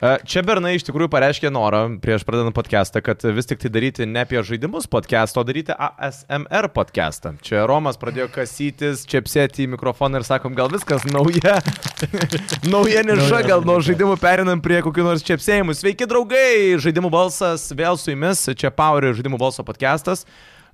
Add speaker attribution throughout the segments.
Speaker 1: Čia Bernai iš tikrųjų pareiškė norą prieš pradedant podcastą, kad vis tik tai daryti ne apie žaidimus podcastą, o daryti ASMR podcastą. Čia Romas pradėjo kasytis, čia psėti į mikrofoną ir sakom, gal viskas nauja, nauja niša, gal nuo žaidimų perinam prie kokių nors čia psėjimų. Sveiki draugai, žaidimų balsas vėl su jumis, čia Power žaidimų balso podcastas.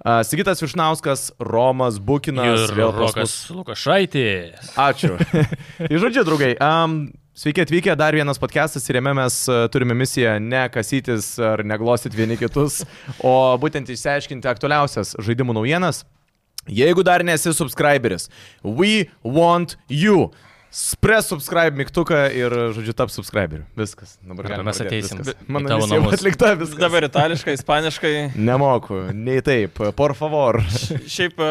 Speaker 1: A, Sigitas Višnauskas, Romas Bukinas,
Speaker 2: Ir
Speaker 1: vėl pas
Speaker 2: Rokas Lukašaitis.
Speaker 1: mus. Ačiū. Iš žodžiu, draugai. Um, sveiki atvykę, dar vienas podcastas ir jame mes a, turime misiją ne kasytis ar neglostyti vieni kitus, o būtent išsiaiškinti aktualiausias žaidimų naujienas. Jeigu dar nesi subscriberis, we want you. Spres subscribe mygtuką ir, žodžiu, tap subscriberiu. Viskas. Dabar
Speaker 2: Arba
Speaker 1: galima
Speaker 2: mes
Speaker 1: pradėt.
Speaker 2: ateisim
Speaker 1: Viskas.
Speaker 2: į
Speaker 1: Mano
Speaker 2: tavo
Speaker 1: misija jau
Speaker 2: namus.
Speaker 1: atlikta viskas.
Speaker 3: Dabar itališkai, ispaniškai.
Speaker 1: Nemoku, nei taip. Por favor.
Speaker 3: Šiaip e,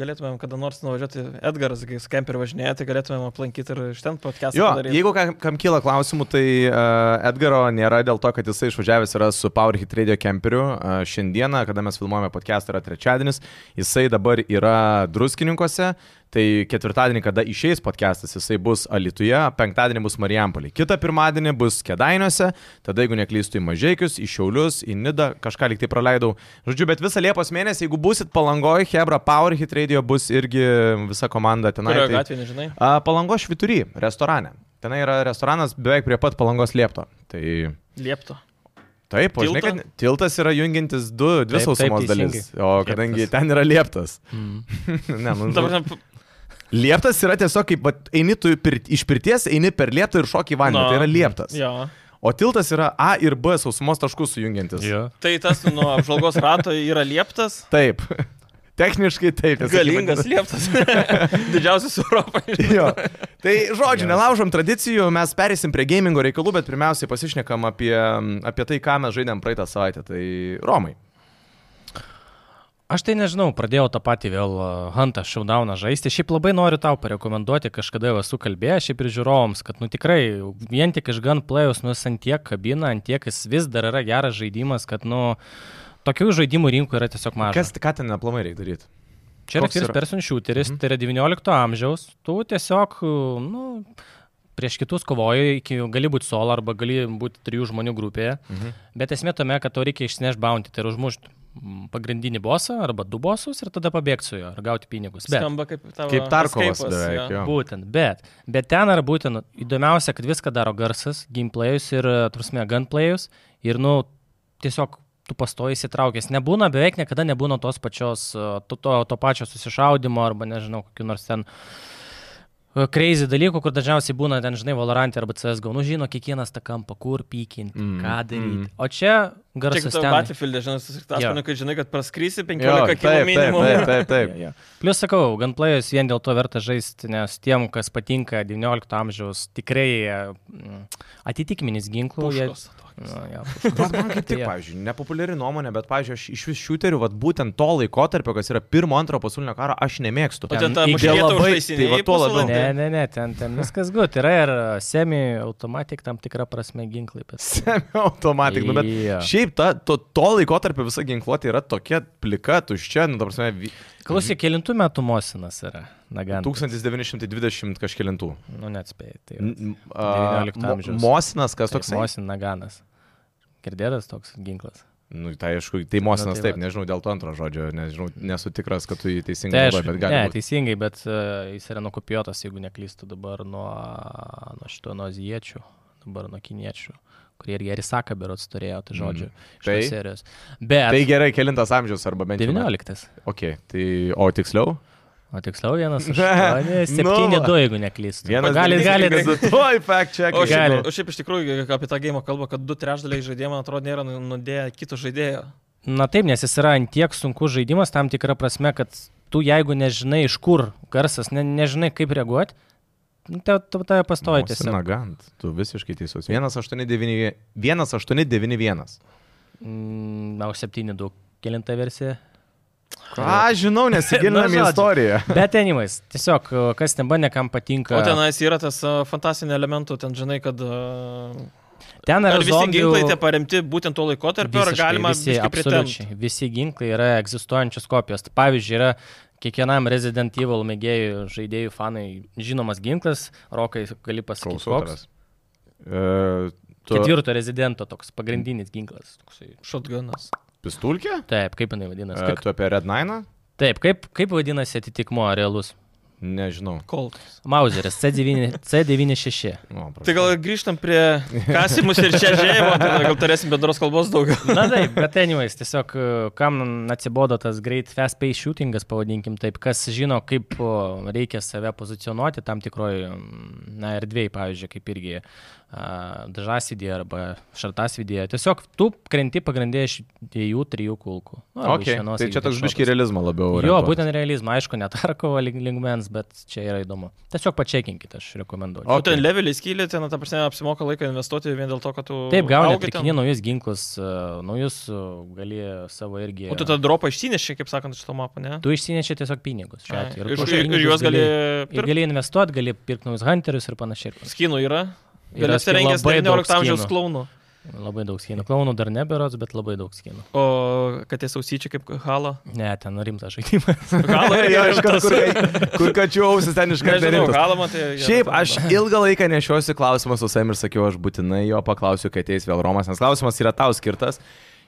Speaker 3: galėtumėm kada nors nuvažiuoti, Edgaras, kai su kemperiu važinėja, tai galėtumėm aplankyti ir iš ten podcast'ą
Speaker 1: Jo,
Speaker 3: padaryti.
Speaker 1: jeigu kam, kam kyla klausimų, tai uh, Edgaro nėra dėl to, kad jisai išvažiavęs yra su PowerHit Radio kemperiu. Uh, šiandieną, kada mes filmuojame podcastą, yra trečiadienis, jisai dabar yra druskininkose, tai ketvirtadienį, kada išeis podcastas, jisai bus Alituje, penktadienį bus Marijampolį, kitą pirmadienį bus Kedainiuose, tada jeigu neklystu į Mažiekius, į Šiaulius, į Nidą, kažką liktai praleidau. Žodžiu, bet visą Liepos mėnesį, jeigu busit palangoji, Hebra, PowerHit Radio bus irgi visa komanda tenai.
Speaker 3: Kurio
Speaker 1: tai-
Speaker 3: gatvė, nežinai.
Speaker 1: A, Palangos švitury, restorane. Ten yra restoranas beveik prie pat Palangos liepto. Tai
Speaker 3: Liepto.
Speaker 1: taip, o žinai,
Speaker 3: Tiltą?
Speaker 1: kad tiltas yra jungiantis du, dvi
Speaker 2: Taip, taip,
Speaker 1: sausumos dalis.
Speaker 2: teisingai.
Speaker 1: O kadangi
Speaker 2: Lieptas.
Speaker 1: ten yra lieptas.
Speaker 2: Mm.
Speaker 1: ne, nu,
Speaker 3: Dabar,
Speaker 1: nu, lieptas yra tiesiog kaip, vat, eini tu pir, iš pirties, eini per lieptą ir šoki į vandenį.
Speaker 3: Na.
Speaker 1: Tai yra lieptas.
Speaker 3: jo.
Speaker 1: O tiltas yra A ir B sausumos taškus sujungiantis.
Speaker 2: Jo.
Speaker 3: Tai tas nuo apžvalgos rato yra lieptas.
Speaker 1: Taip. Techniškai taip. nes,
Speaker 3: Galingas
Speaker 1: sakykim,
Speaker 3: lieptas. Didžiausias Europoje.
Speaker 1: Jo. Tai žodžiu, nelaužom tradicijų, mes perėsim prie gamingo reikalų, bet pirmiausiai pasišnekam apie, apie tai, ką mes žaidėm praeitą savaitę. Tai Romai.
Speaker 2: Aš tai nežinau, pradėjau tą patį vėl uh, Huntą Showdowną žaisti. Šiaip labai noriu tau parekomenduoti, kažkada jau esu kalbėjęs, šiaip ir žiūrovams, kad nu tikrai vien tik iš Gunplay'us nu jis ant tiek kabina, ant tiek jis vis dar yra geras žaidimas, kad nu tokių žaidimų rinkų yra tiesiog mažai.
Speaker 1: Kas, ką ten aplamai reikia daryti?
Speaker 2: Čia yra
Speaker 1: Koks
Speaker 2: first
Speaker 1: yra? Mhm.
Speaker 2: person shooteris, mm -hmm. tai yra 19 amžiaus, tu tiesiog, nu, prieš kitus kovoji, iki, gali būti solo arba gali būti trijų žmonių grupėje, mm
Speaker 1: Mhm.
Speaker 2: -hmm. bet esmė tame, kad to reikia išnešti bounty, tai yra užmušti mm, pagrindinį bosą arba du bosus ir tada pabėgti su juo ir gauti pinigus. Bet,
Speaker 3: Skamba kaip tavo.
Speaker 1: Kaip Tarkovas
Speaker 3: escape'as,
Speaker 1: beveik.
Speaker 3: jo.
Speaker 1: Jo.
Speaker 2: Būtent, bet, bet ten yra būtent įdomiausia, kad viską daro garsas, gameplayus ir, trusme, gunplayus ir, nu, tiesiog tu pastoji įsitraukęs. Nebūna, beveik niekada nebūna tos pačios, e, to, to, to pačio susišaudimo arba, nežinau, kokiu nors ten e, crazy dalykų, kur dažniausiai būna ten, žinai, Valorant arba CSGO, nu, žino kiekvienas tą kampą, kur pykinti,
Speaker 1: Mm,
Speaker 2: mm, ką daryti.
Speaker 1: mm.
Speaker 2: Mm. O čia
Speaker 3: Čia kaip
Speaker 2: garsas
Speaker 3: tavo
Speaker 2: ten.
Speaker 3: Battlefield, žinai,
Speaker 2: Jo.
Speaker 3: susiktasmenu, kad žinai, kad praskrysi
Speaker 1: Jo,
Speaker 3: 15 km
Speaker 1: taip, taip,
Speaker 3: minimum.
Speaker 1: taip, taip, taip.
Speaker 2: Jo, jo. Plius sakau, gunplayus vien dėl to verta žaisti, nes tiem, kas patinka 19 amžiaus, tikrai mm, atitikmenys ginklų.
Speaker 3: Puškos tokios.
Speaker 2: Nu, jo,
Speaker 1: Bet man kaip tik,
Speaker 2: Jo.
Speaker 1: pavyzdžiui, nepopuliari nuomonė, bet, pavyzdžiui, aš iš visų šiuterių, vat, būtent to laiko tarp, kas yra pirmo, antro pasaulinio karo, aš nemėgstu.
Speaker 3: O ten tą
Speaker 2: Ten
Speaker 3: muškietą
Speaker 1: labai- tai va
Speaker 3: užtaisinėjai
Speaker 1: tuo labiau.
Speaker 3: pusvalandį?
Speaker 2: Ne, ne, ne, ten, ten viskas gut. Yra ir semi-automatik tam tikrą prasme ginklai. Bet...
Speaker 1: Automatik, nu bet
Speaker 2: Jo.
Speaker 1: šiaip ta, to, to laiko tarp visa ginkluotė yra tokia plika, tuščia, nu, ta prasme, vi-
Speaker 2: Klausyk, kelintų metų Mosinas yra. Nagan.
Speaker 1: 1920 kažkėlintų.
Speaker 2: Nu, net spėjai. Tai
Speaker 1: N-
Speaker 2: va.
Speaker 1: m- a,
Speaker 2: 19
Speaker 1: mo-
Speaker 2: amžiaus. Tai
Speaker 1: Mosinas, kas
Speaker 2: Taip,
Speaker 1: toks?
Speaker 2: Mosin Naganas. Girdėtas toks ginklas.
Speaker 1: Nu, tai aišku, tai Mosinas,
Speaker 2: Na, tai
Speaker 1: taip,
Speaker 2: vat.
Speaker 1: nežinau dėl to antro žodžio, nežinau, nesu tikras, kad tu jį teisingai
Speaker 2: Tai aš,
Speaker 1: naudoji, bet
Speaker 2: ne,
Speaker 1: gali būti.
Speaker 2: teisingai, bet uh, jis yra nukopijuotas, jeigu neklystu dabar nuo, nuo šito, nuo aziečių, dabar nuo kiniečių, kurie irgi Arisaka berots turėjo, tai žodžiu, mm. iš
Speaker 1: Tai-
Speaker 2: tos serijos. Bet
Speaker 1: Tai gerai, kelintas amžius arba bent jau.
Speaker 2: 19.
Speaker 1: Ok, tai o tiksliau?
Speaker 2: O tiksliau vienas, aštuoni,
Speaker 1: Nu
Speaker 2: septyni,
Speaker 1: va.
Speaker 2: du, jeigu neklystu. galit,
Speaker 1: dalykas,
Speaker 2: galit.
Speaker 1: Tuoj, fact check.
Speaker 3: O šiaip,
Speaker 2: Gali.
Speaker 3: o šiaip iš tikrųjų apie tą gėjimą kalba, kad du trečdaliai žaidėjų, man atrodo, nėra nu- nudėję kito žaidėjo.
Speaker 2: Na taip, nes jis yra ant tiek sunkus žaidimas, tam tikra prasme, kad tu jeigu nežinai, iš kur garsas, ne, nežinai, kaip reaguoti, nu, te- tu tave pastoji tiesiog.
Speaker 1: Nagant, tu visiškai teisus. 1891. 1891.
Speaker 2: Mm, Na, o 7-2, kilinta versija.
Speaker 1: Ką žinau, nesigilinam į
Speaker 2: Na, žodžiu.
Speaker 1: istoriją.
Speaker 2: Bet anyways, tiesiog e, kas ten bandė, kam patinka.
Speaker 3: O tenais yra tas a, fantastinio elementų, ten žinai, kad... a,
Speaker 2: ten
Speaker 3: Ar
Speaker 2: yra
Speaker 3: visi
Speaker 2: zombių...
Speaker 3: ginklai tie paremti būtent tuo laikotarpiu, ar
Speaker 2: Visiškai,
Speaker 3: galima
Speaker 2: visi,
Speaker 3: biškį pritempti?
Speaker 2: absoliučiai, visi ginklai yra egzistuojančios kopijos. Tai pavyzdžiui, yra kiekvienam Resident Evil mėgėjų žaidėjų fanai žinomas ginklas, rokai gali pasakyti. koks.
Speaker 1: Uh, Tu
Speaker 2: Ketvirto rezidento toks pagrindinis ginklas. Toksai.
Speaker 3: Šotgunas.
Speaker 1: pistulkė?
Speaker 2: Taip, kaip jinai vadinasi?
Speaker 1: E,
Speaker 2: Tik,
Speaker 1: Tu apie Red Nine?
Speaker 2: taip, kaip, kaip vadinasi atitikmo realus?
Speaker 1: Nežinau.
Speaker 3: Koltas.
Speaker 2: Mauzeris C9, C96.
Speaker 1: Nu, prašau.
Speaker 3: Tai gal grįžtam prie kasimus ir čia žėjimo, gal turėsim bendros kalbos daugiau.
Speaker 2: Na taip, bet anyways, tiesiog e, kam atsibodo tas great fast pace shootingas, pavadinkim taip, kas žino, kaip o, reikia save pozicionuoti tam tikroji mm, na, erdvėjai, pavyzdžiui, kaip irgi dažasidėje arba šartasidėje. Tiesiog tu krenti pagrindė iš dviejų, trijų kulkų. Nu, arba iš
Speaker 1: Okay.
Speaker 2: vienos,
Speaker 1: Tai
Speaker 2: jeigu
Speaker 1: čia toks
Speaker 2: šotas.
Speaker 1: biški realizmo labiau.
Speaker 2: Jo,
Speaker 1: orientuotas.
Speaker 2: būtent realizmą, aišku, netarko lygmens, bet čia yra įdomu. Tiesiog pačekinkit, aš rekomenduoju.
Speaker 3: O
Speaker 1: Ok.
Speaker 3: ten leveliai skylė, ten, ta prasme, apsimoka laiką investuoti vien dėl to, kad tu...
Speaker 2: Taip, gauni
Speaker 3: augi ten.
Speaker 2: atrikinį naujus ginklus, e, naujus e, gali savo irgi.
Speaker 3: O tu tą dropą išsineši, kaip sakant, iš to mapo, ne?
Speaker 2: Tu išsineši tiesiog pinigus. šiuo
Speaker 3: Ai,
Speaker 2: atveju.
Speaker 3: Ir,
Speaker 2: tu už
Speaker 3: ir, ir
Speaker 2: pinigus
Speaker 3: juos gali...
Speaker 2: Ir
Speaker 3: pirkti.
Speaker 2: gali investuoti, gali pirkti naujus hunterius ir panašiai. ir panašiai.
Speaker 3: Skinų yra. Ir
Speaker 2: Yra
Speaker 3: apsirengęs
Speaker 2: labai daug
Speaker 3: 19 amžiaus
Speaker 2: skinų.
Speaker 3: klaunų.
Speaker 2: Labai daug skinų. Klaunų dar neberots, bet labai daug skinų.
Speaker 3: O kad esi ausyčiai kaip halą.
Speaker 2: Ne, ten rimtas žaidimas.
Speaker 3: Halą
Speaker 1: Jo,
Speaker 3: ir
Speaker 1: iš karto, kur, kur kačių ausis ten iš karto
Speaker 3: Nežinau,
Speaker 1: rimtas.
Speaker 3: halą man tai...
Speaker 1: Šiaip aš ilgą laiką nešiosiu klausimą su savimi ir sakiau, aš būtinai jo paklausiu, kai ateis vėl Romas, nes klausimas yra tau skirtas.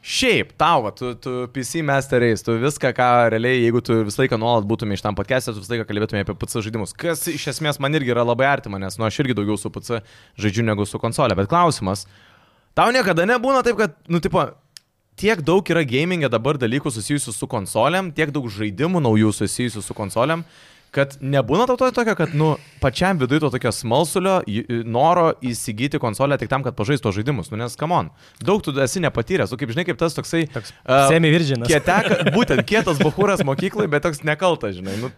Speaker 1: Šiaip, tau, va, tu, tu PC mesteriais, tu viską, ką realiai, jeigu tu visą laiką nuolat būtumai iš tam podcast'e, tu visą laiką kalbėtumai apie PC žaidimus, kas iš esmės man irgi yra labai artima, nes, nu, aš irgi daugiau su PC žaidžiu negu su konsolė. Bet klausimas, tau niekada nebūna taip, kad, nu, tipo, tiek daug yra gamingė dabar dalykų susijusių su konsoliam, tiek daug žaidimų naujų susijusių su konsoliam, kad nebūna tau to tokio, kad, nu, pačiam viduje to tokio smalsulio, i- i- noro įsigyti konsolę tik tam, kad pažaistų žaidimus, nu, nes, kamon, daug tu esi nepatyręs, o kaip žinai, kaip tas toksai...
Speaker 2: Toks
Speaker 1: a,
Speaker 2: Semi Virginas.
Speaker 1: Kieteka, būtent kietas bahūras mokyklai, bet toks nekaltas, žinai. Nu,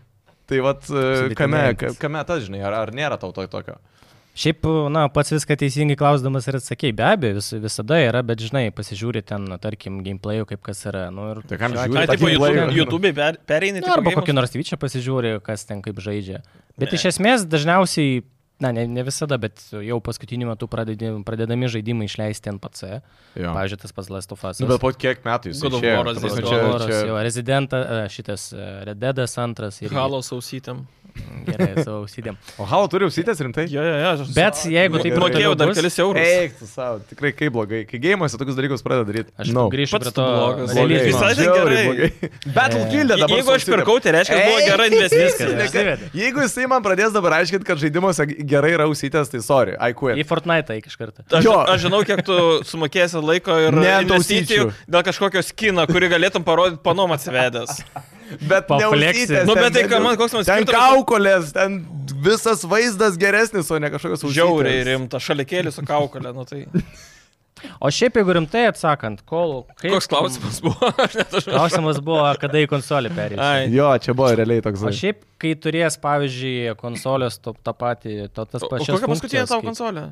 Speaker 1: tai vad, kame, ka-
Speaker 2: Sudėtinėjantis.
Speaker 1: kame tas, žinai, ar, ar nėra tau to tokio?
Speaker 2: Šiaip, na, pats viską teisingai klausdamas ir atsakėjai, be abejo, vis, visada yra, bet žinai, pasižiūri ten, na, tarkim, gameplay'ų, kaip kas yra. Nu, ir,
Speaker 1: Tai kam
Speaker 2: šiuo
Speaker 1: žiūri
Speaker 3: Na,
Speaker 2: atveju-
Speaker 1: tą
Speaker 3: taip,
Speaker 1: Gameplay-
Speaker 3: YouTube per- pereini.
Speaker 2: Nu,
Speaker 3: tipo,
Speaker 2: arba
Speaker 3: geimus.
Speaker 2: kokį nors Twitch'ą pasižiūri, kas ten kaip žaidžia. Bet
Speaker 3: Ne.
Speaker 2: ne. iš esmės dažniausiai, na, ne, ne visada, bet jau paskutiniu metu pradedi- pradedami žaidimai išleisti NPC.
Speaker 1: Jo.
Speaker 2: Pavyzdžiui, tas pats Last of Us.
Speaker 1: Nu, bet po kiek metų jis
Speaker 3: God of
Speaker 1: išėjo?
Speaker 3: Waras
Speaker 1: Ta prasme,
Speaker 3: jis
Speaker 1: čia-
Speaker 2: Doras,
Speaker 1: čia-
Speaker 2: jo, rezidentas, šitas e, Red Deadas antras ir
Speaker 3: Halo sausytam.
Speaker 2: Gerai, savo ausidėm.
Speaker 1: O halo turi ausytės rimtai?
Speaker 3: Jo, jo, jo. aš-
Speaker 2: Bet jeigu taip ir
Speaker 3: Mokėjau
Speaker 2: toliau
Speaker 3: dar
Speaker 2: bus-
Speaker 3: kelis eurus.
Speaker 1: Eik, tu savo, tikrai kaip blogai. Kai gėjimuose tokius dalykus pradeda daryti.
Speaker 2: Aš no, grįžtu tai prie
Speaker 3: Pats tu
Speaker 2: to
Speaker 3: blogas.
Speaker 1: Blogai,
Speaker 2: realizmo.
Speaker 3: Visai- ten
Speaker 1: žiauriai
Speaker 3: gerai.
Speaker 1: blogai.
Speaker 2: E,
Speaker 1: Battlefield'e dabar.
Speaker 3: Jeigu aš
Speaker 1: susiduriam.
Speaker 3: pirkau, tai reiškia, kad buvo
Speaker 1: Ei,
Speaker 3: gera investicija.
Speaker 2: viskas,
Speaker 3: Ne,
Speaker 2: Išsivedė.
Speaker 1: Jeigu jisai man pradės dabar aiškinti, kad žaidimuose gerai yra ausytės, tai sorry, I quit.
Speaker 2: Į Fortnite eik iš karto.
Speaker 3: Aš,
Speaker 1: Jo.
Speaker 3: aš žinau, kiek tu sumokėsi laiko ir
Speaker 1: Ne ant
Speaker 3: investicijų
Speaker 1: ausyčių.
Speaker 3: dėl kažkokio skino, kurį galėtum parodyti panom atsivedęs.
Speaker 1: Bet ne
Speaker 2: Papleksi.
Speaker 1: ausytės.
Speaker 3: Nu,
Speaker 1: ten
Speaker 3: bet tai,
Speaker 1: bent
Speaker 3: ką
Speaker 1: jau-
Speaker 3: man- koks man
Speaker 1: Ten
Speaker 3: skirtumas?
Speaker 1: kaukolės, ten visas vaizdas geresnis, o ne kažkokios ausytės.
Speaker 3: Žiauriai rimta, šalikėlį su kaukolė, nu tai.
Speaker 2: O šiaip, jeigu rimtai atsakant, kol... Kaip,
Speaker 3: Koks klausimas buvo? Aš net aš.
Speaker 2: Klausimas buvo, kada į konsolį perėti.
Speaker 3: Ai.
Speaker 1: Jo, čia buvo realiai toks.
Speaker 2: O šiaip, kai turės, pavyzdžiui, konsolės to, tą patį, to tas
Speaker 3: O
Speaker 2: pačias.
Speaker 3: kokia paskutinė
Speaker 2: funkcijas,
Speaker 3: tavo
Speaker 2: kaip-
Speaker 3: konsolė?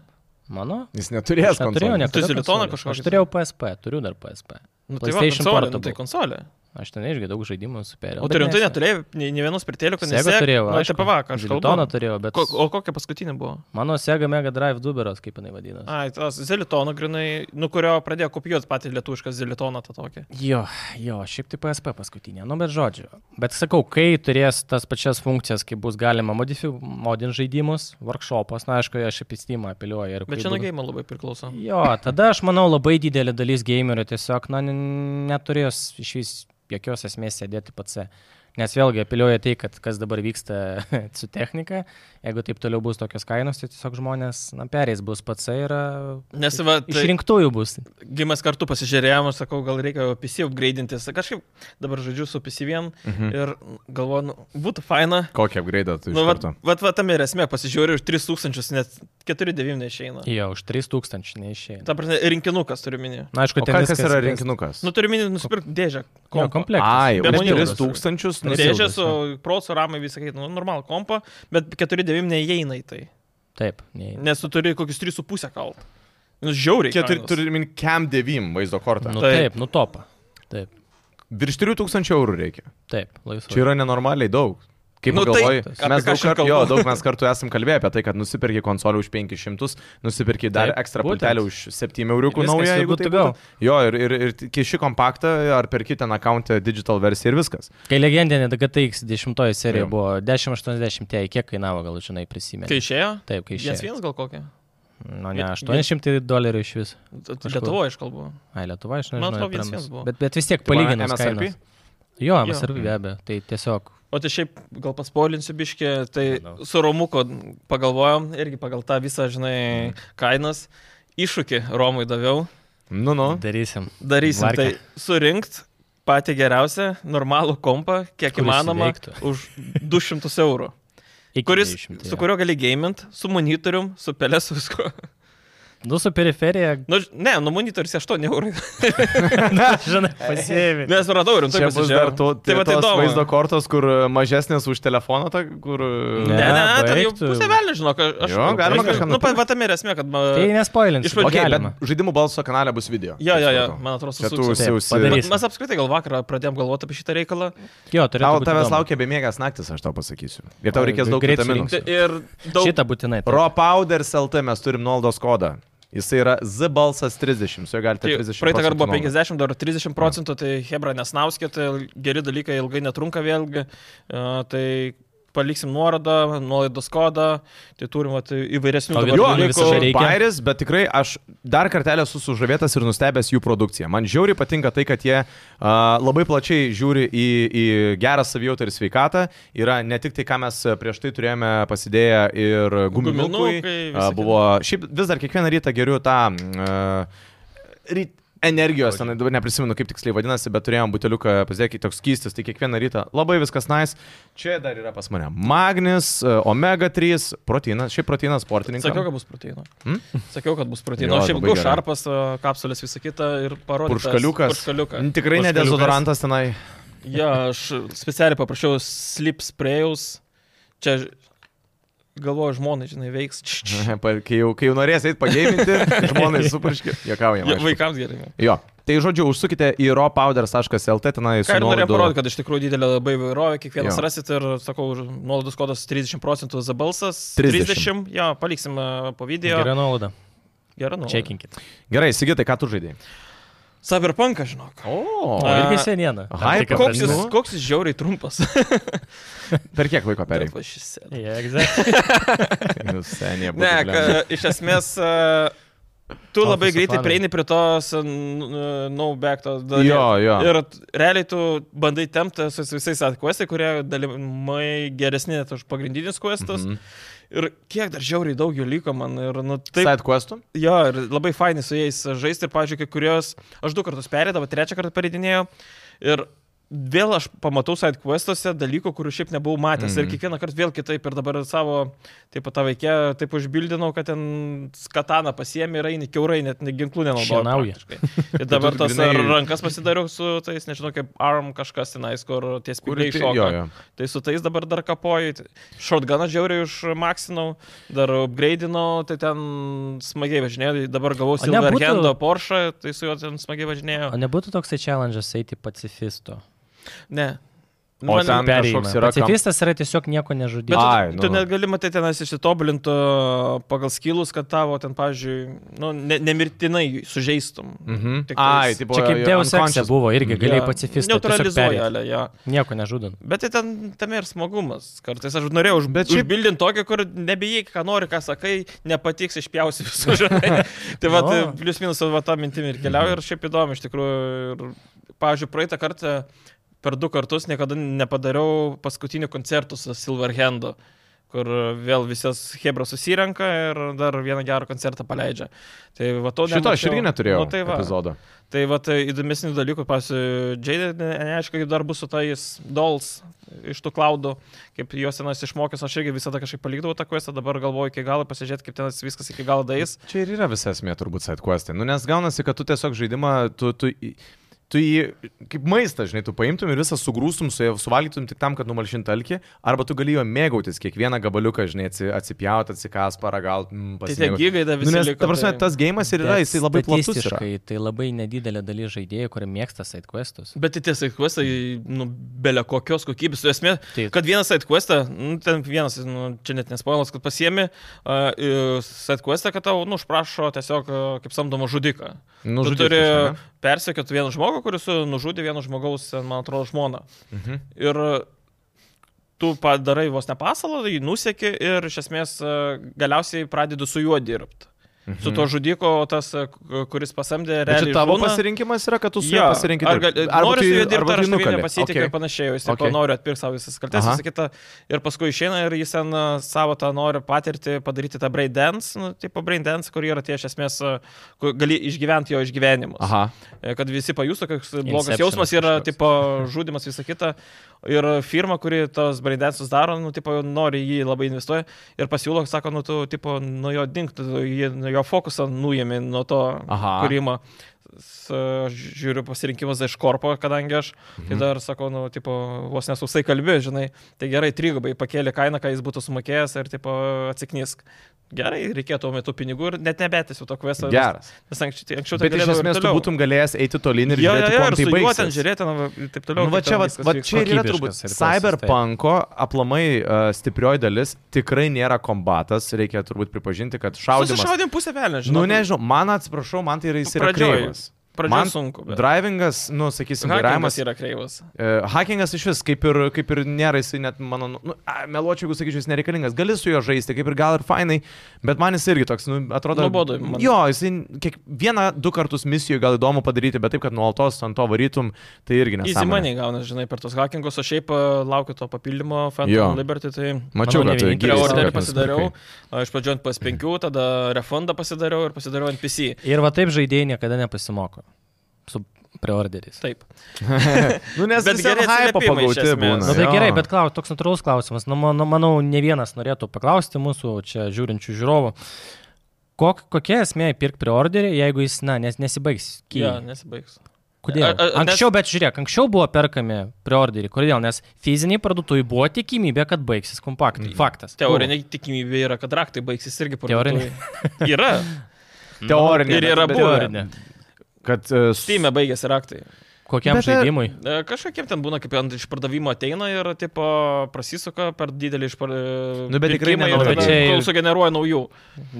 Speaker 2: Mano?
Speaker 1: Jis
Speaker 2: Aš
Speaker 1: neturės
Speaker 2: neturėjau
Speaker 1: konsolės.
Speaker 2: niekada.
Speaker 3: Tu Zilitoną
Speaker 2: konsolės.
Speaker 3: kažkokį
Speaker 2: Aš turėjau PSP, turiu dar PSP.
Speaker 3: Nu, tai va,
Speaker 2: PlayStation
Speaker 3: konsolė, nu,
Speaker 2: Portable.
Speaker 3: tai konsolė.
Speaker 2: Aš ten irgi daug žaidimų superiau.
Speaker 3: O tu rimtai neturėjai nei, nei vienos pritėlių, kad
Speaker 2: Sega turėjau,
Speaker 3: Aš
Speaker 2: aišku. tai
Speaker 3: apie vakarą. Aš
Speaker 2: Žilitoną
Speaker 3: kalbu.
Speaker 2: turėjau, bet...
Speaker 3: Ko, o kokia paskutinė buvo?
Speaker 2: Mano Sega Mega Drive duberos, kaip jinai vadinasi.
Speaker 3: Ai, tas Zelitono grinai, nu kurio pradėjo kopijuoti patį lietuvišką Zelitoną tą tokį.
Speaker 2: Jo, jo, šiaip tai PSP paskutinė, nu bet žodžiu. Bet sakau, kai turės tas pačias funkcijas, kai bus galima modinti žaidimus, workshopas, na aišku, aš apie Steam apeliuoju ir...
Speaker 3: Bet
Speaker 2: kai
Speaker 3: čia nuo
Speaker 2: bus-
Speaker 3: gėjimo labai priklauso.
Speaker 2: Jo, tada aš manau labai didelė dalis gamerių tiesiog, na, ne- neturės iš vis jokios esmės sėdėti pats. Nes vėlgi apeliuoja tai, kad kas dabar vyksta su technika, jeigu taip toliau bus tokios kainos, tai tiesiog žmonės, na, perės bus pats ir
Speaker 3: Nes va, tai,
Speaker 2: išrinktųjų bus.
Speaker 3: Gimas kartu pasižiūrėjom, aš sakau, gal reikia PC upgraidintis. Kažkaip dabar žodžiu su PC1
Speaker 2: Mm.
Speaker 1: Mhm.
Speaker 3: ir galvoju, nu, būtų faina.
Speaker 1: Kokį upgrade
Speaker 2: Tai
Speaker 1: tu iš
Speaker 3: Nu, vat,
Speaker 1: karto?
Speaker 3: vat, vat tam ir esmė, pasižiūriu, už 3000, net 4,9 neišeina.
Speaker 2: Jo, už 3000 neišėjo.
Speaker 3: Ta prasme, rinkinukas turiu minį.
Speaker 2: Na,
Speaker 1: O
Speaker 2: aišku, ten
Speaker 1: kas, kas
Speaker 2: viskas
Speaker 1: yra
Speaker 2: kas-
Speaker 1: rinkinukas?
Speaker 3: Nu, turiu minį nusipirkti dėžę.
Speaker 2: Jo,
Speaker 3: kompą.
Speaker 2: komplektas.
Speaker 1: Ai,
Speaker 3: Be
Speaker 1: už
Speaker 3: monitorių.
Speaker 1: 3000
Speaker 3: Dėžė
Speaker 1: nusiaubęs.
Speaker 3: su prosu, ramai visą kitą, nu, normalų kompą, bet 4,9 neįeina į tai.
Speaker 2: Taip, nei.
Speaker 3: Nes tu turi kokius 3,5 kalt. Nu, žiauriai.
Speaker 1: Keturi,
Speaker 3: kainos.
Speaker 1: turi min Cam 9 vaizdo kortą.
Speaker 2: Nu,
Speaker 1: Nu.
Speaker 3: Taip.
Speaker 2: taip, taip nu topa. Taip,
Speaker 1: Virš 3000 eurų reikia.
Speaker 2: taip, laisvai.
Speaker 1: Čia yra nenormaliai daug. Kaip
Speaker 3: Nu,
Speaker 1: nu,
Speaker 3: tai,
Speaker 1: galvoji,
Speaker 3: apie
Speaker 1: tai, mes
Speaker 3: ką
Speaker 1: daug
Speaker 3: aš ir
Speaker 1: kartų,
Speaker 3: kalbu.
Speaker 1: jo, daug mes kartų esam kalbėję apie tai, kad nusipirki konsolį už 500, nusipirki dar
Speaker 2: Taip,
Speaker 1: Taip, ekstra
Speaker 2: būtent.
Speaker 1: pultelį už 7 euriukų
Speaker 2: Ir viskas,
Speaker 1: naują,
Speaker 2: ir
Speaker 1: jeigu
Speaker 2: good
Speaker 1: tai
Speaker 2: to go.
Speaker 1: būtų. Jo, ir, ir, ir kiši kompaktą, ar perki ten akantę digital versiją ir viskas.
Speaker 2: Kai legendinė DGTX 10 serija
Speaker 1: Jo.
Speaker 2: buvo 1080, jei kiek kainavo, gal žinai, prisimeni.
Speaker 3: Kai išėjo?
Speaker 2: Taip, kai
Speaker 3: Vienas
Speaker 2: išėjo.
Speaker 3: vienas gal kokia?
Speaker 2: Nu,
Speaker 3: Vien-
Speaker 2: ne,
Speaker 3: vien-
Speaker 2: 800 dolerių iš vis. Kažkur.
Speaker 3: Lietuvoje aš kalbu.
Speaker 2: Ai, Lietuva, aš
Speaker 3: Man
Speaker 2: nežinau.
Speaker 3: atrodo,
Speaker 2: jie
Speaker 3: viens
Speaker 2: prenumeruos.
Speaker 3: buvo.
Speaker 2: bet, bet vis tiek palyginus
Speaker 1: MSRP?
Speaker 2: kainas. Jo,
Speaker 3: Jo.
Speaker 2: MSRP be abejo. Tai tiesiog
Speaker 3: O tai šiaip gal paspolinsiu biškį, tai
Speaker 2: Nedaug.
Speaker 3: su Romuko pagalvojom, irgi pagal tą visą, žinai, kainas. Iššūkį Romui daviau,
Speaker 1: Nu, nu.
Speaker 2: darysim.
Speaker 3: darysim
Speaker 2: Varkę.
Speaker 3: tai surinkt patį geriausią, normalų kompą, kiek
Speaker 2: Kuris
Speaker 3: įmanoma,
Speaker 2: veiktų.
Speaker 3: už 200 eurų.
Speaker 2: Iki
Speaker 3: Kuris,
Speaker 2: 900,
Speaker 3: su
Speaker 2: jo.
Speaker 3: kuriuo gali gamint, su monitorium, su pelė, su viskuo.
Speaker 2: Nu, su periferija,
Speaker 3: Nu, ž- ne, nu monitorius 8 eurų.
Speaker 2: žinai, pasiemi.
Speaker 3: Nes radau rimtai.
Speaker 1: Čia bus dar to, tai
Speaker 3: tai va, tai
Speaker 1: tos
Speaker 3: įdomu.
Speaker 1: vaizdo kortos, kur e, mažesnės už telefoną, ta, kur... e,
Speaker 3: Ne, ne, ne, tai jau
Speaker 2: Baigtų.
Speaker 3: pusę velnio, žinok, a- aš.
Speaker 1: Jo, galima
Speaker 3: aš-
Speaker 1: kažką
Speaker 3: Nu,
Speaker 1: nupirkt.
Speaker 3: pat tam ir esmė, kad... ma-
Speaker 2: Tai nespoilins.
Speaker 3: Iš pradžių-
Speaker 1: Okei,
Speaker 2: galima.
Speaker 1: bet žaidimų balso kanale bus video.
Speaker 3: Jo, jo, jo,
Speaker 1: Supratau.
Speaker 3: man atrodo,
Speaker 1: Čia tu
Speaker 3: susitiksim.
Speaker 2: Taip,
Speaker 1: užsiausi.
Speaker 2: padarysi.
Speaker 3: Mes apskritai gal vakarą pradėjom galvoti apie šitą reikalą.
Speaker 2: Jo, turėtų
Speaker 1: Tau
Speaker 2: būti
Speaker 1: tavęs
Speaker 2: įdomu.
Speaker 1: laukia bemiegas naktis, aš tau pasakysiu. Ir tau
Speaker 2: Oi,
Speaker 1: reikės daug
Speaker 2: greit
Speaker 1: vitaminų.
Speaker 2: surinksiu.
Speaker 3: Ir daug...
Speaker 2: Šitą būtinai. taip.
Speaker 1: Ropowders LT mes turim nuolaidos kodą. Jis yra Z balsas 30, su juo galite
Speaker 3: Tai
Speaker 1: 30.
Speaker 3: praeitą kartą buvo
Speaker 1: procentų nuolaidą.
Speaker 3: 50, dar 30 procentų, tai Hebra nesnauskit, tai geri dalykai ilgai netrunka vėlgi. E, Tai paliksim nuorodą, nuolaidos kodą, tai turim vat, įvairesnių
Speaker 2: O
Speaker 3: dabar
Speaker 2: vietoj
Speaker 1: Jo,
Speaker 2: Vietoj
Speaker 1: viso
Speaker 2: viso
Speaker 1: reikia.
Speaker 2: reikia.
Speaker 1: Pairis, bet tikrai aš dar kartelį esu sužavėtas ir nustebęs jų produkciją. Man žiauriai patinka tai, kad jie uh, labai plačiai žiūri į, į gerą savijautą ir sveikatą. Yra ne tik tai, ką mes prieš tai turėjome pasidėję ir guminukai.
Speaker 3: Guminukai, visa
Speaker 1: Uh, buvo, šiaip vis dar kiekvieną rytą geriu tą... Uh, ryt, Energijos, ten dabar neprisimenu, kaip tiksliai vadinasi, bet turėjom buteliuką, pažiūrėkit, toks keistas, tai kiekvieną rytą labai viskas nais. Nice. Čia dar yra pas mane magnis, e, omega 3, proteinas, šiaip proteinas sportininkas.
Speaker 3: Sakiau, kad bus proteino.
Speaker 1: Hmm?
Speaker 3: Sakiau, kad bus proteino.
Speaker 1: Jo, tai
Speaker 3: Aš šiaip
Speaker 1: labai
Speaker 3: gau
Speaker 1: gerai.
Speaker 3: šarpas, e, kapsulės, visą kitą ir parodžiau.
Speaker 1: Purškaliukas.
Speaker 3: Purškaliukas.
Speaker 1: Tikrai ne
Speaker 2: Purškaliukas.
Speaker 1: dezodorantas tenai.
Speaker 3: Ja, aš specialiai paprašiau slip sprayaus. Čia ž- galvoju, žmonai, žinai, veiks. Č- č- č.
Speaker 1: Pa- Kai jau, kai jau norės eiti pagėminti, žmonai supraški. Jokaujam.
Speaker 3: Ja,
Speaker 1: aišku.
Speaker 3: Vaikams gerai.
Speaker 1: Jo. Tai žodžiu, užsukite į ropowders.lt tenai su
Speaker 3: Ką ir norėjau parodyti,
Speaker 1: nuolaidu.
Speaker 3: kad iš tikrųjų didelė labai įvairovė, kiekvienas
Speaker 1: Jo.
Speaker 3: jo. rasit ir, sakau, už- nuolaidos kodas 30 procentų za balsas.
Speaker 1: 30.
Speaker 3: 30, jo, paliksim e, po video.
Speaker 2: Gera nauda.
Speaker 3: Gerai, nu.
Speaker 2: Čekinkit.
Speaker 1: Gerai, Sigitai, ką tu žaidėjai?
Speaker 3: Cyberpunką, žinok.
Speaker 1: O,
Speaker 2: O
Speaker 3: A,
Speaker 2: irgi senieną.
Speaker 1: hype
Speaker 3: Koks jis,
Speaker 1: Nu.
Speaker 3: koks jis žiauriai trumpas.
Speaker 1: per kiek laiko perėjai?
Speaker 3: Va, šis sėda.
Speaker 1: Seniai,
Speaker 3: Ne, ka, iš esmės, e, tu
Speaker 2: Office
Speaker 3: labai greitai
Speaker 2: fanai.
Speaker 3: prieini prie tos e, n- n- no back to dalies.
Speaker 1: Jo, jo.
Speaker 3: Ir t- realiai tu bandai tempti su su visais atkuestai, kurie dalimai geresni net už pagrindinius kuestus.
Speaker 1: Mhm.
Speaker 3: Ir kiek dar žiauriai daug jų liko man. Ir, nu, taip,
Speaker 1: Side questų?
Speaker 3: Jo, ir labai fainai su jais žaisti, pažiūrėjau, kai kurios, aš du kartus perėdavau, trečią kartą perėdinėjau ir vėl aš pamatau side questuose dalykų, kurių šiaip nebuvau matęs
Speaker 1: Mhm.
Speaker 3: ir kiekvieną kartą vėl kitaip ir dabar savo, taip pat tą vaikę, taip užbildinau, kad ten kataną pasiemi ir eini keurai, net ne ginklų
Speaker 2: Šienauja.
Speaker 3: nenaudoju. praktiškai. Ir dabar
Speaker 1: Tu
Speaker 3: tas
Speaker 1: grynai-
Speaker 3: ar rankas pasidariau su tais, nežinau, kaip arm kažkas tenais, kur ties
Speaker 1: Kuri
Speaker 3: kūriai
Speaker 1: tai- jo,
Speaker 3: iššoka.
Speaker 1: jo.
Speaker 3: Tai su tais dabar dar kapoju. Shotguną žiauriai užmaksinau, dar upgrade'inau, tai ten smagiai važinėjau. Dabar gavau
Speaker 2: O nebūtų-
Speaker 3: Silverhando Porsche, tai su juo ten smagiai važinėjau.
Speaker 2: O nebūtų toksai challenge'as eiti pacifisto.
Speaker 3: Ne.
Speaker 1: O
Speaker 3: Man-
Speaker 1: ten
Speaker 2: Perėjimas.
Speaker 1: kažkoks yra kam-
Speaker 2: Pacifistas yra tiesiog nieko
Speaker 3: Bet
Speaker 2: nežudyti.
Speaker 3: tu,
Speaker 1: Ai,
Speaker 3: tu
Speaker 1: nu.
Speaker 3: net gali matyti tenais išsitobulintų pagal skilus, kad tavo ten, pavyzdžiui, nu, ne, nemirtinai sužeistum.
Speaker 1: Mhm.
Speaker 3: Tik tais-
Speaker 1: Ai, tai buvo.
Speaker 2: Čia kaip Deus Exe buvo irgi, galėjai
Speaker 3: Jo.
Speaker 2: pacifistą.
Speaker 3: Neutralizuoja,
Speaker 2: Neutralizuoja.
Speaker 3: ale, jo.
Speaker 2: Nieko nežudant.
Speaker 3: Bet tai ten tame ir smagumas. Kartais aš norėjau už,
Speaker 1: Bet
Speaker 3: bet
Speaker 1: šiaip-
Speaker 3: šiaip bildinti tokį, kur nebijai, ką nori, ką sakai, nepatiks, išpjausi visų žodžių. tai va,
Speaker 2: Jo.
Speaker 3: plius minus va tą mintimį ir keliauju ir šiaip įdomu, iš tikrųjų. Ir, pavyzdžiui, praeitą kartą per du kartus niekada nepadariau paskutinių koncertų su Silverhandu kur vėl visas Hebra susirenka ir dar vieną gerą koncertą paleidžia. Tai va to
Speaker 1: Šito aš
Speaker 3: nemačiau.
Speaker 1: irgi neturėjau.
Speaker 3: Nu, tai va.
Speaker 1: Epizodo.
Speaker 3: Tai va, tai įdomesnių dalykų, pavyzdžiui, Jade, ne- neaišku, kaip dar bus su tais dolls iš tų klaudų, kaip juos senas išmokęs, aš irgi visada kažkaip palikdavau tą questą, dabar galvoju iki galo, pasižiūrėti, kaip ten viskas iki galo dais.
Speaker 1: Čia ir yra visa esmė turbūt sidequestai. Nu, nes gaunasi, kad tu tiesiog žaidimą, tu, tu, į- tu jį kaip maistą, žinai, tu paimtum ir visą sugrūstum, su juo suvalgytum tik tam, kad numalšinti alkį, arba tu galėjo mėgautis kiekvieną gabaliuką, žinai, atsi- atsipjauti, atsikas, paragauti, mm,
Speaker 3: Tai tie
Speaker 1: pasimėgauti.
Speaker 3: gigai dar
Speaker 1: Nu,
Speaker 3: visi.
Speaker 1: nes,
Speaker 3: liko,
Speaker 1: ta prasme,
Speaker 3: tai-
Speaker 1: tas gėjimas ir yra, jisai labai platus yra.
Speaker 2: Statistiškai tai labai nedidelė dalis žaidėjų, kurie mėgsta sidequestus.
Speaker 3: Bet tai tie sidequestai, nu, belė kokios kokybės. Tu esmė,
Speaker 1: Tai-
Speaker 2: Taip.
Speaker 3: kad vienas sidequestą, nu, ten vienas, nu, čia net nespoilas, kad pasiemi uh, sidequestą, kad tau, nu, užprašo tiesiog uh, kaip samdomą žudiką.
Speaker 1: Nu,
Speaker 3: tu
Speaker 1: žodžiu,
Speaker 3: turi
Speaker 1: kažką, ne?
Speaker 3: persekioti vieną žmogų, kuris e, nužudė vieno žmogaus, e, man atrodo, žmoną.
Speaker 1: Mhm.
Speaker 3: Ir e, tu padarai vos nepasalą, jį nusieki ir iš esmės e, galiausiai pradedi su juo dirbti. Mhm. Su to žudiko, o tas, e, k- kuris pasamdė
Speaker 1: Bet čia
Speaker 3: realiai.
Speaker 1: tavo
Speaker 3: žūna.
Speaker 1: pasirinkimas yra, kad tu su
Speaker 3: Jo,
Speaker 1: juo pasirinkai
Speaker 3: ar
Speaker 1: dirbti.
Speaker 3: gal- Noriu su juo dirbti,
Speaker 1: arba
Speaker 3: ar aš
Speaker 1: tu jį
Speaker 3: tikrai
Speaker 1: nukali.
Speaker 3: nepasitikiu
Speaker 1: Okei.
Speaker 3: ir panašiai, jis
Speaker 1: Okei.
Speaker 3: okay. noriu atpirkti savo visas kaltes,
Speaker 1: Aha.
Speaker 3: visą kitą. Ir paskui išeina ir jis ten a, savo tą noriu patirti, padaryti tą brain dance, nu, tipo brain dance, kur yra tie iš esmės, a, kur gali išgyventi jo išgyvenimus.
Speaker 1: Aha.
Speaker 3: E, Kad visi pajustų, koks blogas
Speaker 2: Inceptionas
Speaker 3: jausmas yra,
Speaker 2: kažkoks.
Speaker 3: tipo žudimas, visa kita. Ir firma, kuri tos brain dance'us daro, nu, tipo nori į jį labai investuoja ir pasiūlo, sako, nu, tu, tipo, nuo jo dinktų, jo fokusą nuėmė nuo to
Speaker 1: Aha.
Speaker 3: kūrimo. S- Aš žiūriu pasirinkimas iš korpo, kadangi aš
Speaker 1: Mhm.
Speaker 3: tai dar sakau, nu, tipo, vos nesusai kalbė, žinai, tai gerai, trigubai pakėlė kainą, ką jis būtų sumokėjęs ir, tipo, atsiknisk. Gerai, reikėtų tuo metu pinigų ir net nebetėsiu to kvesto.
Speaker 1: Geras.
Speaker 3: Nes anksčiau, anksčiau tai
Speaker 1: Bet iš
Speaker 3: galėdavau ir
Speaker 1: esmės tu
Speaker 3: toliau.
Speaker 1: būtum galėjęs eiti tolyn ir
Speaker 3: Jo,
Speaker 1: žiūrėti,
Speaker 3: jo,
Speaker 1: kuo
Speaker 3: jo, ir
Speaker 1: tai
Speaker 3: su juo ten
Speaker 1: baigsis.
Speaker 3: žiūrėti, na, ir taip toliau.
Speaker 1: Nu, va
Speaker 3: kaip
Speaker 1: čia,
Speaker 3: ten tai
Speaker 1: va,
Speaker 3: viskas
Speaker 1: va,
Speaker 3: vyksta.
Speaker 1: čia ir yra
Speaker 2: Kokybiškas
Speaker 1: turbūt
Speaker 2: ir visas,
Speaker 1: cyberpunko aplamai uh, stiprioji dalis tikrai nėra kombatas, reikia turbūt pripažinti, kad šaudimas.
Speaker 3: Susišaudėm pusę velnio, žinai.
Speaker 1: Nu, nežinau, man atsiprašau, man tai yra jis yra
Speaker 3: nu, Pradžioj-
Speaker 1: kreivas.
Speaker 3: Pradžioje
Speaker 1: Man
Speaker 3: sunku. bet
Speaker 1: Drivingas, nu, sakysim,
Speaker 3: Hackingas
Speaker 1: vairavimas.
Speaker 3: yra kreivas.
Speaker 1: Uh, hackingas iš vis, kaip ir, kaip ir nėra, jisai net, mano, nu, a, meluočiau, jeigu sakyčiau, jis nereikalingas, gali su juo žaisti, kaip ir gal ir fainai, bet man jis irgi toks, nu, atrodo...
Speaker 3: Nuobodu, man.
Speaker 1: Jo, jisai kiekvieną, du kartus misijų gal įdomu padaryti, bet taip, kad nuolatos ant to varytum, tai irgi nesąmonė.
Speaker 3: Įsimanį gauna, žinai, per tos hackingus, o šiaip a, laukiu to papildymo
Speaker 1: Jo.
Speaker 3: Phantom Liberty, tai
Speaker 1: Mačiau,
Speaker 2: Manau,
Speaker 1: kad tai
Speaker 2: ne vienintelis
Speaker 1: giliai
Speaker 2: Gerai,
Speaker 3: preorderį
Speaker 1: įsikarpęs,
Speaker 3: pasidariau,
Speaker 1: okei.
Speaker 3: a, iš pradžio ant PS5, tada refundą pasidariau ir pasidariau ant PC.
Speaker 2: Ir va taip žaidėjai niekada nepasimoko su preorderiais.
Speaker 3: Taip.
Speaker 1: Nu, nes
Speaker 3: Bet
Speaker 1: visi ant
Speaker 3: geri
Speaker 1: hypo
Speaker 3: atsiliepimai iš
Speaker 1: pagauti
Speaker 3: esmės.
Speaker 1: būna.
Speaker 2: Na tai
Speaker 1: jo.
Speaker 2: gerai, bet klau, toks natūralus klausimas. Nu, manau, manau, ne vienas norėtų paklausti mūsų čia žiūrinčių žiūrovų. Kok, kokia esmė pirkti preorderį, jeigu jis, na, nes, nesibaigs? Kyja.
Speaker 3: Jo, nesibaigs.
Speaker 2: Kodėl?
Speaker 3: A- a- nes-
Speaker 2: Anksčiau, bet žiūrėk, anksčiau buvo perkami preorderiai. Kodėl? Nes fiziniai parduotuvai buvo tikimybė, kad baigsis kompaktai.
Speaker 3: Mhm.
Speaker 2: Faktas.
Speaker 3: Teorinė tikimybė yra, kad raktai baigsis irgi po
Speaker 2: Teorinė.
Speaker 3: Yra.
Speaker 1: Teorinė.
Speaker 3: Mhm. Ir yra
Speaker 1: bet-
Speaker 3: buvę.
Speaker 2: Teorinė.
Speaker 1: Kad uh,
Speaker 3: Steam e baigėsi raktai.
Speaker 2: Kokiam
Speaker 1: Bet,
Speaker 2: bet, žaidimui?
Speaker 3: E, Kažkokiem ten būna, kaip ant išpardavimo ateina ir tipo prasisuka per didelį e, išpardavimą.
Speaker 1: Nu, bet tikrai nenoriu.
Speaker 3: nenoriu.
Speaker 2: Bet čia ir-
Speaker 3: Kol sugeneruoja naujų.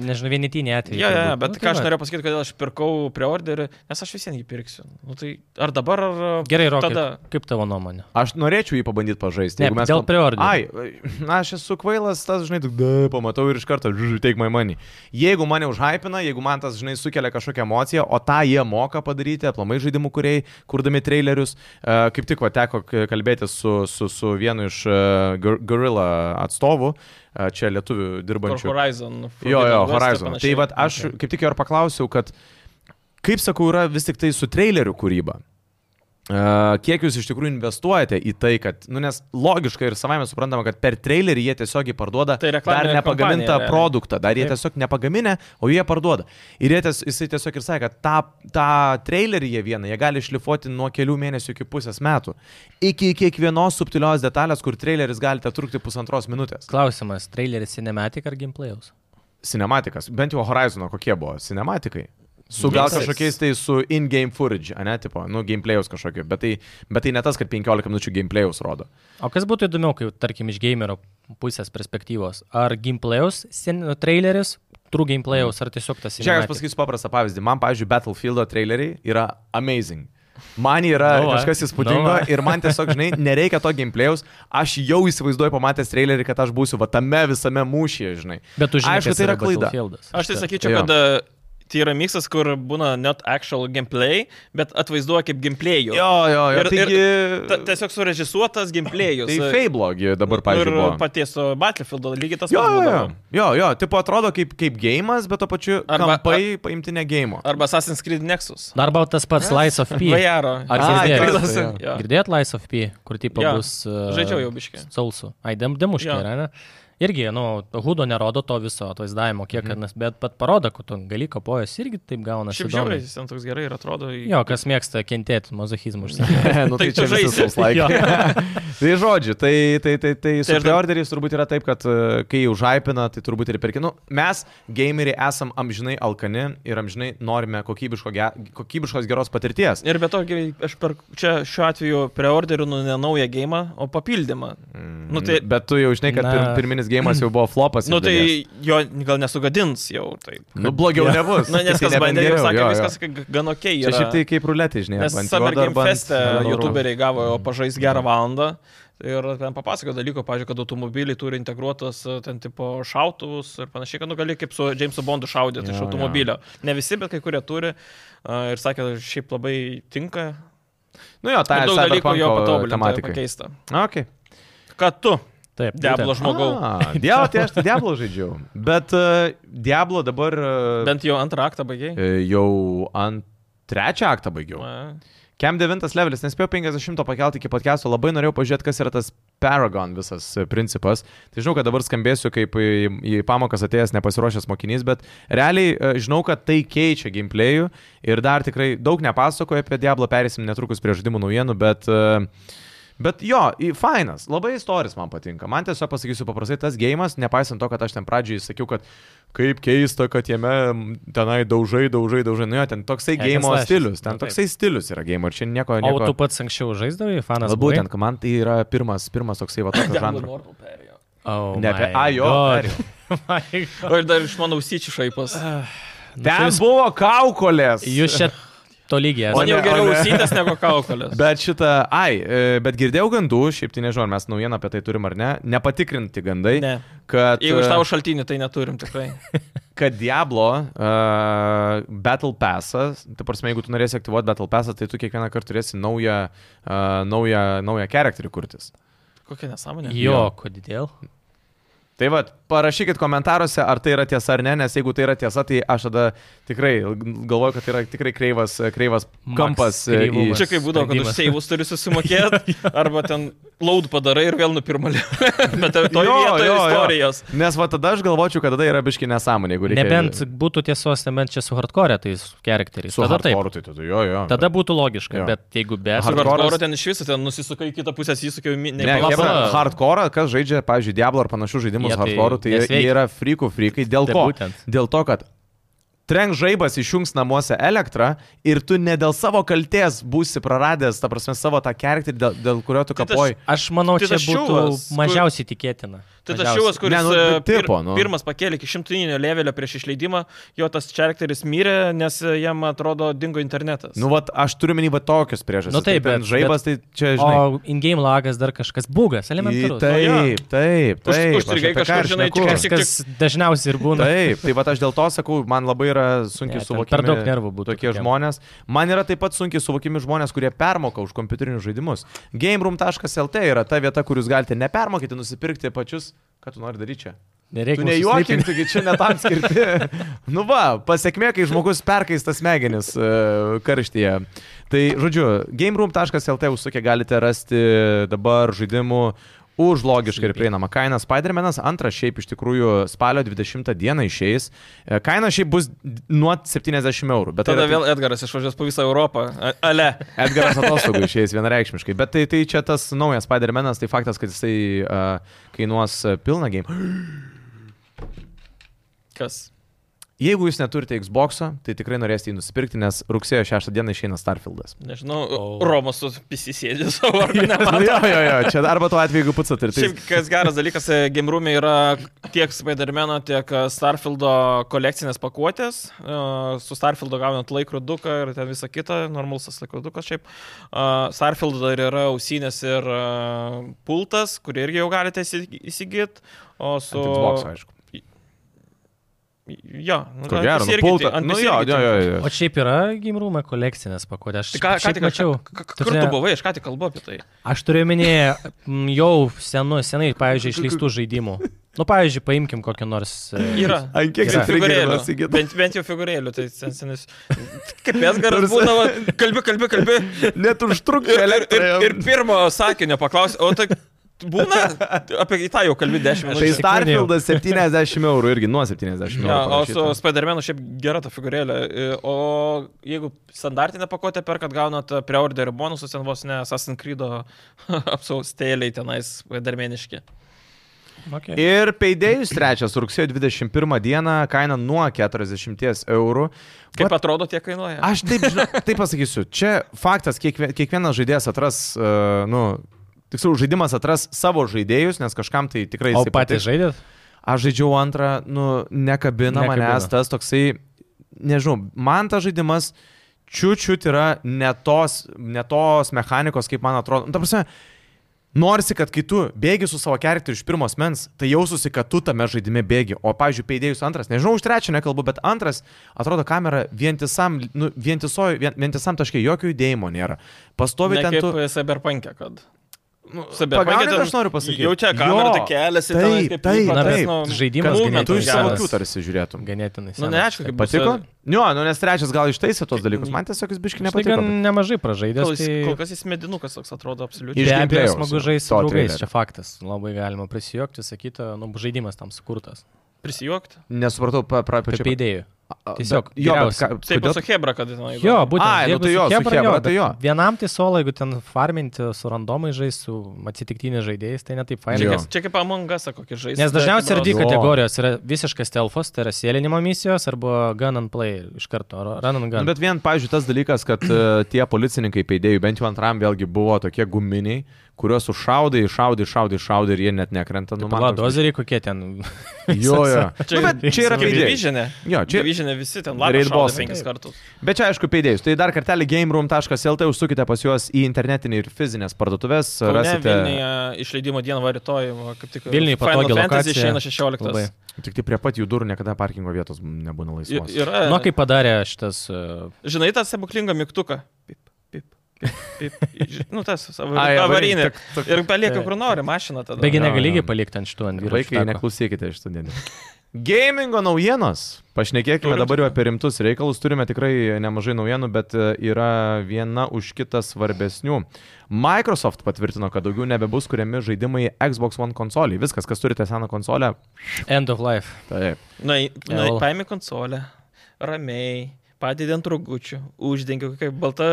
Speaker 2: Nežinau, vienetiniai atvejai.
Speaker 3: Jo, jo, jo,
Speaker 2: turbūt.
Speaker 3: bet
Speaker 2: Nu, tai
Speaker 3: ką aš
Speaker 2: va.
Speaker 3: norėjau pasakyti, kodėl aš pirkau preorderį, nes aš vis vien jį pirksiu. Nu, tai ar dabar, ar...
Speaker 2: Gerai, Rokai,
Speaker 3: Tada-
Speaker 2: kaip tavo nuomonė?
Speaker 1: Aš norėčiau jį pabandyti pažaisti.
Speaker 2: Ne,
Speaker 1: jeigu mes
Speaker 2: dėl
Speaker 1: kalb-
Speaker 2: preorderio.
Speaker 1: Ai, na, aš esu kvailas, tas, žinai, tik da, pamatau ir iš karto, žinai, take my money. Jeigu mane užhypina, jeigu man tas, žinai, sukelia kažkokią emociją, o tą jie moka padaryti, aplamai žaidimų kuriai, kurdami trailerius, e, kaip tik va teko k- kalbėtis su, su, su vienu iš e, Gor- Gorilla atstovų, e, čia lietuvių
Speaker 3: ar
Speaker 1: dirbančių.
Speaker 3: Horizon.
Speaker 1: Jo,
Speaker 3: Forbidden
Speaker 1: jo,
Speaker 3: West ir
Speaker 1: Horizon. Tai
Speaker 3: panašiai.
Speaker 1: vad aš okay. kaip tik jo ir paklausiau, kad kaip sakau, yra vis tik tai su traileriu kūryba. E, Kiek jūs iš tikrųjų investuojate į tai, kad, nu, nes logiška ir savai mes suprantama, kad per trailerį jie tiesiog parduoda
Speaker 3: Tai
Speaker 1: dar
Speaker 3: reklaminė kompanija,
Speaker 1: nepagamintą
Speaker 3: realiai.
Speaker 1: produktą, dar jie
Speaker 3: Taip.
Speaker 1: tiesiog nepagaminę, o jie parduoda. Ir jie ties, jisai tiesiog ir sakė, kad tą, tą trailerį jie vieną, jie gali išlifuoti nuo kelių mėnesių iki pusės metų. Iki kiekvienos subtilios detalės, kur traileris galite trukti pusantros minutės.
Speaker 2: Klausimas, traileris cinematic ar gameplay'us?
Speaker 1: cinematikas, bent jau Horizono kokie buvo cinematikai. Su gal
Speaker 3: Visais.
Speaker 1: kažkokiais tai su in-game footage, ne, tipo, nu, gameplay'us kažkokiu, bet tai, bet tai ne tas, kad 15 minučių gameplay'us rodo.
Speaker 2: O kas būtų įdomiau, kai, tarkim, iš gamerio pusės perspektyvos? Ar gameplay'us sen- traileris, true gameplay'us, ar tiesiog tas
Speaker 1: Čia aš
Speaker 2: cinematic?
Speaker 1: pasakysiu paprastą pavyzdį. Man, pavyzdžiui, Battlefield'o traileriai yra amazing. Man yra
Speaker 2: Nu
Speaker 1: no,
Speaker 2: va.
Speaker 1: kažkas įspūdingo
Speaker 2: Nu va.
Speaker 1: no, ir man tiesiog, žinai, nereikia to gameplay'us. Aš jau įsivaizduoju pamatęs trailerį, kad aš būsiu va tame visame mūšyje, žinai.
Speaker 2: Bet tu žinai,
Speaker 1: Aišku,
Speaker 2: kas
Speaker 1: tai yra klaida.
Speaker 2: Battlefieldas.
Speaker 3: Aš tai
Speaker 2: Štai.
Speaker 3: sakyčiau,
Speaker 1: Jo.
Speaker 3: kad e, tai yra miksas, kur būna net actual gameplay, bet atvaizduoja kaip
Speaker 1: Jo,
Speaker 3: gameplay'ų.
Speaker 1: jo, jo.
Speaker 3: Ir- ir
Speaker 1: taigi,
Speaker 3: Ta, tiesiog surežisuotas gameplay'us.
Speaker 1: tai Feiblogį dabar,
Speaker 3: Ir
Speaker 1: pavyzdžiui, buvo.
Speaker 3: paties e, Battlefield lygiai tas
Speaker 1: Jo,
Speaker 3: pats.
Speaker 1: jo, jo.
Speaker 3: būdavo.
Speaker 1: jo, jo. Tipo atrodo kaip, kaip gėjimas, bet to pačiu
Speaker 3: Arba-
Speaker 1: Arba, kampai paimti ne gėjimo.
Speaker 3: Arba Assassin's Creed Nexus.
Speaker 2: Arba tas pats Lies of P.
Speaker 3: Vajaro.
Speaker 2: Ar
Speaker 1: Ai,
Speaker 2: girdėjot?
Speaker 1: tas- jo.
Speaker 3: Girdėjau. Jo.
Speaker 2: Girdėjot Lies of P, kur tipo
Speaker 3: Jo.
Speaker 2: bus... uh,
Speaker 3: Žaidžiau jau biškį.
Speaker 2: Saulsu. Ai, dem, demuškė
Speaker 3: Jo.
Speaker 2: yra, ne? Irgi, nu, hudo nerodo to viso atvaizdavimo,
Speaker 3: Mhm.
Speaker 2: kiek, mm. bet pat parodo, kad tu gali kopojas irgi taip gauna.
Speaker 3: Šiaip žiauriai, jis ten toks gerai ir atrodo. į-
Speaker 2: Jo, kas mėgsta kentėti mazochizmų užsienį.
Speaker 1: nu,
Speaker 3: Tai
Speaker 1: tai čia
Speaker 3: tu žaisi.
Speaker 1: žaisi
Speaker 2: Jo.
Speaker 1: laiką. tai žodžiu, tai, tai, tai, tai su
Speaker 3: Tai aš dar-
Speaker 1: preorderiais turbūt yra taip, kad e, kai jau žaipina, tai turbūt ir perkinu. Mes, gameriai, esam amžinai alkani ir amžinai norime kokybiško, ge- kokybiškos geros patirties.
Speaker 3: Ir be to, gi aš per, čia šiuo atveju preorderinu ne naują gėjimą, o papildymą. Mm, nu tai,
Speaker 1: Bet tu jau žinai, kad pir,
Speaker 2: Na.
Speaker 1: pirminis gėjimas jau buvo flopas.
Speaker 3: nu,
Speaker 1: iš dalies.
Speaker 3: tai jo gal nesugadins jau taip.
Speaker 1: nu, blogiau nebus.
Speaker 3: Na, nes
Speaker 1: Tai
Speaker 3: kas
Speaker 1: nebent
Speaker 3: bandė, jau
Speaker 1: geriau,
Speaker 3: sakė,
Speaker 1: jo, jo.
Speaker 3: viskas g- gan ok.
Speaker 1: Čia
Speaker 3: Yra.
Speaker 1: šiaip tai kaip ruletė, žinai.
Speaker 3: Nes
Speaker 1: arba ant
Speaker 3: Summer
Speaker 1: juodo,
Speaker 3: Game e,
Speaker 1: arba ant-
Speaker 3: Fest'e
Speaker 1: arba ant raudonų.
Speaker 3: YouTuberiai gavo pažais gerą valandą Ir ten papasako dalykų, pažiūrėjau, kad automobiliai turi integruotas e, ten tipo šautuvus ir panašiai, kad nu gali kaip su Jamesu Bondu šaudyti iš
Speaker 1: Jo, jo.
Speaker 3: automobilio. Ne visi, bet kai kurie turi. E, Ir sakė, šiaip labai tinka.
Speaker 1: Nu jo, tai
Speaker 3: Ir daug dalykų jo tai patobulinta, ir
Speaker 1: tematikai.
Speaker 3: pakeista.
Speaker 1: Okay.
Speaker 3: Kad tu,
Speaker 2: Taip,
Speaker 3: deblo
Speaker 2: būtent.
Speaker 3: žmogau,
Speaker 1: A, Dievo, tai aš tai Diablo žaidžiau. Bet uh, Diablo dabar uh,
Speaker 3: bent jau antrą aktą baigiai.
Speaker 1: jau ant trečią aktą baigiau.
Speaker 3: E.
Speaker 1: Kem 9 levelis, nespėjau 50 pakelti iki podcast'o, labai norėjau pažiūrėti, kas yra tas Paragon visas e, principas. Tai žinau, kad dabar skambėsiu kaip į, į pamokas atėjęs nepasiruošęs mokinys, bet realiai e, žinau, kad tai keičia gameplay'ų ir dar tikrai daug nepasakoju apie Diablo, perėsim netrukus prie žaidimų naujienų, bet... e, Bet jo, i- fainas, labai istorijas man patinka. Man tiesiog pasakysiu paprastai, tas gėjimas, nepaisant to, kad aš ten pradžiai sakiau, kad kaip keista, kad jame m, tenai daužai, daužai, daužai, nu jo, ten toksai
Speaker 2: Hack and
Speaker 1: gėjimo
Speaker 2: slashes.
Speaker 1: stilius, ten
Speaker 2: Nu, taip.
Speaker 1: toksai tai stilius yra gėjimo ir čia nieko,
Speaker 2: O
Speaker 1: nieko.
Speaker 2: tu pats anksčiau žaisdavai, fanas.
Speaker 1: Vat Būtent, kad man tai yra pirmas, pirmas toksai va toks žanras.
Speaker 2: Oh
Speaker 1: Ne apie
Speaker 2: my
Speaker 1: A, jo.
Speaker 2: God.
Speaker 1: perėjau.
Speaker 2: My God.
Speaker 3: O ir dar iš mano ausyčių šaipas.
Speaker 1: Ah. Ten
Speaker 2: jūs-
Speaker 1: buvo kaukolės.
Speaker 2: Jūs čia tolygiai
Speaker 1: O ne-
Speaker 2: esate.
Speaker 3: Man jau geriau
Speaker 1: o ne.
Speaker 3: ausytės negu kaukolės.
Speaker 1: Bet šitą, ai, e, bet girdėjau gandų, šiaip tai nežinau, ar mes naujieną apie tai turim ar ne, nepatikrinti gandai,
Speaker 3: Ne.
Speaker 1: kad,
Speaker 3: Jeigu iš
Speaker 1: e,
Speaker 3: tavo šaltinių, tai neturim tikrai.
Speaker 1: kad Diablo uh, Battle Passas, tai prasme, jeigu tu norėsi aktyvuoti Battle Passą, tai tu kiekvieną kartą turėsi naują, uh, naują, naują charakterį kurtis.
Speaker 3: Kokia nesąmonė.
Speaker 2: Jo, kodėl?
Speaker 1: Tai vad, parašykit komentaruose, ar tai yra tiesa ar ne, nes jeigu tai yra tiesa, tai aš tada tikrai galvoju, kad tai yra tikrai kreivas, kreivas
Speaker 2: Max
Speaker 1: kampas. e, į-
Speaker 2: kreivumas.
Speaker 3: Čia kaip būdavo, kad už
Speaker 2: Sprendimas.
Speaker 3: seivus turi susimokėti, arba ten laud padarai ir vėl nupirmalė. Bet toje
Speaker 1: Jo, jo,
Speaker 3: vietoje
Speaker 1: jo.
Speaker 3: istorijos.
Speaker 1: Nes va tada aš galvočiau, kad tada yra biški nesąmonė, jeigu reikia.
Speaker 2: Nebent būtų tiesos, nebent čia su hardcore tais charakteriais.
Speaker 1: su
Speaker 2: Tada taip.
Speaker 1: hardcore'u, tai tada jo, jo.
Speaker 2: Tada būtų logiška,
Speaker 1: Jo.
Speaker 2: bet jeigu be...
Speaker 1: Hardcore-
Speaker 3: Hardcore ten iš viso, ten nusisukai į kitą pusę, įsukiau
Speaker 1: Ne,
Speaker 3: minėti.
Speaker 1: jie
Speaker 2: pala.
Speaker 1: hardcore, kas žaidžia, pavyzdžiui, Diablo ar panašių žaidimų
Speaker 2: Jie
Speaker 1: su
Speaker 2: tai
Speaker 1: hardcore, tai jie, jie
Speaker 2: nesveiki.
Speaker 1: yra frikų frikai. Dėl
Speaker 2: Tai
Speaker 1: ko?
Speaker 2: būtent.
Speaker 1: Dėl to, kad trenk žaibas išjungs namuose elektrą ir tu ne dėl savo kalties būsi praradęs, ta prasme, savo tą charakterį, dėl, dėl kurio tu
Speaker 3: Tai tas-
Speaker 1: kapoji.
Speaker 2: Aš manau,
Speaker 3: Tai
Speaker 2: čia
Speaker 3: tas
Speaker 2: būtų
Speaker 3: ščiuvas, kur-
Speaker 2: mažiausiai tikėtina.
Speaker 3: Tai tas
Speaker 2: Mažiausiai.
Speaker 3: šiuvas, kuris
Speaker 1: Ne, nu,
Speaker 3: e, pir-
Speaker 1: tipo, nu.
Speaker 3: pirmas pakėlė iki šimtinio levelio prieš išleidimą, jo tas čerkteris mirė, nes e, jam atrodo dingo internetas.
Speaker 1: Nu, vat, aš turiu minį va tokius priežastis.
Speaker 2: Nu taip,
Speaker 1: Tai ten
Speaker 2: bet-
Speaker 1: žaibas, tai čia, žinai.
Speaker 2: O in-game lagas dar kažkas
Speaker 1: Į-
Speaker 2: bugas,
Speaker 1: tai-
Speaker 2: elementarus.
Speaker 1: Taip, taip,
Speaker 3: Už-
Speaker 1: taip.
Speaker 2: tai,
Speaker 3: užstrigai
Speaker 1: aš apie ką
Speaker 3: kažkur,
Speaker 1: ir
Speaker 3: žinai,
Speaker 1: šneku.
Speaker 3: tik- tik-
Speaker 2: Kas dažniausiai ir būna.
Speaker 1: Taip, tai va aš dėl to sakau, man labai yra sunkiai
Speaker 2: Ne, ten
Speaker 1: suvokiami.
Speaker 2: per daug nervų būtų
Speaker 1: Tokie
Speaker 2: tokiem.
Speaker 1: žmonės. Man yra taip pat sunkiai suvokiami žmonės, kurie permoka už kompiuterinius žaidimus. Gameroom.lt yra ta vieta, kur jūs galite nepermokyti, nusipirkti pačius, ką tu nori daryti čia. Tu
Speaker 2: Nereikia.
Speaker 1: nejuokinti, taigi čia netam skirti. nu va, pasiekmė, kai žmogus perkaistas smegenis e, karštyje. Tai, žodžiu, gameroom.lt užsukė galite rasti dabar žaidimų už logišką ir prieinamą kainą. Spider-Man'as antras šiaip iš tikrųjų spalio 20 dieną išeis. E, Kaina šiaip bus nuo 70 eurų. Bet tai
Speaker 3: Tada
Speaker 1: yra tik-
Speaker 3: vėl Edgaras išvažiuos po visą Europą. A- Ale.
Speaker 1: Edgaras atostogų išėjęs vienareikšmiškai, bet tai, tai čia tas naujas Spider-Man'as, tai faktas, kad jisai uh, kainuos e, pilną game.
Speaker 3: Kas?
Speaker 1: Jeigu jūs neturite Xbox'o, tai tikrai norėsite jį nusipirkti, nes rugsėjo 6 dieną išeina Starfield'as.
Speaker 3: Nežinau,
Speaker 2: O.
Speaker 3: Romas su PC sėdė savo. ar ne?
Speaker 1: Nu, jo, jo, jo, čia arba tuo atveju, jeigu tai pats atirti.
Speaker 3: Šiaip kas geras dalykas, Gimrūmė yra tiek Spidermeno, tiek e, Starfieldo kolekcinės pakuotės. E, Su Starfieldo gaunant laikroduką ir ten visą kitą, normalsas laikrodukas šiaip. E, Starfieldo dar yra ausinės ir e, pultas, kurį irgi jau galite įsigyti. O su...
Speaker 1: Xbox, aišku.
Speaker 3: Jo, nu,
Speaker 1: Ko
Speaker 3: ant
Speaker 1: gero,
Speaker 3: PC
Speaker 1: nu,
Speaker 3: irgi
Speaker 1: pultą.
Speaker 3: ti- ant
Speaker 1: Nu,
Speaker 3: PC
Speaker 1: jo,
Speaker 3: irgi
Speaker 1: jo,
Speaker 3: ti-
Speaker 1: jo,
Speaker 2: O
Speaker 1: jo.
Speaker 2: šiaip yra gimrūme kolekcinės pakuotė. Aš
Speaker 3: Tai ką, ką
Speaker 2: šiaip
Speaker 3: tik mačiau.
Speaker 2: mačiau.
Speaker 3: Kur tu
Speaker 2: Tasme,
Speaker 3: buvai, aš ką tik kalbu apie tai.
Speaker 2: Aš turiu minėję m, jau senu, senai, pavyzdžiui, išleistų žaidimų. Nu, pavyzdžiui, paimkim kokį nors... e,
Speaker 3: Yra.
Speaker 1: Ant kiek
Speaker 2: Yra.
Speaker 1: jis trigerina,
Speaker 3: Figūrėlių.
Speaker 1: Sigita?
Speaker 3: Bent, bent jau figūrėlių, tai sen- senis. Kaip mes garas būdavo, kalbi, kalbi, kalbi.
Speaker 1: Net užtrukti
Speaker 3: Ir, ir, ir,
Speaker 1: elektrą.
Speaker 3: ir pirmo sakinio paklausė, o tai būna, apie tą jau kalbi 10
Speaker 1: Tai
Speaker 3: minučių.
Speaker 2: Aš-
Speaker 1: Starfield'as 70 eurų irgi nuo 70 eurų.
Speaker 3: Ja, o su
Speaker 1: parašyta.
Speaker 3: Spidermenu šiaip gera ta figūrėlė. I- O jeigu standartinę pakuotę perkat, gaunat preorderį bonusus, ten vos ne Assassin's Creed apsaustėliai tenais darmeniški.
Speaker 2: Okay.
Speaker 1: Ir peidėjus trečias, rugsėjo 21 dieną, kaina nuo 40 eurų.
Speaker 3: Kaip atrodo, tie kainuoja?
Speaker 1: Aš taip, žinau, taip pasakysiu, čia faktas, kiekvie- kiekvienas žaidėjas atras, uh, nu, tiksliau, žaidimas atras savo žaidėjus, nes kažkam tai tikrai
Speaker 2: O
Speaker 1: jisai
Speaker 2: patys
Speaker 1: patiks.
Speaker 2: žaidėt?
Speaker 1: Aš žaidžiau antrą, nu, nekabina, nekabina.
Speaker 2: Nekabina.
Speaker 1: manęs tas toksai, nežinau, man tas žaidimas čiučiut yra netos, netos mechanikos, kaip man atrodo. Nu, ta prasme, Norisi, kad kai tu bėgi su savo charakteriu iš pirmos mens, tai jaususi, kad tu tame žaidime bėgi. O, pavyzdžiui, peidėjus antras, nežinau, už trečią nekalbu, bet antras, atrodo, kamera vientisam, nu, vientisoj, vien, vientisam taškai, jokio judėjimo nėra. Pastovi
Speaker 3: Ne
Speaker 1: ten
Speaker 3: kaip
Speaker 1: tu...
Speaker 3: tu... Cyberpunk'e, kad.
Speaker 1: Nu,
Speaker 3: Cyberpunk'e
Speaker 1: pagauni,
Speaker 3: ten
Speaker 1: ką aš noriu pasakyti.
Speaker 3: Jau čia kamera, tai keliasi,
Speaker 1: taip,
Speaker 3: tenais kaip
Speaker 1: taip,
Speaker 3: vyko,
Speaker 1: Na,
Speaker 3: tas,
Speaker 1: taip.
Speaker 3: nu,
Speaker 2: Žaidimas
Speaker 3: movement
Speaker 1: Kad tu iš savo
Speaker 3: geras.
Speaker 1: akių tarsi žiūrėtum.
Speaker 2: Ganėtinai.
Speaker 3: Nu,
Speaker 2: senas.
Speaker 3: neaišku, kaip
Speaker 1: Patiko?
Speaker 3: bus, e,
Speaker 1: Nu, jo, nu, nes trečias gal ištaisė tos dalykus. Man tiesiog jis biški
Speaker 2: Žinai,
Speaker 1: nepatiko.
Speaker 2: tai gan nemažai pražaidęs.
Speaker 3: Kol, jis,
Speaker 2: tai-
Speaker 3: kol kas jis medinukas toks atrodo absoliučiai.
Speaker 1: Iš
Speaker 2: Be abejo,
Speaker 1: gameplayaus,
Speaker 2: smagu
Speaker 1: to
Speaker 2: žaisti su draugais,
Speaker 1: trailerio.
Speaker 2: čia faktas. Labai galima prisijungti, sakyti, nu, žaidimas tam sukurtas.
Speaker 3: Prisijuokti.
Speaker 1: bet Nesupratau,
Speaker 2: Kaip
Speaker 1: paprašau.
Speaker 2: idėjų. tiesiog
Speaker 1: Jo, bet
Speaker 2: geriausia.
Speaker 1: ką-
Speaker 3: Taip,
Speaker 1: kodėl-
Speaker 3: su Hebra, kad jis nuėjo.
Speaker 2: Jo, būtent.
Speaker 1: Ai, nu
Speaker 2: jeigu
Speaker 1: tai jo, su
Speaker 2: Chebra,
Speaker 1: Chebra, tai
Speaker 2: bet
Speaker 1: jo.
Speaker 2: Vienam tai solo, jeigu ten farminti su randomai žais, su atsitiktiniais žaidėjais, tai netaip fainai.
Speaker 1: Jo.
Speaker 2: nes-
Speaker 3: Čia kaip Among Us, kokį žaidimą.
Speaker 2: Nes dažniausiai yra dvi
Speaker 1: Jo.
Speaker 2: kategorijos. Yra visiškas telfos, tai yra sėlinimo misijos arba gun and play iš karto, ar run and
Speaker 1: Nu,
Speaker 2: gun.
Speaker 1: bet vien, pavyzdžiui, tas dalykas, kad e, tie policininkai peidėjų, bent jau antram vėlgi buvo tokie guminiai, kuriuos sušaudai, šaudai, šaudai, šaudai ir jie net nekrenta nuo
Speaker 2: Pala,
Speaker 1: mano.
Speaker 2: dozeriai kokie ten.
Speaker 1: Jo, jo.
Speaker 3: Čia,
Speaker 1: Nu, bet čia yra peidėjai.
Speaker 3: Divisionė.
Speaker 1: Jo, čia-
Speaker 3: Divisionė visi ten
Speaker 1: Raid
Speaker 3: labiau
Speaker 1: bossai.
Speaker 3: šaudo penkis kartus.
Speaker 1: Bet čia aišku peidėjus. Tai dar kartelį gameroom.lt užsukite pas juos į internetinį ir fizinės parduotuvės.
Speaker 3: Kaune,
Speaker 1: Rasite.
Speaker 3: Vilniuje išleidimo dieną va rytoj, va, kaip tik
Speaker 2: Vilniuj patogi
Speaker 3: Final Fantasy
Speaker 2: lokacija.
Speaker 3: išeina
Speaker 2: Labai.
Speaker 3: 16.
Speaker 1: Tik tai prie pat jų durų niekada parkingo vietos nebūna
Speaker 3: I-
Speaker 1: laisvos.
Speaker 3: Yra,
Speaker 2: Nu, kaip padarė šitas uh,
Speaker 3: žinai, tą stebuklingą mygtuką. Pip, pip, pip, pip. Ži- Nu, tas savo
Speaker 1: Ai,
Speaker 3: avarinį.
Speaker 1: tok- tok-
Speaker 3: Ir palieka, kur nori, mašiną tada.
Speaker 2: Taigi
Speaker 1: Jo,
Speaker 2: negali
Speaker 1: jo.
Speaker 2: lygiai palikti ant šitų ant vyro.
Speaker 1: Vaikai, neklausykite iš šiandien. Gamingo naujienos. Pašnekėkime
Speaker 3: Turim
Speaker 1: dabar jau apie rimtus reikalus. Turime tikrai nemažai naujienų, bet e, yra viena už kitą svarbesnių. Microsoft patvirtino, kad daugiau nebebus kuriami žaidimai Xbox One konsoliai. Viskas, kas turite seną konsolę.
Speaker 2: End of life.
Speaker 1: Taip.
Speaker 3: Na, na
Speaker 2: L.
Speaker 3: paėmė nu, konsolę, ramiai, padidė ant rūgučių, uždengė kokią baltą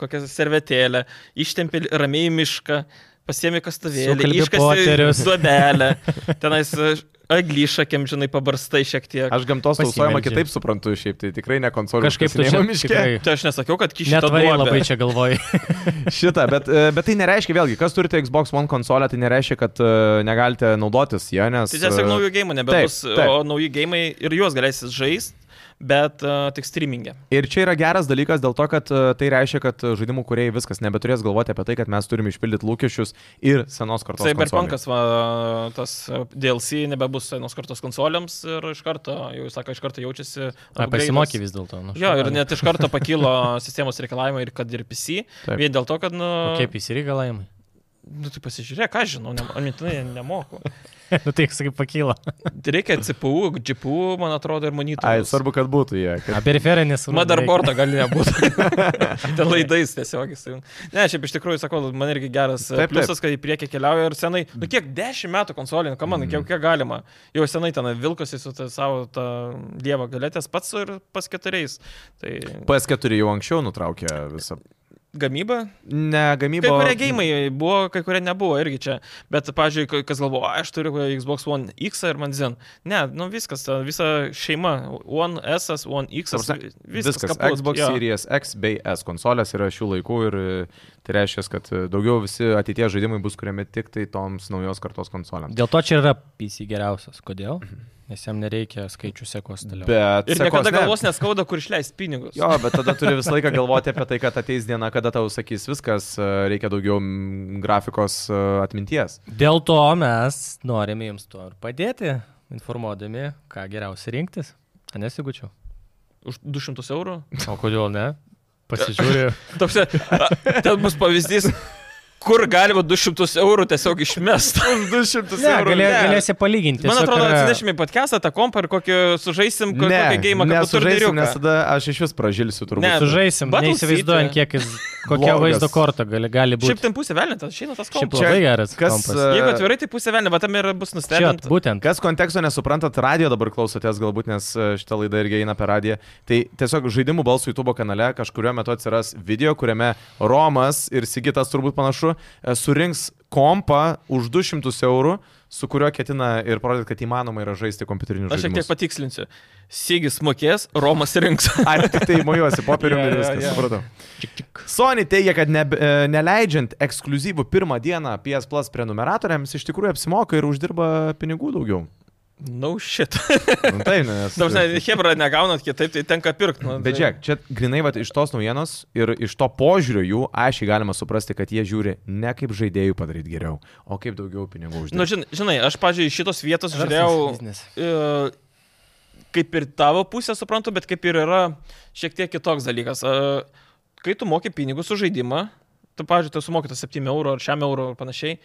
Speaker 3: kokią servetėlę, ištempė ramiai į mišką, pasiemė kastuvėlį,
Speaker 2: Sukalbi
Speaker 3: iškasė
Speaker 2: poterius.
Speaker 3: duobelę, tenais aglyšakėm, žinai, pabarstai šiek tiek.
Speaker 1: Aš gamtos tausojimą
Speaker 2: Pasimeldžiu.
Speaker 1: kitaip suprantu, šiaip tai tikrai ne konsolė.
Speaker 2: Kažkaip tu čia
Speaker 1: miške.
Speaker 2: tikrai
Speaker 3: Tai aš nesakiau, kad kišė tą
Speaker 2: Netvariai labai
Speaker 3: duobę.
Speaker 2: čia galvoji.
Speaker 1: Šitą, bet, e, bet tai nereiškia, vėlgi, kas turite Xbox One konsolę, tai nereiškia, kad e, negalite naudotis ją, nes...
Speaker 3: Tai tiesiog
Speaker 1: e,
Speaker 3: naujų gėjimų nebebus,
Speaker 1: taip, taip.
Speaker 3: o nauji gėjimai ir juos galėsit žaisti, bet uh, tik streamingė.
Speaker 1: Ir čia yra geras dalykas dėl to, kad e, tai reiškia, kad e, žaidimų kuriejai viskas nebeturės galvoti apie tai, kad mes turime išpildyti lūkesčius ir senos kartos.
Speaker 3: Tai Cyberpunkas, va, tas e, DLC nebebus senos kartos konsoliams ir iš karto, jau jūs sakote, iš karto jaučiasi. upgrade'as.
Speaker 2: Pasimokė vis dėlto. Nu,
Speaker 3: Jo, ir net iš karto pakilo sistemos reikalavimai ir kad ir PC.
Speaker 1: Taip.
Speaker 3: Taip. Vien dėl to, kad, nu,
Speaker 2: Kaip įsireigalavimai?
Speaker 3: nu tai pasižiūrėk, ką aš žinau, ne, mintinai nemoku.
Speaker 2: nu tai, kaip pakyla.
Speaker 3: Reikia CPU, GPU, man atrodo, ir
Speaker 1: Ai,
Speaker 3: monitorius.
Speaker 1: svarbu, kad būtų jie. Kad...
Speaker 2: Periferinis.
Speaker 3: Motherboardą gali nebūti. Ten laidais tiesiog jis. Ne, šiaip iš tikrųjų, sakau, man irgi geras
Speaker 1: Taip,
Speaker 3: taip,
Speaker 1: taip.
Speaker 3: pliusas, kad į priekį keliauja ir senai, nu kiek dešimt metų konsolė, nu ką man,
Speaker 1: Mm.
Speaker 3: kiek, kiek galima. Jau senai ten vilkosi su ta, savo tą dievą galėtės pats ir pas keturiais. Tai
Speaker 1: PS4 jau anksčiau nutraukė visą.
Speaker 3: gamyba,
Speaker 1: Ne,
Speaker 3: Kai
Speaker 1: gamybo.
Speaker 3: kurie gėjimai buvo, kai kurie nebuvo irgi čia. Bet, pavyzdžiui, kas galvo, "A, aš turiu Xbox One X ir man Zen. Ne, nu viskas, ta visa šeima. One S, One X,
Speaker 1: Ta prasme,
Speaker 3: viskas.
Speaker 1: Viskas, viskas
Speaker 3: kaput,
Speaker 1: Xbox
Speaker 3: jo.
Speaker 1: jo. Series X bei S konsolės yra šių laikų ir e, tai reiškia, kad e, daugiau visi ateitie žaidimai bus kuriami tik tai toms naujos kartos konsolėms.
Speaker 2: Dėl to čia ir yra PC geriausias. Kodėl? Nes jam nereikia skaičių sekos toliau.
Speaker 1: Bet
Speaker 3: Ir
Speaker 1: sekos
Speaker 3: niekada
Speaker 1: ne.
Speaker 3: galvos neskauda, kur išleisti pinigus.
Speaker 1: Jo, bet tada turi visą laiką galvoti apie tai, kad ateis diena, kada tau sakys viskas, e, reikia daugiau mm, grafikos e, atminties.
Speaker 2: Dėl to mes norime jums to ir padėti, informuodami, ką geriausia rinktis. A, Nesigučiau.
Speaker 3: Už 200 eurų.
Speaker 2: O kodėl ne? Pasižiūrėjau.
Speaker 3: Toks, ten bus pavyzdys, kur galima 200 eurų tiesiog išmesti.
Speaker 1: 200
Speaker 2: Ne, galė, galėsi palyginti.
Speaker 3: Man
Speaker 2: tiesiog
Speaker 3: atrodo,
Speaker 2: yra-
Speaker 3: atsinešime į podcastą tą kompą ir kokį sužaisim, ko- kokį gėjimą, kad būtų
Speaker 1: nesužaisim, nes
Speaker 3: turdyriukas.
Speaker 1: tada aš iš vis pražilsiu turbūt.
Speaker 3: Ne,
Speaker 2: Sužaisim,
Speaker 3: Battle
Speaker 2: neįsivaizduojant,
Speaker 3: City.
Speaker 2: kiek jis, kokia
Speaker 1: Blogas.
Speaker 2: vaizdo korta gali, gali būti.
Speaker 3: Šiaip ten pusė velnintas, šiandien tas
Speaker 2: Šiaip
Speaker 3: kompas.
Speaker 1: Čia
Speaker 2: labai geras
Speaker 1: kas,
Speaker 2: kompas.
Speaker 1: e,
Speaker 3: Jeigu atvirai, tai pusė velnė, bet tam ir bus
Speaker 2: Čia,
Speaker 3: nustebinta.
Speaker 2: būtent.
Speaker 1: Kas konteksto nesuprantat, radio dabar klausotės galbūt, nes e, šita laida irgi eina per radiją. Tai tiesiog žaidimų balsų YouTube kanale kažkurio metu atsiras video, kuriame Romas ir Sigitas turbūt panašu e, surinks kompą už 200 eurų, su kuriuo ketina ir parodyti, kad įmanoma yra žaisti kompiuterinius
Speaker 3: Aš šiek tiek
Speaker 1: žaidimus.
Speaker 3: patikslinsiu. Sigis mokės, Romas rinks.
Speaker 1: Ar tik tai mojuosi popieriumi
Speaker 3: Jo,
Speaker 1: ir
Speaker 3: jo,
Speaker 1: viskas,
Speaker 3: jo.
Speaker 1: supratau. Sony teigia, kad ne, e, neleidžiant ekskluzyvų pirmą dieną PS Plus prenumeratoriams iš tikrųjų apsimoka ir uždirba pinigų daugiau.
Speaker 3: No shit.
Speaker 1: Nu, tai, nes...
Speaker 3: Dabar, ne, Hebra negaunat kitaip, tai tenka pirkti. Nu,
Speaker 1: Bet
Speaker 3: tai-
Speaker 1: žiūrėk, čia grinai vat, iš tos naujienos ir iš to požiūrio jų aiškiai galima suprasti, kad jie žiūri ne kaip žaidėjų padaryti geriau, o kaip daugiau pinigų uždirbti.
Speaker 3: Nu, žin- žinai, aš, pažiūrėjau, iš šitos vietos
Speaker 2: Verslas,
Speaker 3: žiūrėjau
Speaker 2: biznis.
Speaker 3: e, kaip ir tavo pusę suprantu, bet kaip ir yra šiek tiek kitoks dalykas. E, Kai tu moki pinigus už žaidimą, tu, pažiūrėjau, tu sumoki tą 7 eurų ar 6 eurų ir panašiai,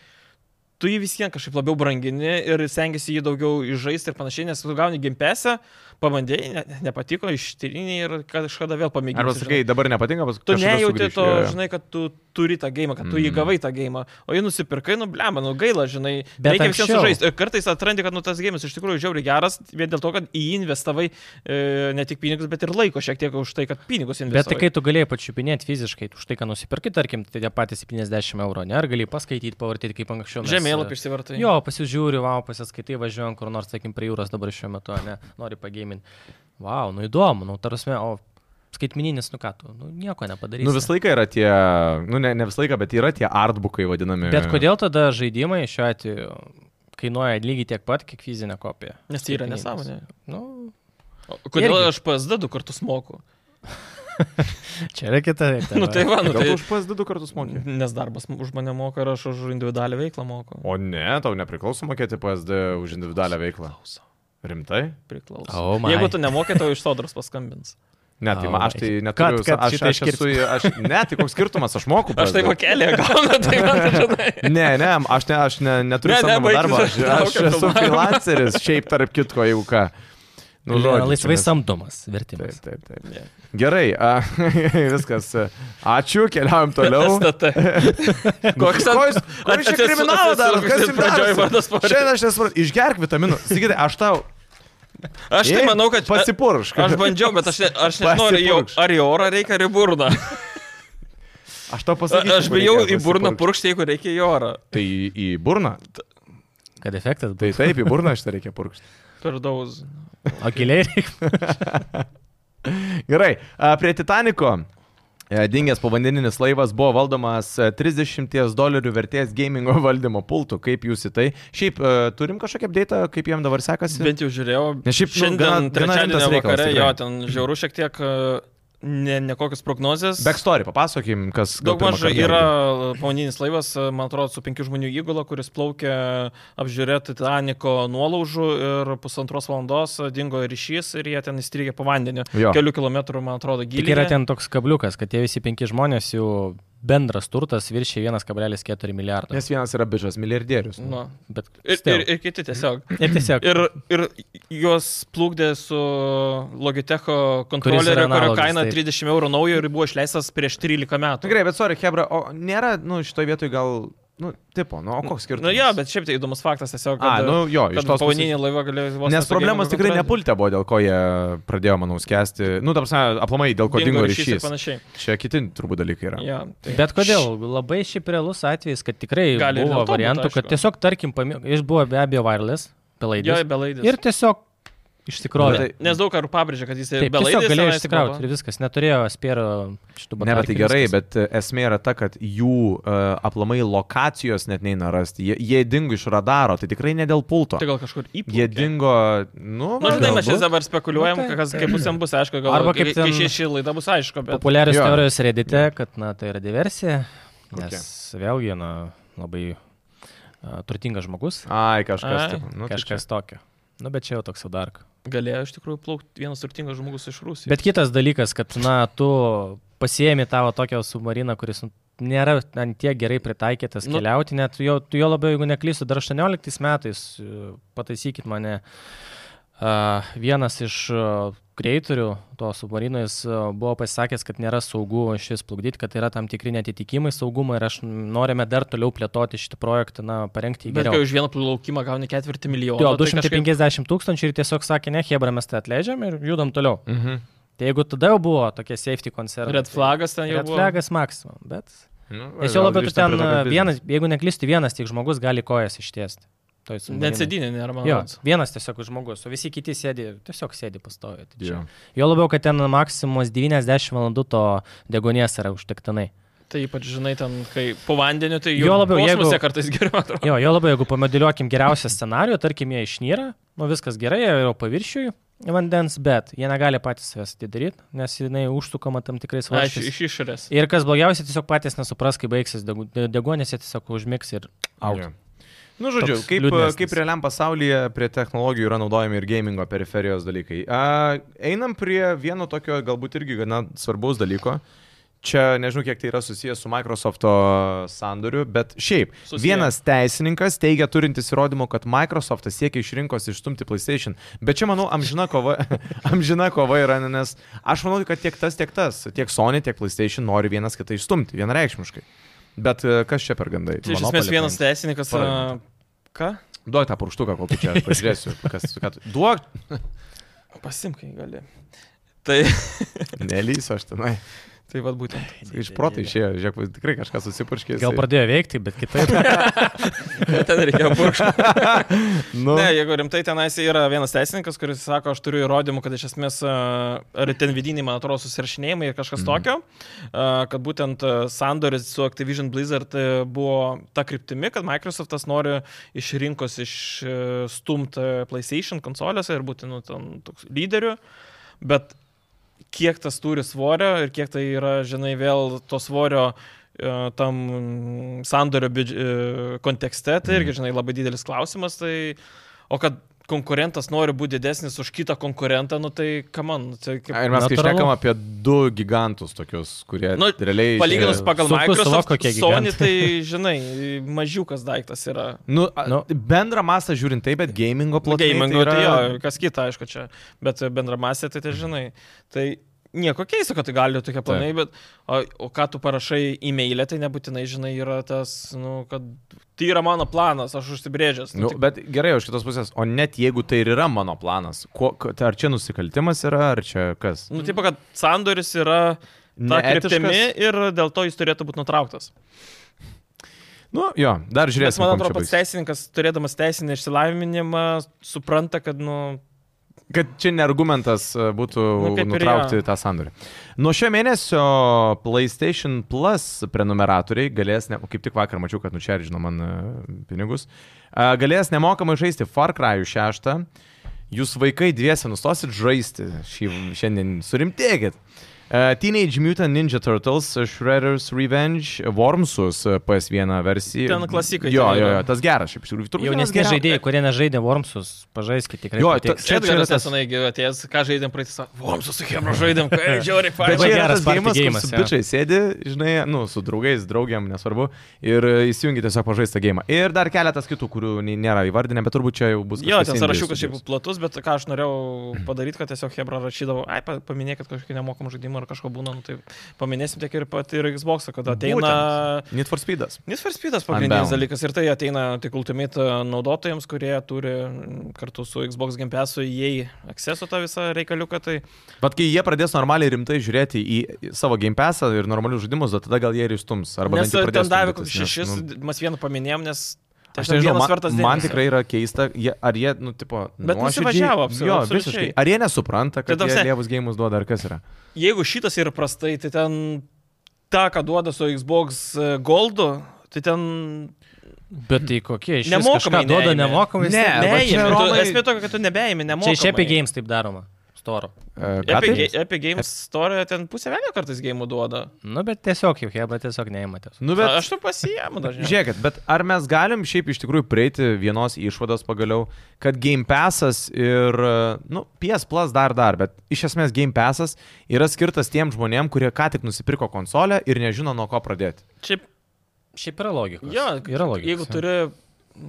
Speaker 3: tu jį vis vien kažkaip labiau brangini ir stengiasi jį daugiau išžaisti ir panašiai, nes tu gauni gimpesę, pabandėjai, ne, nepatiko, ištyrinėjai ir kažkada vėl pamėginai.
Speaker 1: Arba sakai, dabar nepatinka, paskui...
Speaker 3: Tu
Speaker 1: kažkada
Speaker 3: nejauti
Speaker 1: sugrįši,
Speaker 3: to,
Speaker 1: jo, jo.
Speaker 3: žinai, kad tu turi tą gėjimą, kad tu jį
Speaker 1: Mm.
Speaker 3: gavai tą gėjimą, o jį nusipirkai, nu blem, nu gaila, žinai,
Speaker 2: Bet
Speaker 3: reikia visiems
Speaker 2: anksčiau.
Speaker 3: sužaisti. Ir kartais atrandi, kad nu, tas gėjimas iš tikrųjų žiauri geras, vien dėl to, kad į jį investavai e, ne tik pinigus, bet ir laiko šiek tiek už tai, kad pinigus
Speaker 2: Bet tai
Speaker 3: investavai.
Speaker 2: kai tu galėjai pačiupinėti fiziškai, už tai, ką nusipirkai, tarkim, tai tie patys 70 eurų, ne? Ar galėjai paskaityti, pavartyti kaip anksčiau? mes- e,
Speaker 3: Žemėlapį išsivartai.
Speaker 2: Jo, pasižiūriu, wow, pasiskaitai, važiuojam kur nors, sakykim, prie jūros dabar šiuo metu, ne, nori pagėminti. Wow, nu įdomu, nu tarasme, o skaitmininis, nu ką tu, nu nieko nepadarysi.
Speaker 1: Nu visą laiką yra tie, nu ne, ne visą laiką, bet yra tie artbukai vadinami.
Speaker 2: Bet kodėl tada žaidimai šiuo atveju kainuoja lygiai tiek pat, kiek fizinė kopija?
Speaker 3: Nes tai yra
Speaker 2: Skaitmeninis.
Speaker 3: nesąmonė.
Speaker 2: Nu,
Speaker 3: O Kodėl
Speaker 2: Irgi.
Speaker 3: aš PSD du kartus moku?
Speaker 2: čia yra kita.
Speaker 3: Na nu, tai va, nu,
Speaker 1: Gal tu
Speaker 3: tai,
Speaker 1: už PSD du kartus mokė?
Speaker 3: nes darbas už mane moka ir aš už individualią veiklą moku.
Speaker 1: O ne, tau nepriklauso mokėti PSD už individualią veiklą.
Speaker 3: Klauso.
Speaker 1: Rimtai?
Speaker 3: Priklauso.
Speaker 2: Oh my.
Speaker 3: Jeigu tu nemokė, tau iš sodros paskambins.
Speaker 1: Ne, tai
Speaker 2: Au,
Speaker 1: ma, aš tai
Speaker 2: vai.
Speaker 1: neturiu,
Speaker 2: Kad- kad
Speaker 1: aš,
Speaker 2: šitą
Speaker 1: aš esu, aš, ne, tai koks skirtumas, aš moku.
Speaker 3: Aš tai
Speaker 1: PSD.
Speaker 3: vokelį gaunu, tai man tai žinai.
Speaker 1: Ne, ne, aš, ne, aš ne, neturiu
Speaker 3: Ne, ne,
Speaker 1: savo
Speaker 3: baik,
Speaker 1: darbo. Aš, aš
Speaker 3: traukiam
Speaker 1: esu
Speaker 3: filmavimą.
Speaker 1: freelanceris, šiaip tarp kitko, jeigu ką. Nu, žodžiu,
Speaker 2: Laisvai
Speaker 1: čia mes-
Speaker 2: samdomas vertimas.
Speaker 1: Taip, taip, taip.
Speaker 3: Ne.
Speaker 1: Gerai, a, viskas. Ačiū, keliaujam toliau. Nu,
Speaker 3: STT. Koks ten-
Speaker 1: Ko jūs- ko jūs čia
Speaker 3: Atsisu-
Speaker 1: kriminalą daro?
Speaker 3: atsisukus
Speaker 1: Kas
Speaker 3: ir
Speaker 1: jums
Speaker 3: pradžioj vardas
Speaker 1: daro?
Speaker 3: pavardė.
Speaker 1: Šiandien aš nesuprantu. Išgerk vitaminų. Sakytai, aš tau.
Speaker 3: Aš tai
Speaker 1: Ei,
Speaker 3: manau, kad...
Speaker 1: pasipuršk.
Speaker 3: Aš bandžiau, bet aš, ne, aš nežinau, ar, jau,
Speaker 1: Pasipurkšk.
Speaker 3: ar į orą reikia, ar į burną.
Speaker 1: Aš tau
Speaker 3: A-
Speaker 1: pasakysiu.
Speaker 3: Aš
Speaker 1: kur
Speaker 3: bijau
Speaker 1: reikia
Speaker 3: į burną
Speaker 1: pasipurkšt.
Speaker 3: purkšti, jeigu reikia į orą.
Speaker 1: Tai į į burną?
Speaker 2: Kad efektas
Speaker 1: Tai
Speaker 2: būtų.
Speaker 1: taip, į burną aš tai reikia purkšti.
Speaker 3: Per daug.
Speaker 2: O giliai reikia.
Speaker 1: Gerai, a, prie Titaniko. e, Dingęs povandeninis laivas buvo valdomas e, 30 dolerių vertės gamingo valdymo pultų. Kaip jūs į tai? Šiaip e, turim kažkokią apdaitą, kaip jam dabar sekasi?
Speaker 3: Bent jau žiūrėjau.
Speaker 1: Nes šiaip, nu,
Speaker 3: šiandien
Speaker 1: gana- gana
Speaker 3: trečiadienį
Speaker 1: rimtas reikalas,
Speaker 3: vakare,
Speaker 1: tikrai.
Speaker 3: jo, ten žiauru šiek tiek, e, ne, ne kokias prognozes.
Speaker 1: Backstory, papasakim, kas gal
Speaker 3: Daug
Speaker 1: pirmą
Speaker 3: mažai
Speaker 1: kartą
Speaker 3: yra pavoninis laivas, e, man atrodo, su penkių žmonių įgula, kuris plaukė apžiūrėti Titaniko nuolaužų ir pusantros valandos e, dingo ryšys ir jie ten įstrigė po vandeniu.
Speaker 1: Jo.
Speaker 3: Kelių kilometrų, man atrodo,
Speaker 2: Tik yra
Speaker 3: gylyje.
Speaker 2: ten toks kabliukas, kad tie visi penki žmonės jų bendras turtas viršė 1,4 milijardo.
Speaker 1: Nes vienas yra bižas, milijardierius. Nu.
Speaker 3: Nu,
Speaker 2: Bet
Speaker 3: ir,
Speaker 2: still. Mhm.
Speaker 3: ir, ir kiti tiesiog.
Speaker 2: Ir tiesiog.
Speaker 3: Ir, ir juos plūkdė su Logitecho kontroleriu,
Speaker 2: yra
Speaker 3: kurio
Speaker 2: analogas,
Speaker 3: kaina
Speaker 2: taip.
Speaker 3: 30 eurų naujo ir buvo išleistas prieš 13
Speaker 1: Na
Speaker 3: metų.
Speaker 1: Nu, gerai, bet sorry, Hebra, o nėra, nu, šitoje vietoje gal, nu, tipo, nu, o koks skirtumas?
Speaker 3: Na jo, bet šiaip tai įdomus faktas tiesiog.
Speaker 1: A, nu, jo, iš tos pusės.
Speaker 3: pavoninį laivą galėjo.
Speaker 1: Nes problemos tikrai nepultė buvo, dėl ko jie pradėjo, manau, skęsti. Nu, tam prasme, aplamai, dėl ko dingo
Speaker 3: ir
Speaker 1: ryšys.
Speaker 3: panašiai.
Speaker 1: Čia kiti turbūt dalykai yra.
Speaker 3: Ja, tai.
Speaker 2: Bet kodėl? Labai šiaip realus atvejis, kad tikrai
Speaker 3: Gali ir
Speaker 2: buvo
Speaker 3: dėl to būt,
Speaker 2: variantų, kad
Speaker 3: aišku.
Speaker 2: tiesiog, tarkim, pami... jis buvo be abejo wireless,
Speaker 3: Jo,
Speaker 2: belaidis.
Speaker 3: belaidis.
Speaker 2: Ir tiesiog išsikrovė.
Speaker 1: Bet tai-
Speaker 3: Nes daug kartų pabrėžia, kad jis
Speaker 2: Taip,
Speaker 3: belaidis.
Speaker 2: tiesiog galėjo
Speaker 3: tenais
Speaker 2: išsikrauti
Speaker 3: buvo.
Speaker 2: ir viskas, neturėjo spėro šitų
Speaker 1: Ne, bet tai
Speaker 2: batarkių,
Speaker 1: gerai,
Speaker 2: viskas.
Speaker 1: bet e, esmė yra ta, kad jų uh, aplamai lokacijos net neina rasti. Jie, jie dingo iš radaro, tai tikrai ne dėl pulto.
Speaker 3: Tai gal kažkur įpūtė.
Speaker 1: Jie dingo, nu,
Speaker 3: Na,
Speaker 2: tai
Speaker 3: žinai, mes čia
Speaker 1: galbūt.
Speaker 3: dabar spekuliuojam,
Speaker 2: Nu, tai-
Speaker 3: kas, kaip bus jam bus aišku, gal
Speaker 2: Arba kaip
Speaker 3: kai-
Speaker 2: ten-
Speaker 3: kai ši- ši laida bus aišku, bet...
Speaker 2: Populiarios
Speaker 1: Jo.
Speaker 2: teorijos redite, kad, na, tai yra diversija,
Speaker 1: Kokia?
Speaker 2: nes vėlgi, na, labai a, turtingas žmogus,
Speaker 1: Ai, kažkas.
Speaker 3: Ai,
Speaker 1: tipo, nu, tai
Speaker 2: kažkas tokio. Nu, bet čia jau toks jau dark.
Speaker 3: Galėjo iš tikrųjų plaukti vienas turtingas žmogus iš Rusijos.
Speaker 2: Bet kitas dalykas, kad, na, tu pasiemi tavo tokią submariną, kuris nu, nėra ant tiek gerai pritaikytas
Speaker 3: Nu.
Speaker 2: nu. keliauti, net jo, tu jo labiau, jeigu neklysiu, dar 18 metais, e, pataisykit mane, a, vienas iš a, kreitorių to submarino jis a, buvo pasisakęs, kad nėra saugu šis plukdyti, kad yra tam tikri netitikimai saugumo ir aš norime dar toliau plėtoti šitą projektą, na, parengti jį
Speaker 3: Bet kai
Speaker 2: Tai geriau.
Speaker 3: už vieną plaukimą gauni ketvirtį milijono.
Speaker 2: Jo,
Speaker 3: tai kažkaip-
Speaker 2: 250 tūkstančių ir tiesiog sakė, ne, Hebra, mes tai atleidžiam ir judam toliau.
Speaker 1: Mhm.
Speaker 2: Tai jeigu tada jau buvo tokie safety koncertai. tai
Speaker 3: Red flagas ten jau
Speaker 2: Red
Speaker 3: buvo.
Speaker 2: flagas maksimum, bet.
Speaker 1: Nu, va,
Speaker 2: Nes jau
Speaker 1: gal
Speaker 2: labiau tu
Speaker 1: grįžtam
Speaker 2: ten e,
Speaker 1: prie tokio
Speaker 2: vienas, jeigu neklysti, vienas tik žmogus gali kojas ištiesti. Toj submarinoj.
Speaker 3: Net sėdinė nėra, man
Speaker 2: Jo,
Speaker 3: atrodo.
Speaker 2: vienas tiesiog žmogus, o visi kiti sėdi, tiesiog sėdi pastovi. Tai
Speaker 1: biznio.
Speaker 2: čia. jo labiau, kad ten maksimumas 90 valandų to degonės yra užtektinai.
Speaker 3: Tai ypač, žinai, ten, kai po vandeniu, tai
Speaker 2: Jo labiau,
Speaker 3: kosmose
Speaker 2: jeigu-
Speaker 3: kartais geriau atrodo.
Speaker 2: Jo, jo labai, jeigu pamodeliuokim geriausią scenarijų, tarkim, jie išnyra, nu viskas gerai, jie yra paviršiui vandens, bet jie negali patys savęs atidaryti, nes jinai užsukama tam tikrais
Speaker 3: Aš
Speaker 2: vaškais.
Speaker 3: iš išorės.
Speaker 2: Ir kas blogiausia, tiesiog patys nesupras, kai baigsis degu- deguonis, jie tiesiog užmigs ir... Out.
Speaker 1: Jo. Nu, žodžiu,
Speaker 2: Toks
Speaker 1: kaip,
Speaker 2: liūdnesnis.
Speaker 1: kaip realiam pasaulyje prie technologijų yra naudojami ir gamingo periferijos dalykai. A, einam prie vieno tokio galbūt irgi gana svarbaus dalyko. Čia nežinau, kiek tai yra susijęs su Microsofto sandoriu, bet šiaip
Speaker 3: Susiję.
Speaker 1: Susiję. vienas teisininkas teigia turintis įrodymų, kad Microsoftas siekia iš rinkos išstumti PlayStation. Bet čia, manau, amžina kova, amžina kova yra, nes aš manau, kad tiek tas, tiek tas, tiek Sony, tiek PlayStation nori vienas kitą išstumti, vienareikšmiškai. Bet e, kas čia per gandai?
Speaker 3: Tai iš
Speaker 1: Monopoly
Speaker 3: esmės vienas
Speaker 1: paimti.
Speaker 3: teisininkas. a,
Speaker 1: Paralelė.
Speaker 3: Ką?
Speaker 1: Duok tą purkštuką, kol tu čia aš pažiūrėsiu. Kas, ką tu... Duok.
Speaker 3: Pasimkai gali. Tai,
Speaker 1: Nelysiu aš tenai.
Speaker 3: tai vad būtent.
Speaker 1: Iš proto išėjo, žiūrėk, tikrai kažkas susipurškė.
Speaker 2: Gal pradėjo veikti, bet kitaip.
Speaker 3: Ten reikėjo burkštų.
Speaker 1: Nu,
Speaker 3: Ne, jeigu rimtai tenais yra vienas teisininkas, kuris sako, aš turiu įrodymų, kad iš esmės, a, ar ten vidiniai, man atrodo, susirašinėjimai ir kažkas mm. tokio, a, kad būtent a, sandoris su Activision Blizzard a, buvo ta kryptimi, kad Microsoftas nori iš rinkos išstumti PlayStation konsolėse ir būti nu, ten toks lyderiu, bet kiek tas turi svorio ir kiek tai yra, žinai, vėl to svorio e, tam mm, sandorio biudž... e, kontekste, tai
Speaker 2: Mhm.
Speaker 3: irgi, žinai, labai didelis klausimas, tai o kad konkurentas nori būti didesnis už kitą konkurentą, nu tai, kam man, tai kaip...
Speaker 1: ir mes kai
Speaker 2: natūralu.
Speaker 1: šnekam apie du gigantus tokius, kurie
Speaker 3: Nu,
Speaker 1: nu, realiai...
Speaker 3: Palyginus
Speaker 1: išėjo-
Speaker 3: pagal
Speaker 2: sunku suvokt,
Speaker 3: Microsoft,
Speaker 2: kokie
Speaker 3: Sony,
Speaker 2: gigantai.
Speaker 3: tai, žinai, mažiukas daiktas yra.
Speaker 1: Nu, a,
Speaker 2: Nu.
Speaker 1: bendrą masą žiūrint taip, bet gamingo platformą.
Speaker 3: Gamingo, tai jo, kas kita, aišku, čia, bet bendramasė, tai tai žinai. Tai nieko keisto, kad tai gali tokie planai, bet o, o ką tu parašai e-mailę, tai nebūtinai, žinai, yra tas, nu, kad tai yra mano planas, aš užsibrėžęs.
Speaker 1: Nu,
Speaker 3: tik-
Speaker 1: bet gerai, iš kitos pusės, o net jeigu tai ir yra mano planas, kuo, k- tai ar čia nusikaltimas yra, ar čia kas?
Speaker 3: nu taip, kad sandoris yra ta
Speaker 1: Neetiškas?
Speaker 3: kryptimi ir dėl to jis turėtų būti nutrauktas.
Speaker 1: Nu, jo, dar
Speaker 3: Nes
Speaker 1: žiūrėsim.
Speaker 3: man
Speaker 1: kuom čia
Speaker 3: atrodo, pats
Speaker 1: baigsis.
Speaker 3: teisininkas, turėdamas teisinį išsilavinimą, supranta, kad, nu,
Speaker 1: Kad čia ne argumentas e, būtų nu,
Speaker 3: Nu, kaip ir
Speaker 1: nutraukti
Speaker 3: jo.
Speaker 1: tą sandorį. Nuo šio mėnesio PlayStation Plus prenumeratoriai galės, ne, kaip tik vakar mačiau, kad nučeržino man e, pinigus, e, galės nemokamai žaisti Far Cry 6. Jūs vaikai dviese nustosit žaisti šį šiandien, surimtėkit. E, Teenage Mutant Ninja Turtles, Shredder's Revenge, Wormsus e, PS1 versija.
Speaker 3: Ten klasikai
Speaker 1: Jo,
Speaker 3: ten
Speaker 1: jo,
Speaker 3: yra.
Speaker 1: jo, tas geras, šiaip iš tikrųjų. turbūt vienas
Speaker 2: Jaunesni
Speaker 1: geriau-
Speaker 2: žaidėjai, kurie nežaidė Wormsus, pažaiskit tikrai.
Speaker 1: Jo, ta-
Speaker 2: patiks.
Speaker 3: čia
Speaker 1: čia yra
Speaker 3: atgaras
Speaker 1: tas-
Speaker 3: nesenai gi atėjęs, ką žaidėm praeitį, vomsu su Hebra žaidėm, kai žiauriai
Speaker 1: Bet
Speaker 2: Labai
Speaker 1: čia
Speaker 3: failai.
Speaker 1: yra
Speaker 2: geras
Speaker 1: tas
Speaker 2: party
Speaker 1: gėjimas,
Speaker 2: geimas,
Speaker 1: gėjimas, kur su
Speaker 2: jo.
Speaker 1: bičiai sėdi, žinai, nu, su draugais, draugiam, nesvarbu, ir e, įsijungi tiesiog pažaistą gėjimą. Ir dar keletas kitų, kurių nei- nėra įvardinę, bet turbūt čia jau bus.
Speaker 3: Jo,
Speaker 1: kažkas
Speaker 3: ten
Speaker 1: indie
Speaker 3: sąrašiukas šiaip
Speaker 1: studijos.
Speaker 3: platus, bet ką aš norėjau padaryti, kad tiesiog Hebra rašydavo, ai, pa- paminėkit kažkokį nemokamą žaidimą ar kažko būna, nu, tai paminėsim tiek ir pat ir Xbox, kad ateina...
Speaker 1: Need for Speedas.
Speaker 3: Nes for Speedas pagrindinis
Speaker 1: Unbound.
Speaker 3: dalykas ir tai ateina tik Ultimate e, naudotojams, kurie turi mm, kartu su Xbox Game Passu įėjai akceso tą visą reikaliuką, tai
Speaker 1: Bet kai jie pradės normaliai rimtai žiūrėti į savo game passą ir normalius žaidimus, tai tada gal jie ir įstums. Arba
Speaker 3: nes
Speaker 1: bent jau pradės
Speaker 3: ten davė
Speaker 1: stumdytis,
Speaker 3: kokius
Speaker 1: nes,
Speaker 3: šešis,
Speaker 1: nu,
Speaker 3: mes vieną paminėjom, nes... tai
Speaker 1: Aš
Speaker 3: ten
Speaker 1: nežinau,
Speaker 3: vienas
Speaker 1: man,
Speaker 3: vertas
Speaker 1: man
Speaker 3: dėmesio.
Speaker 1: tikrai yra keista, jie, ar jie, nu, tipo,
Speaker 3: Bet
Speaker 1: nuoširdžiai-
Speaker 3: nusivažiavo absol-
Speaker 1: Jo,
Speaker 3: absoliučiai. Tai
Speaker 1: visiškai. Ar jie nesupranta, kad
Speaker 3: ta
Speaker 1: jie
Speaker 3: prasme-
Speaker 1: lievus gėjimus duoda, ar kas yra?
Speaker 3: Jeigu šitas yra prastai, tai ten tą, ką duoda su Xbox e, Goldu, tai ten...
Speaker 2: Bet tai kokie iš viso
Speaker 3: Nemokamai
Speaker 2: kažką duoda
Speaker 3: neėmė.
Speaker 2: nemokamai.
Speaker 1: Ne,
Speaker 2: vis tiek-
Speaker 1: va čia
Speaker 3: Neimi, tu-
Speaker 1: Romai-
Speaker 3: Esmė tokia, kad tu nebeimi,
Speaker 2: Čia
Speaker 3: nemokamai.
Speaker 2: iš Epic Games taip daroma. Storo.
Speaker 1: E, ką
Speaker 3: Epic,
Speaker 1: tai?
Speaker 3: Ga- Epic Games Store ten pusę vieną kartais gėjimų duoda.
Speaker 2: Nu, bet tiesiog jau Hebra tiesiog neįmatės.
Speaker 1: Nu,
Speaker 3: Bet...
Speaker 1: bet
Speaker 3: Aš tu pasijėmu dažniausiai.
Speaker 1: Žiūrėkit, bet ar mes galim šiaip iš tikrųjų prieiti vienos išvados pagaliau, kad Game Passas ir, nu, PS Plus dar dar, bet iš esmės Game Passas yra skirtas tiem žmonėm, kurie ką tik nusipirko konsolę ir nežino nuo ko pradėti.
Speaker 3: Šiaip,
Speaker 2: Šiaip yra logika.
Speaker 3: jo,
Speaker 2: yra logika.
Speaker 3: Jeigu turi,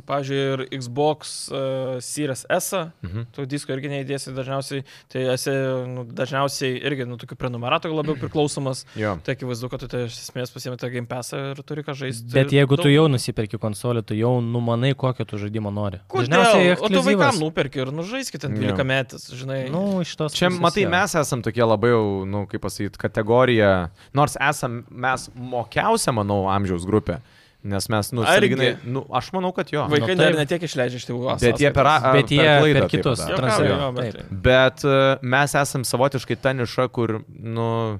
Speaker 3: pažiūrėjau, ir Xbox uh, Series S, mhm. tu disko irgi neįdėsi dažniausiai, tai esi nu, dažniausiai irgi nu, tokių prenumeratų labiau priklausomas.
Speaker 1: Jo.
Speaker 3: Tai akivaizdu, kad tu tai iš esmės pasiemi tą Game Pass ir turi ką žaisti.
Speaker 2: Bet jeigu tu
Speaker 3: daug.
Speaker 2: jau nusipirki konsolę, tu jau numanai, kokio tu žaidimo nori.
Speaker 3: Kodėl? O tu
Speaker 2: ekskliuzyvas.
Speaker 3: vaikam nuperki ir nužaiskit ten
Speaker 1: Jo.
Speaker 3: 12 metais, žinai.
Speaker 2: Nu, iš tos.
Speaker 1: Čia,
Speaker 2: pusės
Speaker 1: matai,
Speaker 2: jo.
Speaker 1: mes esam tokie labai jau, nu, kaip pasakyti, kategorija, nors esam mes mokiausia, manau, amžiaus grupė, nes mes, nu,
Speaker 3: Argi?
Speaker 1: sąlyginai- nu aš manau, kad jo.
Speaker 2: nu
Speaker 3: Vaikai nu, dar
Speaker 2: taip.
Speaker 3: netiek išleidžia iš tėvų.
Speaker 1: Bet jie per, a-
Speaker 2: Bet jie per,
Speaker 1: klaidą
Speaker 2: per
Speaker 1: tai
Speaker 2: kitus
Speaker 1: padaro.
Speaker 3: Jo, jo,
Speaker 2: transliuoja.
Speaker 3: bet
Speaker 2: Taip.
Speaker 1: Bet e, mes esam savotiškai ta niša, kur, nu,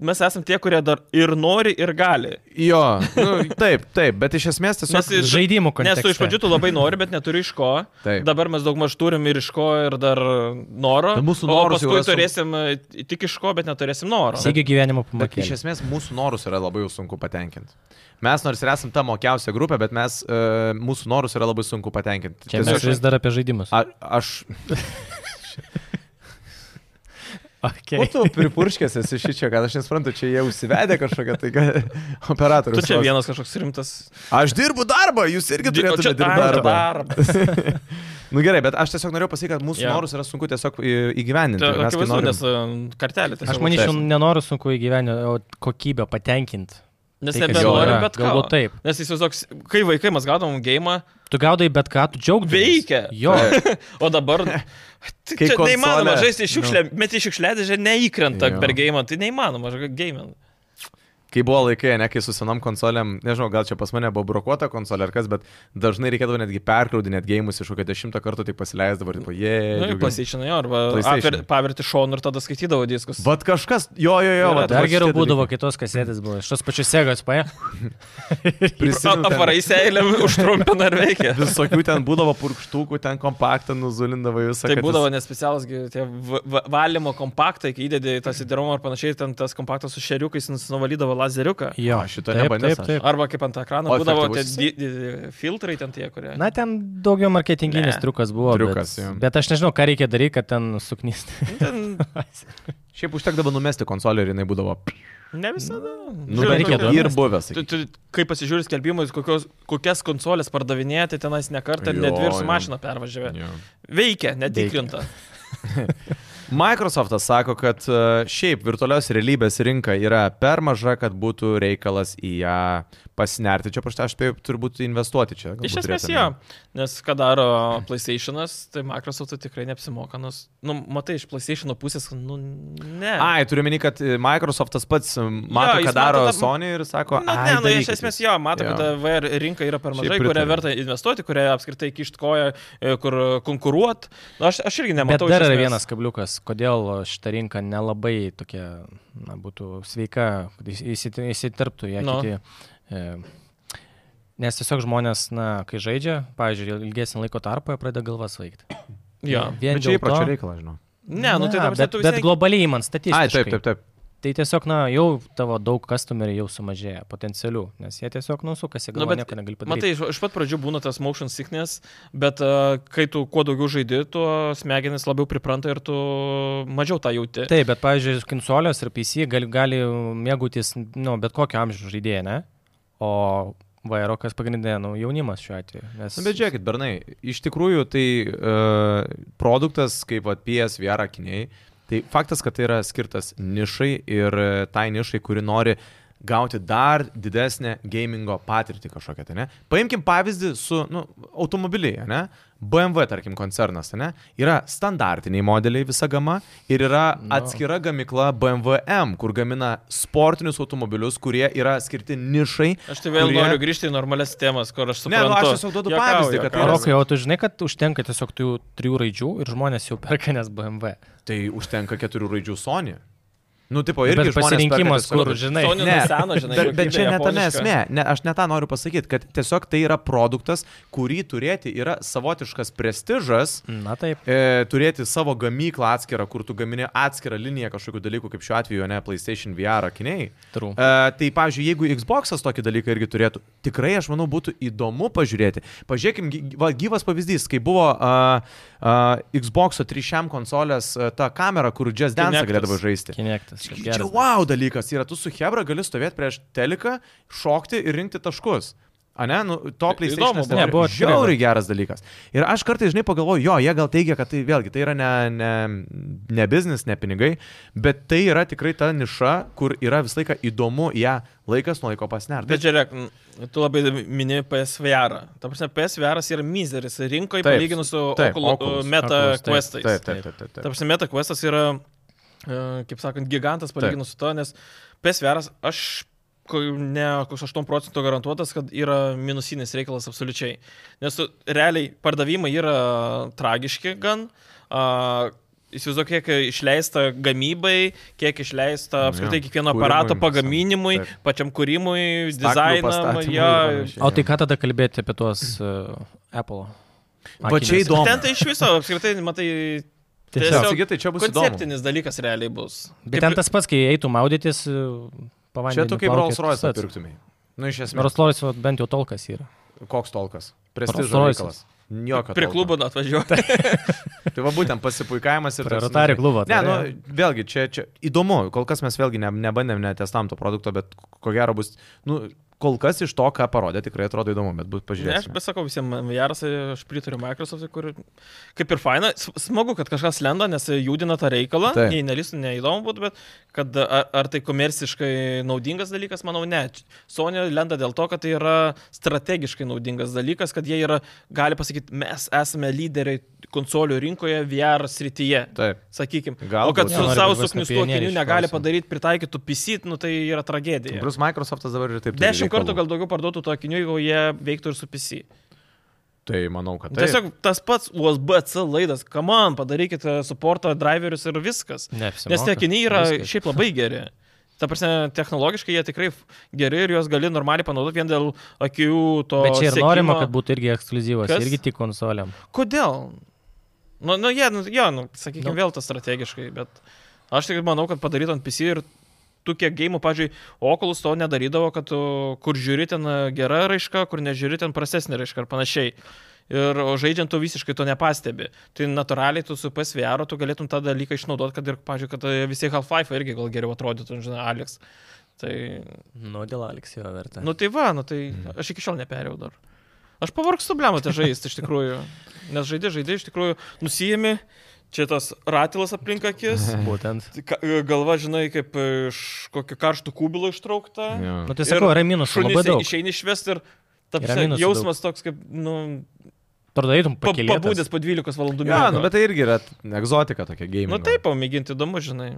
Speaker 3: mes esame tie, kurie dar ir nori, ir gali.
Speaker 1: Jo, nu, taip, taip, bet iš esmės tiesiog...
Speaker 3: Nes iš-
Speaker 2: Žaidimų
Speaker 3: Nes
Speaker 2: kontekste.
Speaker 3: tu iš pradžių tu labai nori, bet neturi iš ko.
Speaker 1: Nu, Taip.
Speaker 3: Dabar mes daugmaž turim ir iš ko, ir dar noro.
Speaker 1: Tai mūsų
Speaker 3: o
Speaker 1: norus jau
Speaker 3: paskui
Speaker 1: esam-
Speaker 3: turėsim e, tik iš ko, bet neturėsim noro.
Speaker 2: Sėgi gyvenimo
Speaker 1: Bet iš
Speaker 2: pamokė.
Speaker 1: esmės mūsų norus yra labai jau sunku patenkinti. Mes nors ir esame ta mokiausia grupė, bet mes, e, mūsų norus yra labai sunku patenkinti.
Speaker 2: Čia mes
Speaker 1: Tiesiog-
Speaker 2: vis dar apie žaidimus.
Speaker 1: A, aš...
Speaker 2: Okay.
Speaker 1: O tu pripurškęs esi šičia, kad aš nesuprantu, čia jie užsivedė kažkokią tai operatorių.
Speaker 3: Tu čia vienas kažkoks rimtas.
Speaker 1: Aš dirbu darbą, jūs irgi
Speaker 3: Di- o
Speaker 1: turėtumėte
Speaker 3: čia
Speaker 1: dirbti
Speaker 3: ai,
Speaker 1: darbą.
Speaker 3: darbas.
Speaker 1: Nu gerai, bet aš tiesiog norėjau pasakyti, kad mūsų
Speaker 3: Jo.
Speaker 1: yeah. norus yra sunku tiesiog į- įgyvendinti.
Speaker 3: Tai
Speaker 1: ir Mes, kai
Speaker 3: Akivaizdu,
Speaker 1: norim,
Speaker 3: nes e, kartelė. tiesiog
Speaker 2: Aš manyčiau,
Speaker 1: aukštesnė.
Speaker 2: nenoriu sunku įgyvenę, o kokybę patenkinti.
Speaker 3: Nes
Speaker 2: tai, kas
Speaker 1: jau
Speaker 3: nebenori
Speaker 1: yra.
Speaker 3: bet ką.
Speaker 2: Galbūt taip.
Speaker 3: Nes jis visoks, kai vaikai mes gaudavom gėjimą,
Speaker 2: Tu gaudai bet ką, tu džiaugdavai.
Speaker 3: Veikia.
Speaker 2: Jo.
Speaker 3: o dabar... Tai
Speaker 1: Kai
Speaker 3: čia neįmanoma
Speaker 1: konsolė- nu.
Speaker 3: žaisti šiukšlę, no. bet iš šiukšlėdėžė neįkrenta
Speaker 1: Jo.
Speaker 3: per gėjimą, tai neįmanoma, aš gėjimą.
Speaker 1: Kai buvo laikai, ne, kai su senom konsolėm, nežinau, gal čia pas mane buvo brokuota konsolė ar kas, bet dažnai reikėdavo netgi perkraudinėti gėjimus iš kokio dešimto karto tik pasileisdavo ir tipo, jie...
Speaker 3: Na, Nu, ir pasiečianai, arba
Speaker 1: PlayStation.
Speaker 3: aper- paverti šonu ir tada skaitydavo diskus.
Speaker 1: Bet kažkas, jo, jo, jo,
Speaker 3: Yra,
Speaker 1: vat,
Speaker 2: Dar
Speaker 1: vat
Speaker 2: geriau
Speaker 1: šitie
Speaker 2: būdavo
Speaker 1: dalykai.
Speaker 2: kitos kasetės buvo. Iš tos pačios segas paė.
Speaker 1: Prisimenu, ten-
Speaker 3: Aparai seilėm užtrumpina ir veikia.
Speaker 1: Visokių ten būdavo purkštukų, ten kompaktą nuzulindavo visą.
Speaker 3: Tai
Speaker 1: kad jis-
Speaker 3: būdavo nespecialus tie va- va- valymo kompaktai, kai įdedi į tą sideromą ar panašiai, ten tas kompaktas su šeriukais jis nuvalydavo lazeriuką.
Speaker 2: Jo,
Speaker 1: šito
Speaker 2: Taip,
Speaker 1: nebandęs
Speaker 2: taip,
Speaker 1: aš.
Speaker 2: taip.
Speaker 3: Arba kaip ant ekrano
Speaker 1: O
Speaker 3: būdavo tie
Speaker 1: efektyvus
Speaker 3: di, di, di, filtrai ten tie, kurie.
Speaker 2: Na, ten daugiau marketinginis
Speaker 3: Ne.
Speaker 2: triukas buvo.
Speaker 1: Triukas, jo.
Speaker 2: bet, bet aš nežinau, ką reikia daryti, kad ten suknysti.
Speaker 3: ten
Speaker 1: Šiaip užtekdavo numesti konsolę ir jinai būdavo...
Speaker 3: ne visada.
Speaker 1: Nu,
Speaker 3: Žiūrint,
Speaker 1: bet
Speaker 2: reikia
Speaker 3: kokia-
Speaker 2: daug.
Speaker 1: ir buvęs.
Speaker 3: Tu, tu, kai pasižiūri skelbimus, kokios, kokias konsolės pardavinėti tenais ne kartą,
Speaker 1: Jo,
Speaker 3: net dvi ir su
Speaker 1: jo.
Speaker 3: mašina pervažiavę. Veikia, netikrinta.
Speaker 1: Microsoftas sako, kad e, šiaip virtualios realybės rinka yra per maža, kad būtų reikalas į ją pasinerti. Čia paštai aš spėjau turbūt investuoti čia. galbūt
Speaker 3: Iš esmės
Speaker 1: turėtume.
Speaker 3: jo, nes ką daro PlayStation'as, tai Microsoft'ui tikrai neapsimoka, nors, nu, matai, iš PlayStation'o pusės, nu, ne.
Speaker 1: Ai, turiu meni, kad e, Microsoftas pats e, mato,
Speaker 3: Jo,
Speaker 1: ką
Speaker 3: jis
Speaker 1: daro
Speaker 3: mato tą-
Speaker 1: Sony ir sako,
Speaker 3: Nu, ne, nu, iš esmės jo, mato,
Speaker 1: Jo.
Speaker 3: kad ta VR rinka yra per
Speaker 1: Šiaip
Speaker 3: mažai, kurią
Speaker 1: pritariu.
Speaker 3: verta investuoti, kurią apskritai kišt koją, e, kur konkuruot. Nu, aš, aš irgi
Speaker 2: Bet
Speaker 3: nematau.
Speaker 2: dar
Speaker 3: iš
Speaker 2: yra
Speaker 3: esmės.
Speaker 2: vienas kabliukas, kodėl šita rinka nelabai tokia, na, būtų sveika, kad įs- įsit- įsitarptų į ją
Speaker 3: Nu.
Speaker 2: kiti. e, Nes tiesiog žmonės, na, kai žaidžia, pavyzdžiui, ilgesnį laiko tarpą, jie pradeda galvas vaikti.
Speaker 3: Jo.
Speaker 2: Vien
Speaker 1: Bet čia
Speaker 2: dėl
Speaker 1: įpročio
Speaker 2: to.
Speaker 1: reikalas, žinau.
Speaker 3: Ne, nu, tai
Speaker 2: Ne,
Speaker 3: dabar
Speaker 2: bet,
Speaker 3: tu vis
Speaker 2: bet
Speaker 3: tiek-
Speaker 2: globaliai įman statistiškai.
Speaker 1: Ai, taip, taip, taip.
Speaker 2: Tai tiesiog, na, jau tavo daug customerių jau sumažėja potencialių, nes jie tiesiog nusukasi,
Speaker 3: Nu,
Speaker 2: gal
Speaker 3: bet
Speaker 2: nieko negali padaryti.
Speaker 3: Matai, iš, iš pat pradžių būna tas motion sickness, bet uh, kai tu kuo daugiau žaidži, tuo smegenis labiau pripranta ir tu mažiau tą
Speaker 1: Tai
Speaker 3: jauti.
Speaker 2: Taip, bet, pavyzdžiui, konsolės ir PC gali, gali mėgautis, nu, bet kokio amžiaus žaidėjai, ne? O vairokas pagrindinė, nu, jaunimas šiuo atveju. Nes...
Speaker 1: Na, Nu, bet žiūrėkit, bernai, iš tikrųjų tai uh, produktas kaip vat, PSVR akiniai, tai faktas, kad tai yra skirtas nišai ir e, tai nišai, kuri nori gauti dar didesnę gamingo patirtį kažkokią, tai ne? Paimkim pavyzdį su, nu, automobiliai, ne? BMW, tarkim, koncernas, tai ne? Yra standartiniai modeliai visa gama ir yra
Speaker 2: Nu.
Speaker 1: no. atskira gamikla BMW M, kur gamina sportinius automobilius, kurie yra skirti nišai.
Speaker 3: Aš tai vėl
Speaker 1: kurie-
Speaker 3: kurie... noriu grįžti į normales temas, kur
Speaker 1: Ne,
Speaker 3: aš suprantu.
Speaker 1: nu, aš tiesiog duodu pavyzdį, kad tai yra-
Speaker 2: Rokai, o tu žinai, kad užtenka tiesiog tų trijų raidžių ir žmonės jau perka nes BMW.
Speaker 1: Tai užtenka keturių raidžių Sony. Nu, tipo,
Speaker 2: Ir
Speaker 1: irgi
Speaker 2: bet pasirinkimas, kur,
Speaker 1: žinai.
Speaker 2: žinai,
Speaker 3: Sony-
Speaker 1: Ne,
Speaker 3: nuo seno, žinai,
Speaker 1: bet, bet
Speaker 3: kokybė
Speaker 1: čia ne tame
Speaker 3: japoniška.
Speaker 1: esmė. Ne, aš ne tą noriu pasakyti, kad tiesiog tai yra produktas, kurį turėti yra savotiškas prestižas,
Speaker 2: Na taip.
Speaker 1: e, turėti savo gamyklą atskirą, kur tu gamini atskirą liniją kažkokių dalykų, kaip šiuo atveju, ne PlayStation VR akiniai.
Speaker 2: True.
Speaker 1: E, tai, pavyzdžiui, jeigu Xbox'as tokį dalyką irgi turėtų, tikrai, aš manau, būtų įdomu pažiūrėti. Pažiūrėkim, gy- va, gyvas pavyzdys, kai buvo uh, uh, Xbox'o 3 konsolės uh, ta kamera, kur Jazz Dance
Speaker 3: Kinectas.
Speaker 1: galėdavo žaisti.
Speaker 2: Kinektas.
Speaker 1: Čia wow dalykas yra, tu su Hebra gali stovėti prieš teliką, šokti ir rinkti taškus. A ne, nu, to PlayStation
Speaker 3: Įdomu buvo.
Speaker 2: Ne, buvo tikrai
Speaker 1: žiauriai geras dalykas. Ir aš kartais, žinai, pagalvoju, jo, jie gal teigia, kad tai vėlgi tai yra ne, ne, ne biznis, ne pinigai, bet tai yra tikrai ta niša, kur yra visą laiką įdomu ją laikas nuo laiko pasnerti.
Speaker 3: Bet žiūrėk, n- tu labai mini PSVR. Ta prasme, PSVR yra mizeris rinkoje
Speaker 1: Taip,
Speaker 3: palyginus su
Speaker 1: Tai, taip,
Speaker 3: Oculus, uh,
Speaker 1: Oculus,
Speaker 3: Meta
Speaker 2: Oculus, taip,
Speaker 3: Questais.
Speaker 1: Taip, taip, taip, taip.
Speaker 3: Ta
Speaker 1: taip.
Speaker 3: prasme, Meta Questas yra, e, kaip sakant, gigantas palyginus su to, nes PSVR aš ko- ne koks 8 procentų garantuotas, kad yra minusinis reikalas absoliučiai. Nes tu, realiai pardavimai yra tragiški gan. A, Įsivaizduok, kiek išleista gamybai, kiek
Speaker 1: Nu
Speaker 3: išleista
Speaker 1: Jo.
Speaker 3: apskritai kiekvieno
Speaker 1: Kūrimui
Speaker 3: aparato
Speaker 1: visam.
Speaker 3: pagaminimui,
Speaker 1: Taip.
Speaker 3: pačiam kūrimui,
Speaker 1: Staklių
Speaker 3: dizainam.
Speaker 1: pastatymui ir
Speaker 3: Jo.
Speaker 1: panašiai.
Speaker 2: O tai ką tada kalbėti apie tuos uh, Apple?
Speaker 1: Va čia
Speaker 2: akinius?
Speaker 1: įdomu.
Speaker 3: Ten tai iš viso, apskritai, matai,
Speaker 1: Jo,
Speaker 3: tiesiog
Speaker 2: Tiesiog.
Speaker 1: Sigitai, čia bus įdomu.
Speaker 3: konceptinis dalykas realiai bus.
Speaker 2: Bet ten tas pats, kai eitų maudytis, e,
Speaker 1: Čia
Speaker 2: pavandytis.
Speaker 1: tu kaip Rolls Royce pirktumai. Na, iš esmės,
Speaker 2: Rolls Royce vat bent jau tolkas yra.
Speaker 1: koks tolkas? Prestižo
Speaker 2: Rolls Royce'as.
Speaker 1: reikalas. Jokio.
Speaker 3: Prie
Speaker 1: tolko.
Speaker 3: klubo atvažiuoti.
Speaker 1: Tai va būtent pasipuikavimas ir...
Speaker 2: Prie
Speaker 1: toks,
Speaker 2: Rotary
Speaker 1: žinai,
Speaker 2: klubo tai
Speaker 1: Ne, nu,
Speaker 2: atvažiuoja.
Speaker 1: vėlgi, čia, čia įdomu, kol kas mes vėlgi ne, nebandėm netestam to produkto, bet ko gero bus... Nu, kol kas iš to, ką parodė, tikrai atrodo įdomu, bet bus
Speaker 3: Ne, aš
Speaker 1: pažiūrėti.
Speaker 3: pasakau visiems Jaras, aš pritariu Microsoft'ui, kur kaip ir faina, s- smagu, kad kažkas lenda, nes judina tą reikalą,
Speaker 1: Taip.
Speaker 3: jei nelistų, neįdomu būtų, bet kad ar, ar tai komerciškai naudingas dalykas, manau, ne. Sonia lenda dėl to, kad tai yra strategiškai naudingas dalykas, kad jie yra, gali pasakyti, mes esame lyderiai konsolių rinkoje VR srityje.
Speaker 1: Taip.
Speaker 3: Sakykim.
Speaker 1: Galbūt.
Speaker 3: o kad
Speaker 1: Jie
Speaker 3: su
Speaker 2: nori
Speaker 3: savo
Speaker 2: būt vos ne
Speaker 3: sukniustuoju akiniu
Speaker 2: pionieriai
Speaker 3: negali
Speaker 2: šiuo
Speaker 3: padaryti pritaikytų PC, nu tai yra tragedija.
Speaker 1: Plus Microsoftas dabar ir taip.
Speaker 2: tai
Speaker 1: turi
Speaker 3: Dešimt kartų
Speaker 1: reikalų.
Speaker 3: gal daugiau parduotų to akinių, jeigu jie veiktų ir su PC.
Speaker 1: Tai manau, kad
Speaker 3: Taip.
Speaker 1: tai.
Speaker 3: Tiesiog tas pats USB-C laidas, kam man, padarykite suporto driverius ir viskas.
Speaker 2: Neapsimoka.
Speaker 3: Nes tie akiniai yra
Speaker 2: Viskas.
Speaker 3: šiaip labai geri. Ta prasme, technologiškai jie tikrai f- geri ir juos gali normaliai panaudoti vien dėl akių to.
Speaker 2: Bet čia ir
Speaker 3: sekimo.
Speaker 2: norima, kad būtų irgi ekskluzyvas,
Speaker 3: Kas?
Speaker 2: irgi tik konsoliam.
Speaker 3: Kodėl? Nu, nu jie, nu, jo, nu, sakykime,
Speaker 2: Nu.
Speaker 3: vėl tas strategiškai, bet aš tik manau, kad padaryt ant PC ir tu kiek gėjimų, pažiūrėjau, Oculus to nedarydavo, kad tu, kur žiūri ten e, gera raiška, kur nežiūri ten prastesnė raiška ir panašiai. Ir o žaidžiant tu visiškai to nepastebi. Tai natūraliai tu su PSVR tu galėtum tą dalyką išnaudoti, kad ir, pažiūrėjau, kad e, visi Half-Life irgi gal geriau atrodytų, žinai, Alex. Tai,
Speaker 2: Nu, dėl Aleksijo verta.
Speaker 3: nu tai va, nu tai aš iki šiol neperėjau dar. Aš pavargstu blematę žaisti iš tikrųjų. Nes žaidė, žaidė, iš tikrųjų nusijėmi, čia tas ratilas aplink
Speaker 2: Eh.
Speaker 3: akis,
Speaker 2: būtent.
Speaker 3: tai ka- galva, žinai, kaip iš kokio karšto kubilo ištraukta.
Speaker 1: Jo.
Speaker 2: Nu, tai sakau, yra minusų labai
Speaker 3: Šunys
Speaker 2: daug.
Speaker 3: išeini išvesti ir ta
Speaker 2: Yra
Speaker 3: prasme,
Speaker 2: minusų
Speaker 3: jausmas toks, kaip, nu,
Speaker 2: Pardarytum
Speaker 3: pa-
Speaker 2: pakilėtas.
Speaker 3: pabūdęs po 12 valandų.
Speaker 1: Ja,
Speaker 3: miego.
Speaker 1: nu, bet tai irgi yra egzotika tokia game.
Speaker 3: Nu taip, pamėginti įdomu, žinai.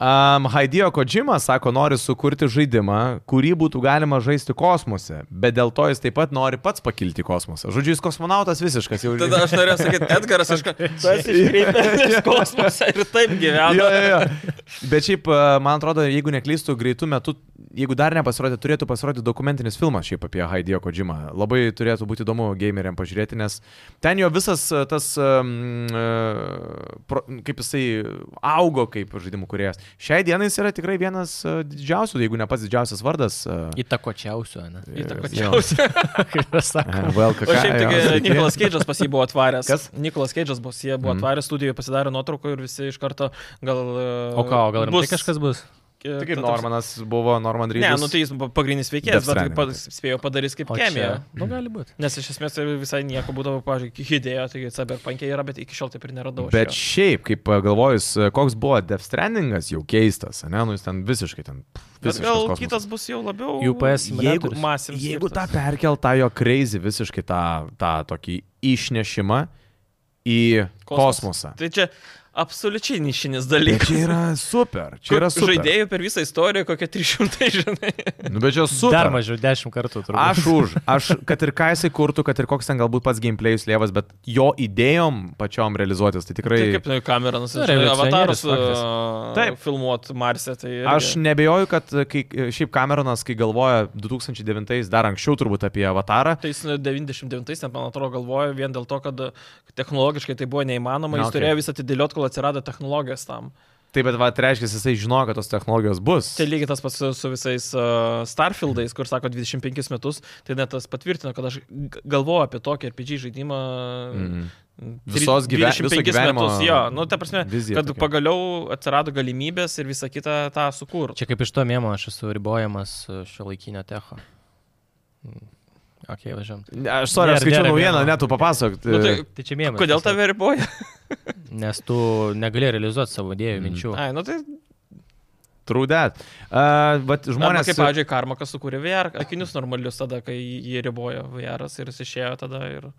Speaker 1: Um, Haidijo Kodžima sako, nori sukurti žaidimą, kurį būtų galima žaisti kosmose, bet dėl to jis taip pat nori pats pakilti į kosmosą. Žodžiu, jis kosmonautas visiškas jau.
Speaker 3: Tada aš norėjau sakyti, Edgaras, aš ką... Tu esi iškreipęs iš kosmosą ir taip
Speaker 1: Jo,
Speaker 3: gyvena.
Speaker 1: jo, jo. Bet šiaip, a, man atrodo, jeigu neklystų greitų metų, jeigu dar nepasirodė, turėtų pasirodyti dokumentinis filmas šiaip apie Haidijo Kodžimą. Labai turėtų būti įdomu gameriam pažiūrėti, nes ten jo visas a, tas, a, mm, a, pro- kaip jisai augo kaip žaidimų kuriejas. Šiai dienai jis yra tikrai vienas a, didžiausių, jeigu ne pats didžiausias vardas. e, a,
Speaker 2: Įtakočiausio, ne?
Speaker 3: Įtakočiausia.
Speaker 2: Kaip aš sakau.
Speaker 1: VLKK,
Speaker 3: O šiaip
Speaker 1: jo,
Speaker 3: tik e,
Speaker 1: sveiki.
Speaker 3: Nikolas Keidžas pas jį buvo atvaręs.
Speaker 1: Kas?
Speaker 3: Nikolas Keidžas pas jį buvo
Speaker 1: Mhm.
Speaker 3: atvaręs, studijoje pasidarė nuotrauką ir visi iš karto gal... e,
Speaker 2: O ką, o gal rimtai kažkas bus?
Speaker 1: Tai kaip Normanas buvo, Norman Reedus.
Speaker 3: Ne, nu tai jis buvo pagrindinis veikėjas,
Speaker 1: Death Stranding.
Speaker 3: bet pa- spėjo padarys kaip
Speaker 2: O
Speaker 3: chemija.
Speaker 2: čia- Nu, gali būti.
Speaker 3: Nes iš esmės tai visai nieko būdavo, pavyzdžiui, idėjo, taigi Cyberpunk'e yra, bet iki šiol taip ir neradau. aš
Speaker 1: Bet
Speaker 3: jo.
Speaker 1: šiaip, kaip a, galvojus, a, koks buvo Death Strandingas, jau keistas, ne, nu jis ten visiškai ten. pff,
Speaker 3: bet
Speaker 1: visiškas
Speaker 3: gal
Speaker 1: kosmosas.
Speaker 3: kitas bus jau labiau...
Speaker 2: UPS
Speaker 1: Jeigu,
Speaker 2: simuliatorius.
Speaker 3: masinis
Speaker 1: jeigu tą
Speaker 3: skirtas.
Speaker 1: perkeltą jo crazy visiškai tą, tą tokį išnešimą į
Speaker 3: Kosmos.
Speaker 1: kosmosą.
Speaker 3: Tai čia absoliučiai nišinis
Speaker 1: Tai
Speaker 3: dalykas.
Speaker 1: čia yra super. Čia yra super.
Speaker 3: Žaidėjų per visą istoriją kokie 300, žinai.
Speaker 1: Nu, bet čia super.
Speaker 2: Dar mažiau, dešimt kartų turbūt.
Speaker 1: Aš už. Aš, kad ir ką jisai kurtų, kad ir koks ten galbūt pats gameplayus lievas, bet jo idėjom pačiom realizuotis, tai tikrai...
Speaker 3: Tai kaip nu, kamera nusižiūrėjo,
Speaker 2: revoliucionierius
Speaker 3: avatarus
Speaker 2: faktas.
Speaker 1: Taip.
Speaker 3: Taip. filmuot Marse. Tai irgi.
Speaker 1: Aš nebejoju, kad e, kai, šiaip Cameronas, kai galvoja 2009, dar anksčiau turbūt apie avatarą,
Speaker 3: Tai jis nu, 99-ais, net man atrodo, galvojo vien dėl to, kad uh, technologiškai tai buvo neįmanoma,
Speaker 1: Na,
Speaker 3: jis
Speaker 1: okei.
Speaker 3: turėjo visą atidėliot, kol atsirado technologijos tam.
Speaker 1: taip bet va, tai reiškia, jisai žinojo, kad tos technologijos bus.
Speaker 3: Tai lygiai tas pats su- su visais uh, Starfieldais, kur sako 25 metus, tai net tas patvirtino, kad aš g- galvoju apie tokį RPG žaidimą.
Speaker 1: Mhm.
Speaker 3: tri-
Speaker 1: Visos gyve- viso
Speaker 3: 25
Speaker 1: gyvenimo
Speaker 3: metus, jo, nu, ta prasme,
Speaker 1: vizija
Speaker 3: kad
Speaker 1: tokia.
Speaker 3: pagaliau atsirado galimybės ir visą kitą tą sukurti.
Speaker 2: Čia kaip iš to mėmo aš esu ribojamas e, šio laikinio techo. Mm. Ok, važiuom.
Speaker 1: Ne, Aš sorry,
Speaker 2: Nėra-
Speaker 1: aš skaičiau
Speaker 2: nėra
Speaker 1: naujieną,
Speaker 2: vieno.
Speaker 1: net tu papasakok.
Speaker 3: Nu, tai,
Speaker 2: Tai čia mėmo.
Speaker 3: kodėl tave riboja?
Speaker 2: Nes tu negali realizuoti savo dėjų
Speaker 1: Mm.
Speaker 2: minčių.
Speaker 3: Ai, nu tai
Speaker 1: Trūdet. Uh, bet
Speaker 3: žmonės.
Speaker 1: žmonės...
Speaker 3: Kaip, pavyzdžiui, Karmakas sukūrė VR akinius normalius tada, kai jį ribojo VR ir jis išėjo tada ir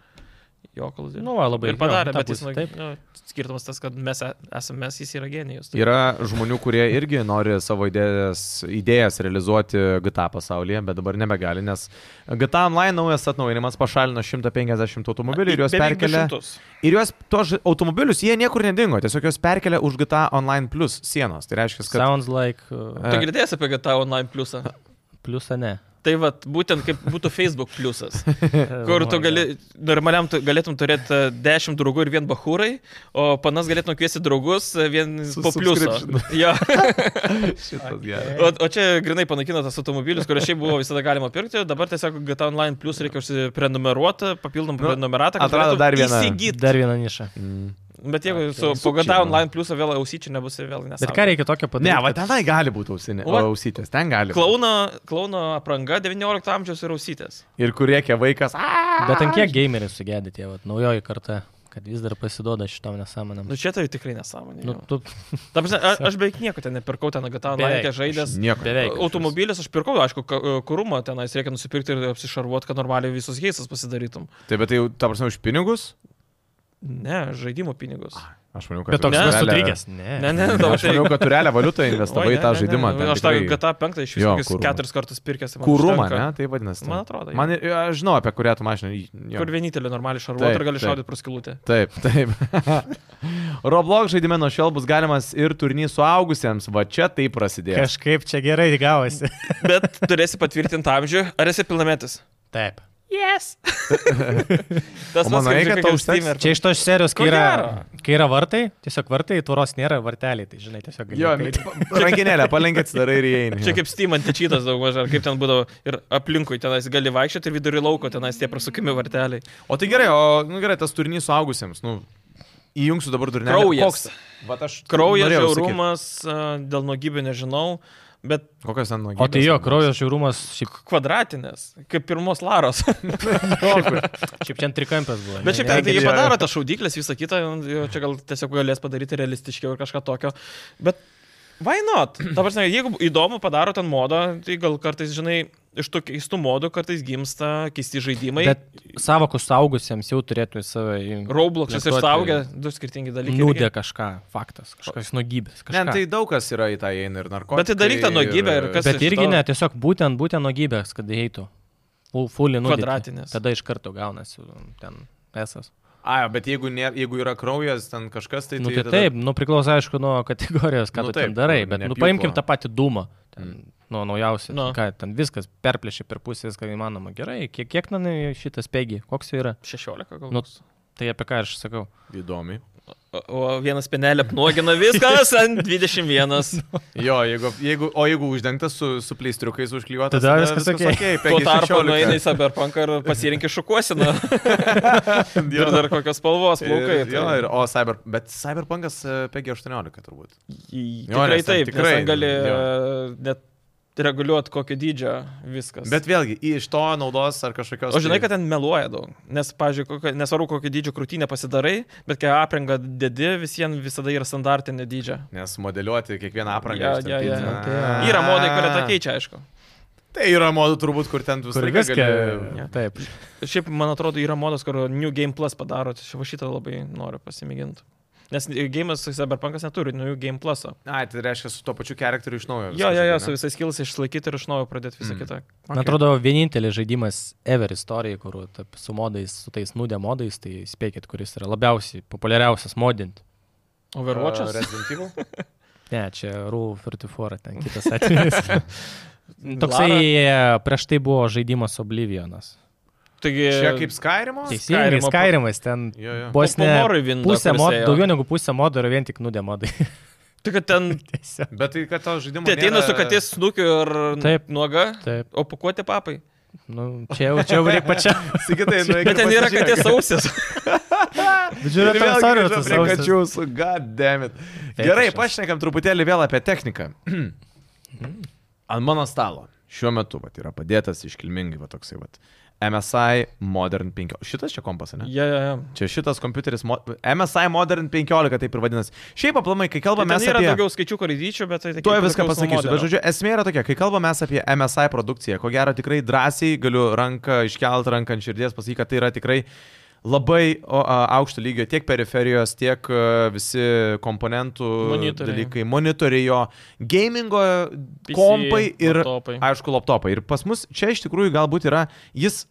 Speaker 3: Jokalas.
Speaker 2: Nu, va, labai
Speaker 3: ir padarė,
Speaker 2: jo, tą
Speaker 3: bet jis,
Speaker 2: pusę,
Speaker 3: nu,
Speaker 2: taip.
Speaker 3: nu, skirtumas tas, kad mes e- esame, mes jis yra genijus. Tai-
Speaker 1: Yra žmonių, kurie irgi nori savo idėjas, idėjas realizuoti GTA pasaulyje, bet dabar nebegali, nes GTA Online naujas atnaujinimas pašalino 150 automobilių ir juos
Speaker 3: Beveik du
Speaker 1: perkelia.
Speaker 3: šimtus.
Speaker 1: Ir juos, tuos ž- automobilius, jie niekur nedingo, tiesiog juos perkelia už GTA Online Plus sienos. Tai reiškia, kad...
Speaker 2: Sounds like uh,
Speaker 3: Tu girdėjai apie GTA Online pliusą.
Speaker 2: pliusą ne.
Speaker 3: Tai vat, būtent kaip būtų Facebook pliusas. Kur tu gali, normaliam tu galėtum turėti e, 10 draugų ir vien bahūrai, o panas galėtum kviesti draugus e, vien
Speaker 1: Su
Speaker 3: po pliuso.
Speaker 1: subscriptionu.
Speaker 3: Jo.
Speaker 1: Šitas geras.
Speaker 3: O, o čia grinai panaikino tas automobilis, kurio šiaip buvo visada galima pirkti, dabar tiesiog GTA Online Plus reikia užsiprenumeruoti,
Speaker 1: Nu,
Speaker 3: papildomą nu, prenumeratą, kad
Speaker 1: atrado
Speaker 3: galėtum
Speaker 1: dar vieną.
Speaker 3: Įsigyti.
Speaker 2: Dar vieną nišą.
Speaker 1: Mm.
Speaker 3: Bet jeigu su
Speaker 1: sukčiai,
Speaker 3: po GTA
Speaker 1: nu.
Speaker 3: Online Plus vėl ausyčių nebus ir vėl
Speaker 2: Bet ką
Speaker 3: nesąmonė.
Speaker 2: reikia tokio padaryti?
Speaker 1: Ne, va
Speaker 2: kad-
Speaker 1: tenai gali būti ausinė,
Speaker 3: Va.
Speaker 1: ausytės, ten gali. būt.
Speaker 3: Klauno, klauno apranga 19 amžiaus ir ausytės.
Speaker 1: Ir kur reikia vaikas. "A!"
Speaker 2: Bet ant kiek gameriai sugedė tie, va, naujoji karta, kad vis dar pasiduoda šitom nesąmonėm.
Speaker 3: Nu čia tai tikrai nesąmonė.
Speaker 2: Nu,
Speaker 3: Nu,
Speaker 2: tu
Speaker 3: Ta prasme, a- aš beveik nieko ten nepirkau, ten GTA Online
Speaker 2: Beveik.
Speaker 3: kiek žaidęs.
Speaker 1: Nieko.
Speaker 2: beveik.
Speaker 3: Automobilis aš pirkau, aišku, kurumą tenais reikia nusipirkti ir apsišarvuoti, kad normaliai visus heisas pasidarytum.
Speaker 1: Taip, bet tai jau, ta prasme, už pinigus?
Speaker 3: Ne, žaidimo pinigus.
Speaker 1: Aš maniau, kad...
Speaker 2: Bet toks
Speaker 1: už
Speaker 3: Ne.
Speaker 1: realią-
Speaker 2: nesutrikęs. Ne.
Speaker 3: Ne, ne,
Speaker 1: Aš
Speaker 3: tai-
Speaker 1: maniau, kad tu realią valiutą
Speaker 3: Oi,
Speaker 1: investavai
Speaker 3: ne,
Speaker 1: tą
Speaker 3: ne,
Speaker 1: žaidimą.
Speaker 3: ne,
Speaker 1: ten
Speaker 3: Aš tą
Speaker 1: tikrai-
Speaker 3: GTA 5 iš
Speaker 1: Jo,
Speaker 3: viso kokius
Speaker 1: kurumą.
Speaker 3: keturis kartus pirkęs. man
Speaker 1: Kūrumą,
Speaker 3: užtenka.
Speaker 1: ne? Tai vadinasi.
Speaker 3: Man atrodo, jo.
Speaker 1: Man, ir- aš žinau, apie kurią tu mašiną. J- jo.
Speaker 3: Kur vienintelį normaliai šarvuotą
Speaker 1: Taip,
Speaker 3: ir gali
Speaker 1: taip.
Speaker 3: šaudyti praskilutę.
Speaker 1: Taip, taip. Roblox žaidime nuo šiol bus galimas ir turinys suaugusiems. Va čia tai prasidėjo.
Speaker 2: Kažkaip čia gerai gavosi.
Speaker 3: Bet turėsi patvirtinti amžių, ar esi pilnametis?
Speaker 2: Taip.
Speaker 3: Yes. Tas
Speaker 1: O manai, kad
Speaker 3: kaip žinai,
Speaker 1: to
Speaker 3: kaip
Speaker 1: užteks?
Speaker 3: Steam ir-
Speaker 2: Čia iš tos serijos,
Speaker 3: Ko
Speaker 2: kai yra,
Speaker 3: gero.
Speaker 2: kai yra vartai, tiesiog vartai, tvoros nėra, varteliai, tai žinai, tiesiog gali.
Speaker 1: Jo,
Speaker 2: apeiti.
Speaker 1: rankinėlė, palenkė atsidarai ir įeini.
Speaker 3: Čia kaip Steam antičytas daug mažai, kaip ten būdavo ir aplinkui tenais gali vaikščioti ir vidury lauko tenais tie prasukimi varteliai.
Speaker 1: O tai gerai, o nu, gerai, tas turinys suaugusiems. Nu, įjungsiu dabar durinę.
Speaker 3: Kraujas.
Speaker 1: Va aš
Speaker 3: Kraujas,
Speaker 1: norėjau sakyt.
Speaker 3: žiaurumas, a, dėl nuogybių nežinau, bet
Speaker 1: Kokios ten nuogybės?
Speaker 2: O tai jo, kraujo žiaurumas, šiaip,
Speaker 3: kvadratinės, kaip pirmos laros.
Speaker 2: šiaip čia ant trikampės buvo.
Speaker 3: bet
Speaker 1: ne,
Speaker 3: šiaip ten tai jie
Speaker 1: gerai.
Speaker 3: padaro tą šaudyklės, visą kitą, jau čia gal tiesiog galės padaryti realistiškiau ir kažką tokio. Bet why not? Dabar, jeigu įdomu padaro ten modą, tai gal kartais, žinai, iš tų keistų modų kartais gimsta keisti žaidimai. Bet...
Speaker 2: Bet savokus saugusiems jau turėtų į save įjungti.
Speaker 3: Robloksas ir
Speaker 2: Plėtoti-
Speaker 3: staugė, du skirtingi dalykai.
Speaker 2: Nūdė kažką, faktas, kažkas nuogybės.
Speaker 1: Ne,
Speaker 2: Kažką.
Speaker 1: tai daug kas yra į tą įeina ir narkotikai.
Speaker 3: Bet tai daryk tą nuogybę ir kas-
Speaker 2: Bet
Speaker 3: iš
Speaker 2: irgi
Speaker 3: to-
Speaker 2: ne, tiesiog būtent, būtent nuogybės, kad eitų. Fully nuogybės.
Speaker 3: Kvadratinės.
Speaker 2: Tada iš karto gaunasi mm, ten esas.
Speaker 1: A, bet jeigu, ne, jeigu yra kraujas, ten kažkas, tai...
Speaker 2: Nu, tai
Speaker 1: tada-
Speaker 2: taip, nu, priklauso aišku nuo kategorijos, ką
Speaker 1: Nu,
Speaker 2: nu, tu
Speaker 1: taip, Mm.
Speaker 2: taip, ten darai,
Speaker 1: nu,
Speaker 2: bet nu,
Speaker 1: nepjūklo.
Speaker 2: paimkim tą patį dūmą. Ten, nu, naujausia.
Speaker 3: Nu.
Speaker 2: Nu. Ką, ten viskas perplėšė per pusę, viską įmanoma. Gerai, kiek, kiek nanai šitas pegi, koks jo yra?
Speaker 3: 16 gal.
Speaker 2: Nu, tai apie ką aš sakau.
Speaker 1: Įdomi.
Speaker 3: O, o vienas penelė apnuogina viskas ant 21.
Speaker 1: Jo, jeigu, jeigu, o jeigu uždengtas su, su pleistriukais užklijuotas,
Speaker 2: Tada viskas okei.
Speaker 1: okay.
Speaker 3: Tuo tarpu nueina į Cyberpunk ir pasirinkė šukuosiną. ir dar kokios spalvos plaukai. tai-
Speaker 1: Ir, jo, ir, o cyber, bet Cyberpunkas e, PG18 turbūt.
Speaker 3: Tikrai
Speaker 1: Jo, nes ten tikrai,
Speaker 3: taip, tikrai nes ten gali
Speaker 1: jo.
Speaker 3: e, net reguliuoti kokio dydžio viskas.
Speaker 1: Bet vėlgi, iš to naudos ar kažkokios...
Speaker 3: O žinai,
Speaker 1: tai-
Speaker 3: kad ten meluoja daug. Nes, pavyzdžiui, nesvarbu, kokį dydžio krūtinę pasidarai, bet kai aprengą dedi, visiems visada yra standartinė dydžio.
Speaker 1: Nes modeliuoti kiekvieną aprangą.
Speaker 3: Jo, jo,
Speaker 1: ištampyti.
Speaker 3: jo.
Speaker 1: A.
Speaker 3: Yra modai, kurie tą keičia, aišku.
Speaker 1: Tai yra modų turbūt, kur ten visą
Speaker 2: Kur
Speaker 1: laiką
Speaker 2: viską.
Speaker 1: gali-
Speaker 2: Gali... Taip.
Speaker 3: Šiaip, man atrodo, yra modas, kur New Game Plus padaro, tai aš va šitą labai noriu pasimėginti. Nes gėjimas Cyberpunkas neturi New Game Plus.
Speaker 1: Ai, tai reiškia su tuo pačiu charakteriu iš naujo.
Speaker 3: Jo, jo, jo, su
Speaker 1: visais.
Speaker 3: visais kilus išlaikyti ir iš naujo pradėti visą
Speaker 1: Mm.
Speaker 3: kitą.
Speaker 2: Man atrodo, vienintelis žaidimas ever istorijai, kur taip, su modais, su tais nudė modais, tai spėkit, kuris yra labiausiai populiariausias modint.
Speaker 3: Overwatch'as.
Speaker 1: Resident Evil?
Speaker 2: Ne, čia RU44, ten kitas atvejis. Toksai
Speaker 3: Lara.
Speaker 2: e, prieš tai buvo žaidimas Oblivionas.
Speaker 3: Taigi,
Speaker 1: Čia kaip Skyrimo?
Speaker 2: Teisingai,
Speaker 3: Skyrimo-
Speaker 2: Skyrimas ten
Speaker 1: Jo, jo.
Speaker 2: vos ne
Speaker 3: Morrowind.
Speaker 2: pusė mod, daugiau negu pusė modų yra vien tik nudė modai.
Speaker 3: Tai kad ten
Speaker 2: Tiesiog.
Speaker 1: Bet tai, kad to žaidimo...
Speaker 3: tai ateina
Speaker 1: nėra-
Speaker 3: su katės snukiu ir
Speaker 2: Taip.
Speaker 3: nuoga,
Speaker 2: Taip,
Speaker 3: o pakuoti papai.
Speaker 2: nu, čia jau, čia jau reikia pačiam.
Speaker 1: Sigitai, nu,
Speaker 3: Bet ten yra katės ausis.
Speaker 1: Ir vėl
Speaker 2: Žiūrėk, tas
Speaker 1: grįžo
Speaker 2: orientas.
Speaker 1: prie kačių su goddammit. Gerai,
Speaker 2: Fetišas.
Speaker 1: pašnekam truputėlį vėl apie techniką. Ant mano stalo šiuo metu vat, yra padėtas iškilmingai va, toksai vat, MSI Modern 5. Šitas čia kompas, ne?
Speaker 3: Jie, jie, jie.
Speaker 1: Čia šitas kompiuteris, mo MSI Modern 15 taip ir vadinasi. Šiaip aplamai, kai kalbame
Speaker 3: Mes
Speaker 1: mes
Speaker 3: Tai yra
Speaker 1: apie...
Speaker 3: daugiau skaičių karydyčių, bet tai tik...
Speaker 1: Tuo viską pasakysiu, bet žodžiu, esmė yra tokia, kai kalbame apie MSI produkciją, ko gero tikrai drąsiai galiu ranką iškelt, ranką ant širdies pasakyti, kad tai yra tikrai labai o, a, aukšto lygio tiek periferijos, tiek a, visi komponentų
Speaker 3: Monitoriai.
Speaker 1: dalykai, monitoriai jo, gamingo
Speaker 3: PC,
Speaker 1: kompai ir,
Speaker 3: laptopai.
Speaker 1: aišku, laptopai. Ir pas mus čia iš tikrųjų galbūt yra jis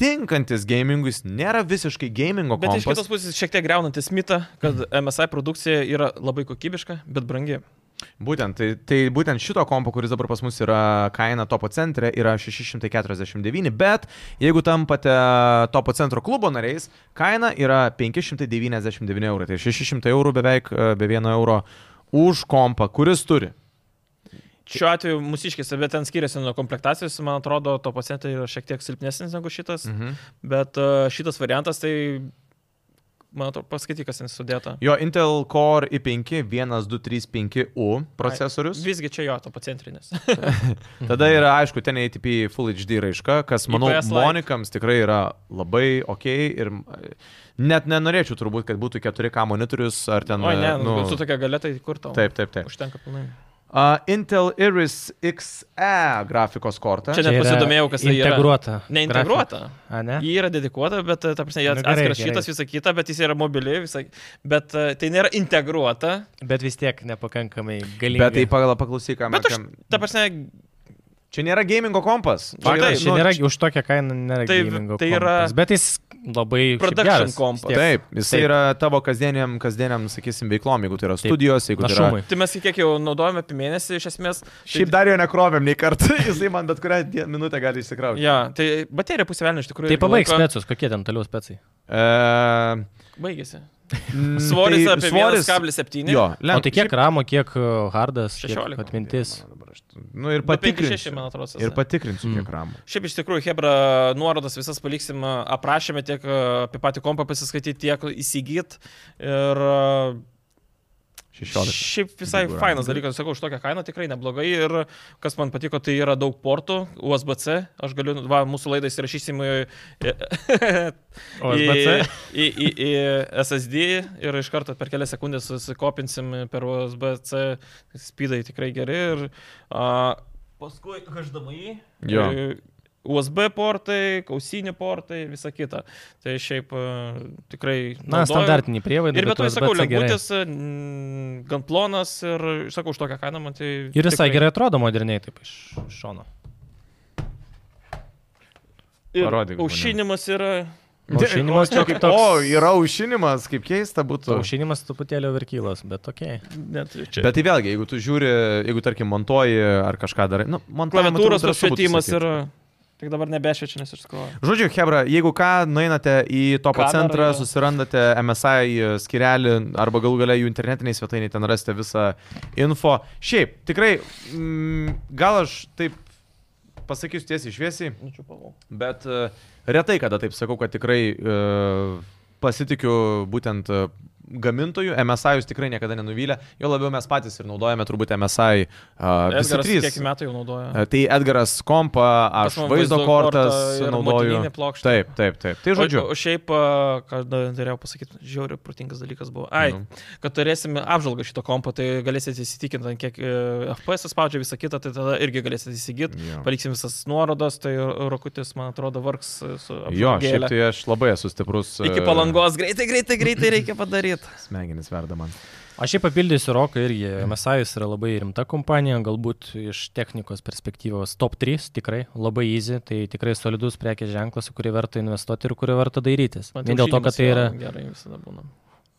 Speaker 1: tinkantis gamingui, jis nėra visiškai gamingo
Speaker 3: Bet iš
Speaker 1: kompas.
Speaker 3: kitos pusės šiek tiek greunantis mitą, kad MSI produkcija yra labai kokybiška, bet brangi.
Speaker 1: Būtent, tai, tai būtent šito kompo, kuris dabar pas mus yra kaina topo centre, yra 649, bet jeigu tampate topo centro klubo nariais, kaina yra 599 eurų. Tai 600 eurų beveik e, be 1 euro už kompą, kuris turi.
Speaker 3: Šiuo atveju mūsiškėse, bet ten skiriasi nuo komplektacijos, man atrodo, to pacientai yra šiek tiek silpnesnis negu šitas, mm.
Speaker 1: Mhm.
Speaker 3: bet e, šitas variantas, tai, man atrodo, paskaityk, kas ten sudėta.
Speaker 1: Jo Intel Core i5 1235U procesorius.
Speaker 3: Visgi čia jo, to pacientrinis.
Speaker 1: Tada
Speaker 3: Mhm.
Speaker 1: yra, aišku, ten ATP Full HD raiška, kas, manau,
Speaker 3: IPS like.
Speaker 1: monikams tikrai yra labai ok ir e, net nenorėčiau turbūt, kad būtų 4K monitorius ar ten...
Speaker 3: Oi, ne,
Speaker 1: e,
Speaker 3: nu, su tokia galia, tai kur tau?
Speaker 1: Taip, taip, taip.
Speaker 3: Užtenka pilnai.
Speaker 1: Uh, Intel Iris XE grafikos kortą.
Speaker 3: Čia
Speaker 1: Čia...
Speaker 3: net pasidomėjau, kas tai yra.
Speaker 2: integruota.
Speaker 3: Neintegruota.
Speaker 2: A, ne?
Speaker 3: Ji yra dedikuota, bet, e, ta prasme, jie
Speaker 2: Nu, gerai,
Speaker 3: atskiras
Speaker 2: gerai.
Speaker 3: šitas visą kitą, bet jis yra mobili, visą... bet e, tai nėra integruota.
Speaker 2: Bet vis tiek nepakankamai galinga.
Speaker 1: Bet tai pagal paklausyk, kam.
Speaker 3: Bet aš,
Speaker 1: kam-
Speaker 3: ta prasme,
Speaker 1: Čia nėra gamingo kompas.
Speaker 3: Va,
Speaker 1: yra, nu,
Speaker 3: taip,
Speaker 2: Čia nėra, už tokią kainą nėra
Speaker 3: nu, Tai-
Speaker 2: gamingo
Speaker 3: tai yra
Speaker 2: kompas, Bet jis labai... šiaip
Speaker 3: production
Speaker 2: geras vis
Speaker 3: kompas.
Speaker 2: tiek.
Speaker 1: Taip, jisai
Speaker 2: Taip.
Speaker 1: yra tavo kasdieniam, kasdieniam, sakysim, veiklom, jeigu tai yra
Speaker 2: Taip.
Speaker 1: studijos, jeigu tai yra...
Speaker 2: Našumui.
Speaker 3: tai mes jį kiek jau naudojame apie mėnesį, iš esmės. tai
Speaker 1: Šiaip dar jo nekrovėm nei kartą, jisai man bet kurią dien- minutę gali išsikrauti.
Speaker 3: Ja, tai baterija pusė velnio iš tikrųjų.
Speaker 2: Tai
Speaker 3: irgi
Speaker 2: pabaigs
Speaker 3: laiko-
Speaker 2: specus, kokie ten toliau specai.
Speaker 1: Yeah.
Speaker 3: Baigėsi.
Speaker 1: Mm, tai
Speaker 3: Svoris tai apie svoris... 1,7.
Speaker 1: Jo,
Speaker 2: O
Speaker 1: lengva.
Speaker 2: tai kiek ramo, kiek uh, hardas, 16.
Speaker 3: 16.
Speaker 2: atmintis.
Speaker 1: Nu, ir
Speaker 3: 256,
Speaker 1: patikrinsiu.
Speaker 3: man atrodo.
Speaker 1: Ir patikrinsiu,
Speaker 2: Mm.
Speaker 1: kiek ramų.
Speaker 3: Šiaip iš tikrųjų, Hebra, nuorodas visas paliksim e, aprašyme, tiek e, apie patį kompą pasiskaityti, tiek įsigyti. Ir e,
Speaker 1: 16.
Speaker 3: Šiaip visai
Speaker 1: Jeigu yra.
Speaker 3: fainas dalykas, sakau, už tokią kainą tikrai neblogai ir kas man patiko, tai yra daug portų, USB-C, aš galiu, va, mūsų laidą įsirašysim į, į,
Speaker 2: USB-C?
Speaker 3: į, į, į SSD ir iš karto per kelias sekundės susikopinsim per USB-C, spydai tikrai geri ir a, paskui HDMI.
Speaker 1: Jo.
Speaker 3: ir USB portai, kausinių portai, visa kita. Tai šiaip a, tikrai...
Speaker 2: Na,
Speaker 3: naudoju.
Speaker 2: standartinį prievaidą.
Speaker 3: Ir be to, sakau,
Speaker 2: USB-C gerai.
Speaker 3: lengvutis, n- gan plonas ir, sakau, už tokią kainą man tai...
Speaker 2: Ir visai
Speaker 3: tikrai-
Speaker 2: gerai atrodo moderniai taip iš iš šono.
Speaker 3: Ir
Speaker 1: Parodyk žmonėm.
Speaker 3: Aušinimas yra...
Speaker 2: Aušinimas čia kaip toks.
Speaker 1: O, yra aušinimas, kaip keista būtų.
Speaker 2: Aušinimas truputėlį virkylas, bet tokie.
Speaker 3: Net čia.
Speaker 1: Bet tai vėlgi, jeigu tu žiūri, jeigu tarkim montuoji ar kažką darai, nu, montuoji.
Speaker 3: Klaviatūros apšvietimas yra... Tik dabar nebešviečiu, nes išskroju.
Speaker 1: Žodžiu, Hebra, jeigu ką, nueinate į topo
Speaker 3: Kamerą,
Speaker 1: centrą,
Speaker 3: jo.
Speaker 1: susirandate MSI skirelį arba galų gale jų internetiniai svetainiai, ten rasite visą info. Šiaip, tikrai, mm, gal aš taip pasakysiu tiesiai šviesiai,
Speaker 3: Nučiupavau.
Speaker 1: bet e, retai kada taip sakau, kad tikrai e, pasitikiu būtent e, gamintojų, MSI jūs tikrai niekada nenuvylė, jo labiau mes patys ir naudojame turbūt MSI uh, visi
Speaker 3: Edgaras,
Speaker 1: trys.
Speaker 3: kiek metų jau naudoja?
Speaker 1: E, Tai Edgaras kompa,
Speaker 3: Pas
Speaker 1: aš
Speaker 3: man
Speaker 1: vaizdo
Speaker 3: vaizdo
Speaker 1: kortas
Speaker 3: kortą ir
Speaker 1: naudoju.
Speaker 3: motininė plokštė.
Speaker 1: Taip, taip, taip. Tai žodžiu.
Speaker 3: O, o šiaip, a, ką dar norėjau pasakyti, žiauriai protingas dalykas buvo. Ai,
Speaker 1: Nu.
Speaker 3: kad turėsime apžvalgą šito kompo, tai galėsite įsitikinti, ant kiek e, FPS spaudžia visą kitą, tai tada irgi galėsite įsigyti.
Speaker 1: Jo.
Speaker 3: Paliksim visas nuorodas, tai Rokutis, man atrodo, vargs e, su...
Speaker 1: Jo, šiaip
Speaker 3: apžvalgėle.
Speaker 1: tai aš labai esu stiprus. e,
Speaker 3: Iki palangos greitai, greitai, greitai reikia padaryti.
Speaker 1: Smegenis verda man.
Speaker 2: Aš šiaip papildysiu Roką irgi. MSIUS yra labai rimta kompanija, galbūt iš technikos perspektyvos top 3 tikrai labai easy, tai tikrai solidus prekės ženklas, į kurį verta investuoti ir kurį verta dairytis. Vien dėl to, kad tai yra... Nu,
Speaker 3: Gerai, visada būna.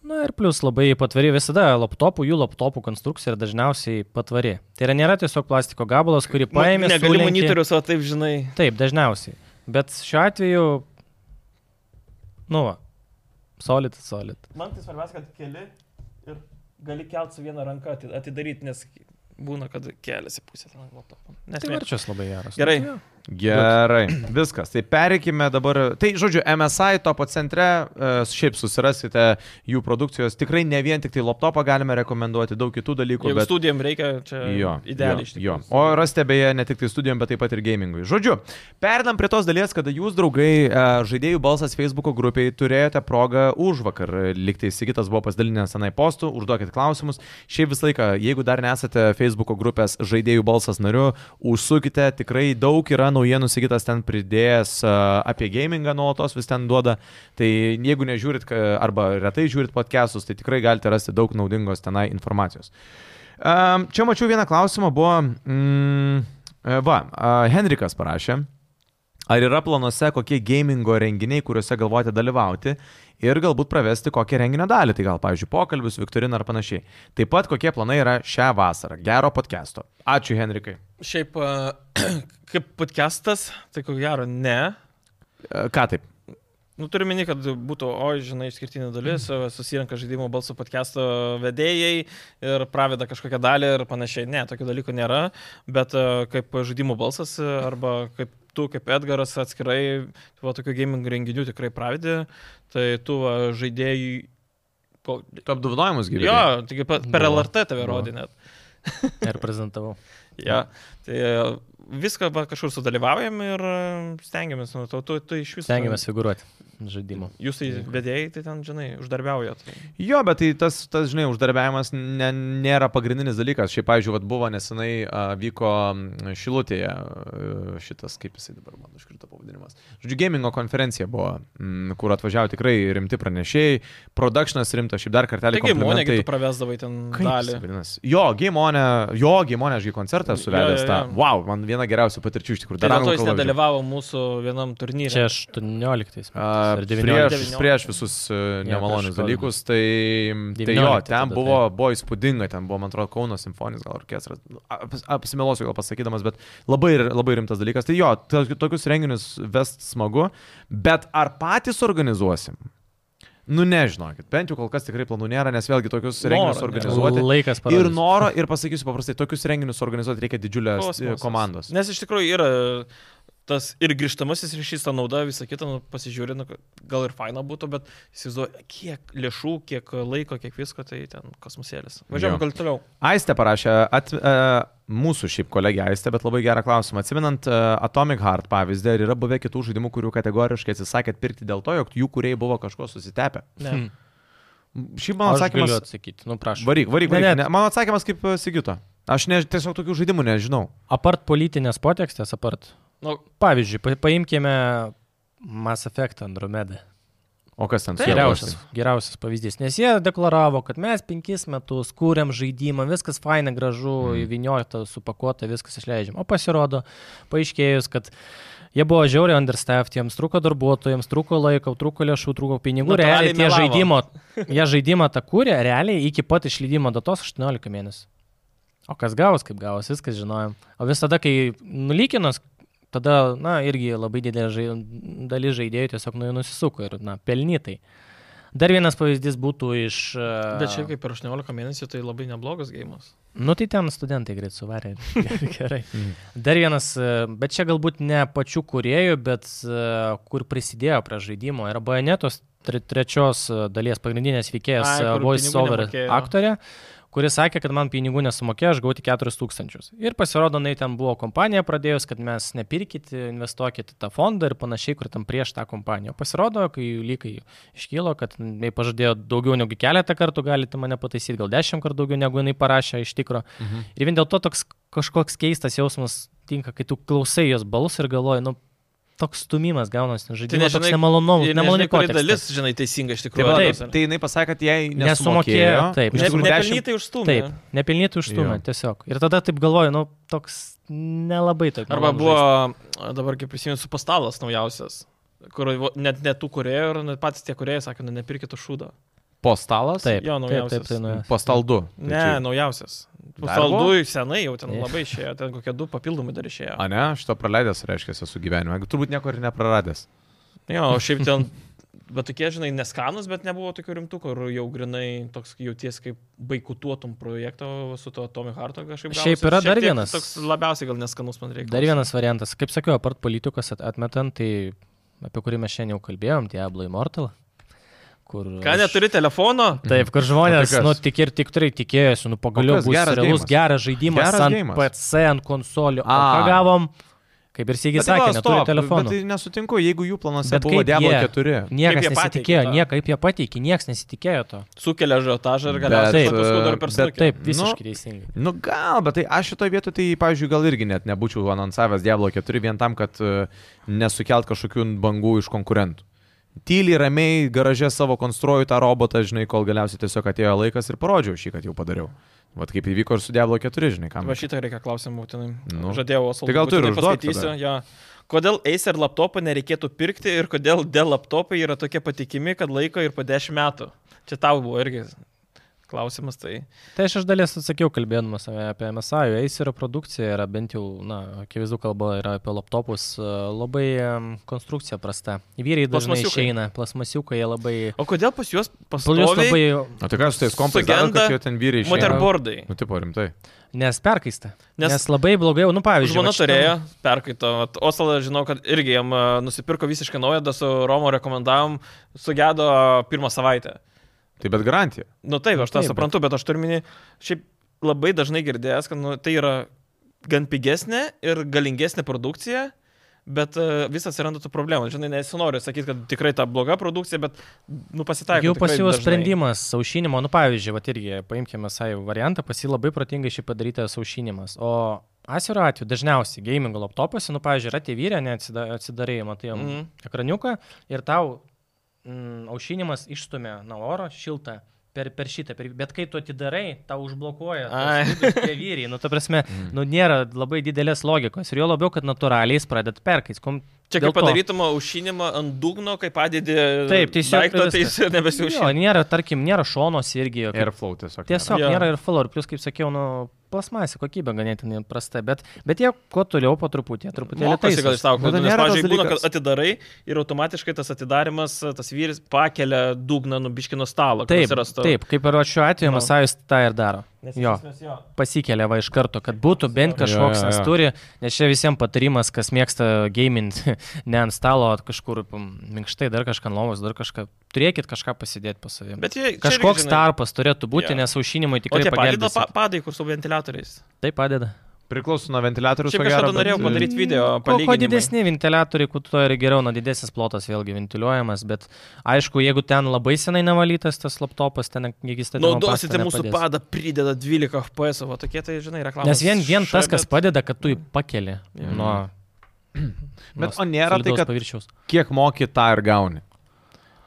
Speaker 2: Na ir plus labai patvari visada laptopų, jų laptopų konstrukcija yra dažniausiai patvari. Tai yra nėra tiesiog plastiko gabalas, kurį paėmė.
Speaker 3: Negali
Speaker 2: sulenki-
Speaker 3: monitorius, o taip žinai.
Speaker 2: Taip, dažniausiai. Bet šiuo atveju, nu, va, solid, solid.
Speaker 3: Man tai svarbiausia, kad keli ir gali kelti su viena ranka ati- atidaryti, nes būna, kad keliasi pusė ten laptopo. Nes
Speaker 2: Tai
Speaker 3: mėgstu.
Speaker 2: varčios labai geras.
Speaker 3: Gerai.
Speaker 2: Nu, tai
Speaker 1: Gerai, viskas. Tai pereikime dabar. Tai, žodžiu, MSI topo centre, e, šiaip susirasite jų produkcijos. Tikrai ne vien tik tai laptopą galime rekomenduoti, daug kitų dalykų.
Speaker 3: Jeigu bet... studijom reikia, čia
Speaker 1: Jo,
Speaker 3: idealiai iš
Speaker 1: jo, jo.
Speaker 3: tikrųjų.
Speaker 1: O rasite beje ne tik tai studijom, bet taip pat ir gamingui. Žodžiu, perinam prie tos dalies, kada jūs, draugai, e, žaidėjų balsas Facebook'o grupiai turėjote progą už vakar. Liktai Sigitas buvo pasidalinęs senai postų, užduokit klausimus. Šiaip visą laiką, jeigu dar nesate Facebook'o grupės žaidėjų balsas nariu, užsukite, tikrai daug yra yra naujienų, Sigitas ten pridėjęs e, apie gamingą nuolatos vis ten duoda. Tai jeigu nežiūrit ka- arba retai žiūrit podcastus, tai tikrai galite rasti daug naudingos tenai informacijos. Em, Čia mačiau vieną klausimą, buvo... Mm, e, va, e, Henrikas parašė. Ar yra planuose kokie gamingo renginiai, kuriuose galvojate dalyvauti ir galbūt pravesti kokią renginio dalį, tai gal, pavyzdžiui, pokalbius, Viktoriną ar panašiai. Taip pat kokie planai yra šią vasarą. Gero podcast'o. Ačiū, Henrikai.
Speaker 3: Šiaip a, kaip podcastas, tai ko gero ne.
Speaker 1: E, Ką taip?
Speaker 3: Nu, turime minį, kad būtų, oi, žinai, išskirtinė dalis, e, susirenka žaidimo balso podcast'o vedėjai ir praveda kažkokią dalį ir panašiai. Ne, tokių dalykų nėra, bet e, kaip žaidimo balsas e, arba kaip tu, kaip Edgaras atskirai, tu va tokių gaming renginių tikrai pravedi, tai tu va, žaidėjai... ko-
Speaker 1: Tu apdovanojimus gyveni.
Speaker 3: Jo, taigi pa- per
Speaker 2: Nu,
Speaker 3: LRT tave
Speaker 1: nu.
Speaker 3: rodė net.
Speaker 2: Ir prezentavau.
Speaker 3: Ja, tai e, viską va, kažkur sudalyvaujam ir e, stengiamės, nu, tu, tu, tu iš viso.
Speaker 2: Stengiamės figuruoti žaidimo.
Speaker 3: Jūs tai vedėjai, tai ten, žinai, uždarbiaujat.
Speaker 1: Jo, bet tai tas, tas žinai, uždarbiavimas ne, nėra pagrindinis dalykas. Šiaip, pavyzdžiui, vat buvo nesenai a, vyko mm, Šilutėje a, šitas, kaip jisai dabar man užkrito pavadinimas. Žodžiu, gamingo konferencija buvo, m, kur atvažiavo tikrai rimti pranešėjai, produkšnas rimtas, šiaip dar kartelį.
Speaker 3: Taigi, monegi
Speaker 1: komplimentai.
Speaker 3: tu pravesdavai ten
Speaker 1: Kaip
Speaker 3: dalį.
Speaker 1: jisai vadinasi? Jo, Gaimonė, jo, Gaimonė, aš jį koncertą
Speaker 3: Jo,
Speaker 1: suvedęs
Speaker 3: jo,
Speaker 1: tą.
Speaker 3: jo.
Speaker 1: Wow, man viena geriausių patirčių iš tikrųjų.
Speaker 3: Tai dėl
Speaker 1: anglų
Speaker 3: to jis
Speaker 1: kalba važiavau.
Speaker 3: nedalyvavo mūsų vienam turnyre.
Speaker 2: Čia 18 metais.
Speaker 1: A,
Speaker 2: Ar 19.
Speaker 1: prieš,
Speaker 3: 19.
Speaker 1: prieš visus e, nemalonius
Speaker 2: prieš kovidą.
Speaker 1: dalykus, tai, tai
Speaker 2: 19
Speaker 1: jo,
Speaker 2: tada,
Speaker 1: ten buvo, buvo įspūdinga, ten buvo, man atrodo, Kauno simfoninis gal orkestras, Nu, aps- apsimelosiu gal pasakydamas, bet labai, ir- labai rimtas dalykas. Tai jo, to- tokius renginius vest smagu, bet ar patys organizuosim? Nu nežinokit, bent jau kol kas tikrai planų nėra, nes vėlgi tokius
Speaker 3: Noro
Speaker 1: renginius
Speaker 3: nėra.
Speaker 1: organizuoti.
Speaker 2: Laikas
Speaker 1: Ir
Speaker 2: parodys.
Speaker 1: noro, ir pasakysiu paprastai, tokius renginius organizuoti reikia didžiulės e,
Speaker 3: Kosmosas.
Speaker 1: komandos.
Speaker 3: Nes iš tikrųjų yra tas ir grįžtamasis ryšys, ta nauda, visą kitą, nu, pasižiūrė, nu, gal ir faina būtų, bet įsivaizduoju, kiek lėšų, kiek laiko, kiek visko, tai ten kosmosėlis.
Speaker 1: Jo.
Speaker 3: Važiuojam, gal toliau.
Speaker 1: Aistė parašė, at, e, mūsų šiaip kolegė Aistė, bet labai gerą klausimą. Atsiminant e, Atomic Heart pavyzdį, ar yra buvę kitų žaidimų, kurių kategoriškai atsisakėt pirkti dėl to, jog jų kuriai buvo kažko susitepę?
Speaker 3: Ne.
Speaker 1: Šiaip mano
Speaker 2: Hmm. Aš galiu
Speaker 1: atsakymas...
Speaker 2: atsakyti, nu prašau.
Speaker 1: Varyk, varyk, varyk.
Speaker 2: Ne,
Speaker 1: Ne,
Speaker 2: ne.
Speaker 1: ne. Mano atsakymas kaip e, Sigito. Aš ne, tiesiog tokių žaidimų nežinau.
Speaker 2: Apart politinės potekstės, apart.
Speaker 3: Nu,
Speaker 2: Pavyzdžiui, pa- paimkime Mass Effect Andromedą.
Speaker 1: O kas ten su juo
Speaker 3: Taip.
Speaker 2: Tai Geriausias,
Speaker 1: bus?
Speaker 2: geriausias pavyzdys, nes jie deklaravo, kad mes penkis metus kūrėm žaidimą, viskas faina, gražu,
Speaker 1: Mm.
Speaker 2: įviniojta, supakuota, viskas išleidžiam. O pasirodo, paaiškėjus, kad jie buvo žiauriai understaffed, jiems trūko darbuotojams, trūko laiko, trūko lėšų, trūko pinigų.
Speaker 3: Natūraliai
Speaker 2: Realiai tie
Speaker 3: melavo.
Speaker 2: žaidimo, jie žaidimą tą kūrė, realiai iki pat išleidimo datos 18 mėnesių. O kas gavos, kaip gavos, viskas žinojom. O visada, kai nulykinos, tada, na, irgi labai didelė žai... dalis žaidėjų tiesiog nuo jų nusisuko ir, na, pelnytai. Dar vienas pavyzdys būtų iš... e,
Speaker 3: bet šiaip kaip per 18 mėnesių tai labai neblogas gėjimas.
Speaker 2: Nu, tai ten studentai greit suvarė. Gerai.
Speaker 1: Mhm.
Speaker 2: Dar vienas, e, bet čia galbūt ne pačių kuriejų, bet e, kur prisidėjo prie žaidimo. Yra bajonetos tre- trečios e, dalies pagrindinės veikėjas
Speaker 3: Ai,
Speaker 2: e,
Speaker 3: kur
Speaker 2: voice
Speaker 3: pinigų
Speaker 2: over
Speaker 3: nemokėjo.
Speaker 2: aktorė, kuris sakė, kad man pinigų nesumokėjo, aš gavau tik 4000. Ir pasirodo, na, ten buvo kompanija pradėjus, kad mes nepirkit, investuokit į tą fondą ir panašiai, kur tam prieš tą kompaniją. O Pasirodo, kai jų lygai iškylo, kad jinai pažadėjo daugiau negu keletą kartų, galite mane pataisyti, gal dešimt kartų daugiau negu jinai parašė iš tikro.
Speaker 1: Mhm.
Speaker 2: Ir vien dėl to toks kažkoks keistas jausmas tinka, kai tu klausai jos balsų ir galvoji, nu, toks stumimas gaunasi, nu, žaidžiu, tai
Speaker 3: nežinai-
Speaker 2: toks nemalonu,
Speaker 3: Ir
Speaker 2: nemalonu
Speaker 3: nežinai, kuri dalis, žinai, teisinga iš
Speaker 1: Tai,
Speaker 3: tikrųjų.
Speaker 1: va,
Speaker 2: Taip.
Speaker 1: taip, tai jinai pasakė, kad jei nesumokėjo,
Speaker 2: Nesumokėjo, taip.
Speaker 1: iš
Speaker 3: Ne,
Speaker 1: tikrųjų dešimt-
Speaker 3: nepelnytai užstumė.
Speaker 2: Taip, nepilnytų užtumė,
Speaker 1: Jo.
Speaker 2: tiesiog. Ir tada taip galvoju, nu, toks nelabai toks.
Speaker 3: Arba buvo, a, dabar kaip prisimenu, supastalas naujausias, kur vo- net ne tų kuriejų ir net patys tie kuriejai sakė, nu nepirkite šūdo.
Speaker 1: Po stalas?
Speaker 2: Taip,
Speaker 3: jo,
Speaker 2: taip, taip,
Speaker 3: naujausias.
Speaker 2: tai nuėjęs.
Speaker 1: Po staldu. Tai
Speaker 3: Ne, nu-
Speaker 1: čia-
Speaker 3: naujausias.
Speaker 1: Dar buvo?
Speaker 3: Saldų senai jau ten
Speaker 2: Ne.
Speaker 3: labai išėjo, ten kokie du papildomai dar išėjo.
Speaker 1: A ne, aš to praleidęs, reiškia, esu gyvenime. Turbūt nieko ir nepraradęs.
Speaker 3: Jo, o šiaip ten, bet tokie, žinai, neskanus, bet nebuvo tokių rimtų, kur jau grinai toks jauties kaip baikutuotum projekto su to Tomi Harto kažkaip.
Speaker 2: Šiaip
Speaker 3: gavosi.
Speaker 2: yra
Speaker 3: Šiek
Speaker 2: dar
Speaker 3: tiek
Speaker 2: vienas.
Speaker 3: Toks labiausiai gal neskanus man reikia.
Speaker 2: Dar vienas variantas, kaip sakiau, apart politikos at- atmetant, tai apie kurį mes šiandien jau kalbėjom, Diablo Immortal. Kur
Speaker 3: Ką tai
Speaker 2: aš-
Speaker 3: neturi telefono?
Speaker 2: Taip, kur
Speaker 1: O
Speaker 2: žmonės,
Speaker 1: tai kas?
Speaker 2: nu, tik ir tikrai tikėjosi, nu, pagaliau
Speaker 1: kas,
Speaker 2: bus
Speaker 1: geras geimas?
Speaker 2: realus geras žaidimas
Speaker 1: Geras
Speaker 2: ant
Speaker 1: geimas.
Speaker 2: PC, ant konsolių. O ką
Speaker 1: A. tai
Speaker 2: gavom? Kaip ir Sygis sakė, neturi telefonų.
Speaker 1: Bet tai nesutinku, jeigu jų planuose
Speaker 2: Bet
Speaker 1: buvo
Speaker 2: kaip
Speaker 1: Diablo
Speaker 2: jie?
Speaker 1: 4.
Speaker 3: Kaip
Speaker 2: Niekas
Speaker 3: jie pateikė
Speaker 2: nesitikėjo,
Speaker 3: tą?
Speaker 2: niekaip jie pateikė, niekas nesitikėjo to.
Speaker 3: Sukelia žiotažą ir
Speaker 1: Bet,
Speaker 3: galiausiai
Speaker 1: Taip,
Speaker 3: paskui dar
Speaker 1: bet
Speaker 3: persukė.
Speaker 2: e, Taip,
Speaker 1: Nu,
Speaker 2: visiškai teisingai.
Speaker 1: Nu gal, bet tai aš šitoje vietoje, tai, pavyzdžiui, gal irgi net nebūčiau anonsavęs Diablo 4 vien tam, kad e, nesukelt kažkokių bangų iš konkurentų. Tyliai, ramiai, garaže savo konstruoju tą robotą, žinai, kol galiausiai tiesiog atėjo laikas ir parodžiau šį, kad jau padariau. Vat kaip įvyko ir su Diablo 4, žinai, kam.
Speaker 3: Va šitą reikia klausimą būtinai.
Speaker 1: Nu.
Speaker 3: Nu. Žadėjau, o
Speaker 1: Tai gal tu ir užduok
Speaker 3: paskaitysiu.
Speaker 1: tada.
Speaker 3: Ja. Kodėl Acer laptopą nereikėtų pirkti ir kodėl dėl laptopai yra tokie patikimi, kad laiko ir po 10 metų? Čia tau buvo irgi klausimas. Tai
Speaker 2: Tai aš iš dalies atsakiau, kalbėdamas apie- apie MSI, jų Acer produkcija yra bent jau, na, akivaizdu kalba yra apie laptopus, e, labai em, konstrukcija prasta. Vyrai dažnai
Speaker 3: Plastmasiukai.
Speaker 2: išeina, plasmasiukai jie labai...
Speaker 3: o kodėl pas juos
Speaker 2: Plus
Speaker 3: pastoviai
Speaker 2: labai,
Speaker 1: Na tai ką su tais kompais daro,
Speaker 3: Sugenda
Speaker 1: kad jie ten vyrai išėjo?
Speaker 3: moterboardai?
Speaker 1: Nu, tipo, rimtai.
Speaker 2: nes perkaista.
Speaker 3: Nes-
Speaker 2: Nes, nes labai blogai, jau, nu, pavyzdžiui.
Speaker 3: Žmona
Speaker 2: vat šitam-
Speaker 3: turėjo, perkaito. Vat Osalą žinau, kad irgi jam a, nusipirko visiškai naują, dar su Romo rekomendavom, sugedo pirmą savaitę.
Speaker 1: Tai bet garantija.
Speaker 3: Nu taip,
Speaker 2: Nu
Speaker 3: aš tą
Speaker 2: taip, bet-
Speaker 3: suprantu, bet aš turiu minį, šiaip labai dažnai girdėjęs, kad nu, tai yra gan pigesnė ir galingesnė produkcija, bet uh, visas atsiranda tų problemų. Žinai, nesinoriu sakyti, kad tikrai ta bloga produkcija, bet nu, pasitaiko.
Speaker 2: Jau pas
Speaker 3: tikrai
Speaker 2: juos
Speaker 3: dažnai.
Speaker 2: sprendimas saušinimo, nu pavyzdžiui, va irgi paimkime SAI variantą, pas jį labai protingai šį padarytą saušinimas. O Asiro atveju dažniausiai gaming laptopuose, nu pavyzdžiui, yra tie vyrai, neatsidarėjai, matai, mm
Speaker 3: Mhm.
Speaker 2: -hmm. ekraniuką ir tau mm, aušinimas išstumia nuo oro šiltą. Per, per šitą, per, bet kai tu atidarai, tau užblokuoja.
Speaker 3: Ai.
Speaker 2: tuos vidus Tie vyrai, nu, ta prasme,
Speaker 1: Mm.
Speaker 2: nu, nėra labai didelės logikos. Ir jo labiau, kad natūraliai jis pradeda perkais. Kom...
Speaker 3: Čia
Speaker 2: dėl
Speaker 3: kaip
Speaker 2: to.
Speaker 3: padarytum aušinimą ant dugno, kai padedi
Speaker 2: Taip, tiesiog
Speaker 3: daiktą,
Speaker 2: ir
Speaker 3: tai jis
Speaker 2: viskas. Jo,
Speaker 3: nebesiaušina.
Speaker 2: nėra, tarkim, nėra šonos irgi. kaip
Speaker 1: Airflow tiesiog.
Speaker 2: Tiesiog
Speaker 3: Jo.
Speaker 2: nėra, nėra ir follower, plus, kaip sakiau, nu, plasmasė kokybė ganėtinai prasta, bet, bet jie kuo toliau po truputį, truputėlį tai
Speaker 3: Mokosi gal iš tavo
Speaker 1: Bet tai
Speaker 3: klaidų, nes,
Speaker 1: nėra tas
Speaker 3: pavyzdžiui, būna,
Speaker 1: dalykas.
Speaker 3: kad atidarai ir automatiškai tas atidarimas, tas vyris pakelia dugną nubiškino stalo. kad
Speaker 2: Taip,
Speaker 3: atsirastų.
Speaker 2: taip, kaip ir va šiuo atveju,
Speaker 3: Nu.
Speaker 2: Masajus tą ir daro.
Speaker 3: Nes iš
Speaker 2: Jo,
Speaker 3: esmės jo.
Speaker 2: pasikelia va iš karto, kad būtų bent
Speaker 1: Jo,
Speaker 2: kažkoks,
Speaker 1: jo,
Speaker 2: nes
Speaker 1: jo.
Speaker 2: turi, nes čia visiems patarimas, kas mėgsta gaming, ne ant stalo, o kažkur mm, minkštai, dar kažką ant lovos, dar kažką, turėkit kažką pasidėti pas savimi.
Speaker 3: Bet jie, čia irgi,
Speaker 2: Kažkoks
Speaker 3: žinai,
Speaker 2: tarpas turėtų būti,
Speaker 3: Jo.
Speaker 2: nes aušinimui
Speaker 3: O
Speaker 2: tikrai
Speaker 3: tie padeda
Speaker 2: pagelbės.
Speaker 3: pa, padai, kur su ventiliatoriais.
Speaker 2: Tai padeda.
Speaker 1: Priklauso nuo ventiliatorių.
Speaker 3: Šiaip kažkada norėjau padaryti video.
Speaker 2: Kuo, kuo
Speaker 3: palyginimai.
Speaker 2: Mm. didesni ventiliatoriai, kuo to yra geriau, nuo didesnis plotas vėlgi ventiliuojamas, bet aišku, jeigu ten labai senai nevalytas tas laptopas, ten jis ten...
Speaker 3: Naudosite Nu, tai mūsų padą, prideda 12 FPS, o tokie tai, žinai, reklamos.
Speaker 2: Nes vien, vien tas,
Speaker 3: šabet.
Speaker 2: kas padeda, kad tu jį pakeli
Speaker 3: Jo.
Speaker 2: nuo...
Speaker 1: Bet o nėra tai,
Speaker 2: solidaus
Speaker 1: kad-
Speaker 2: Paviršiaus.
Speaker 1: kiek moki tą ir gauni.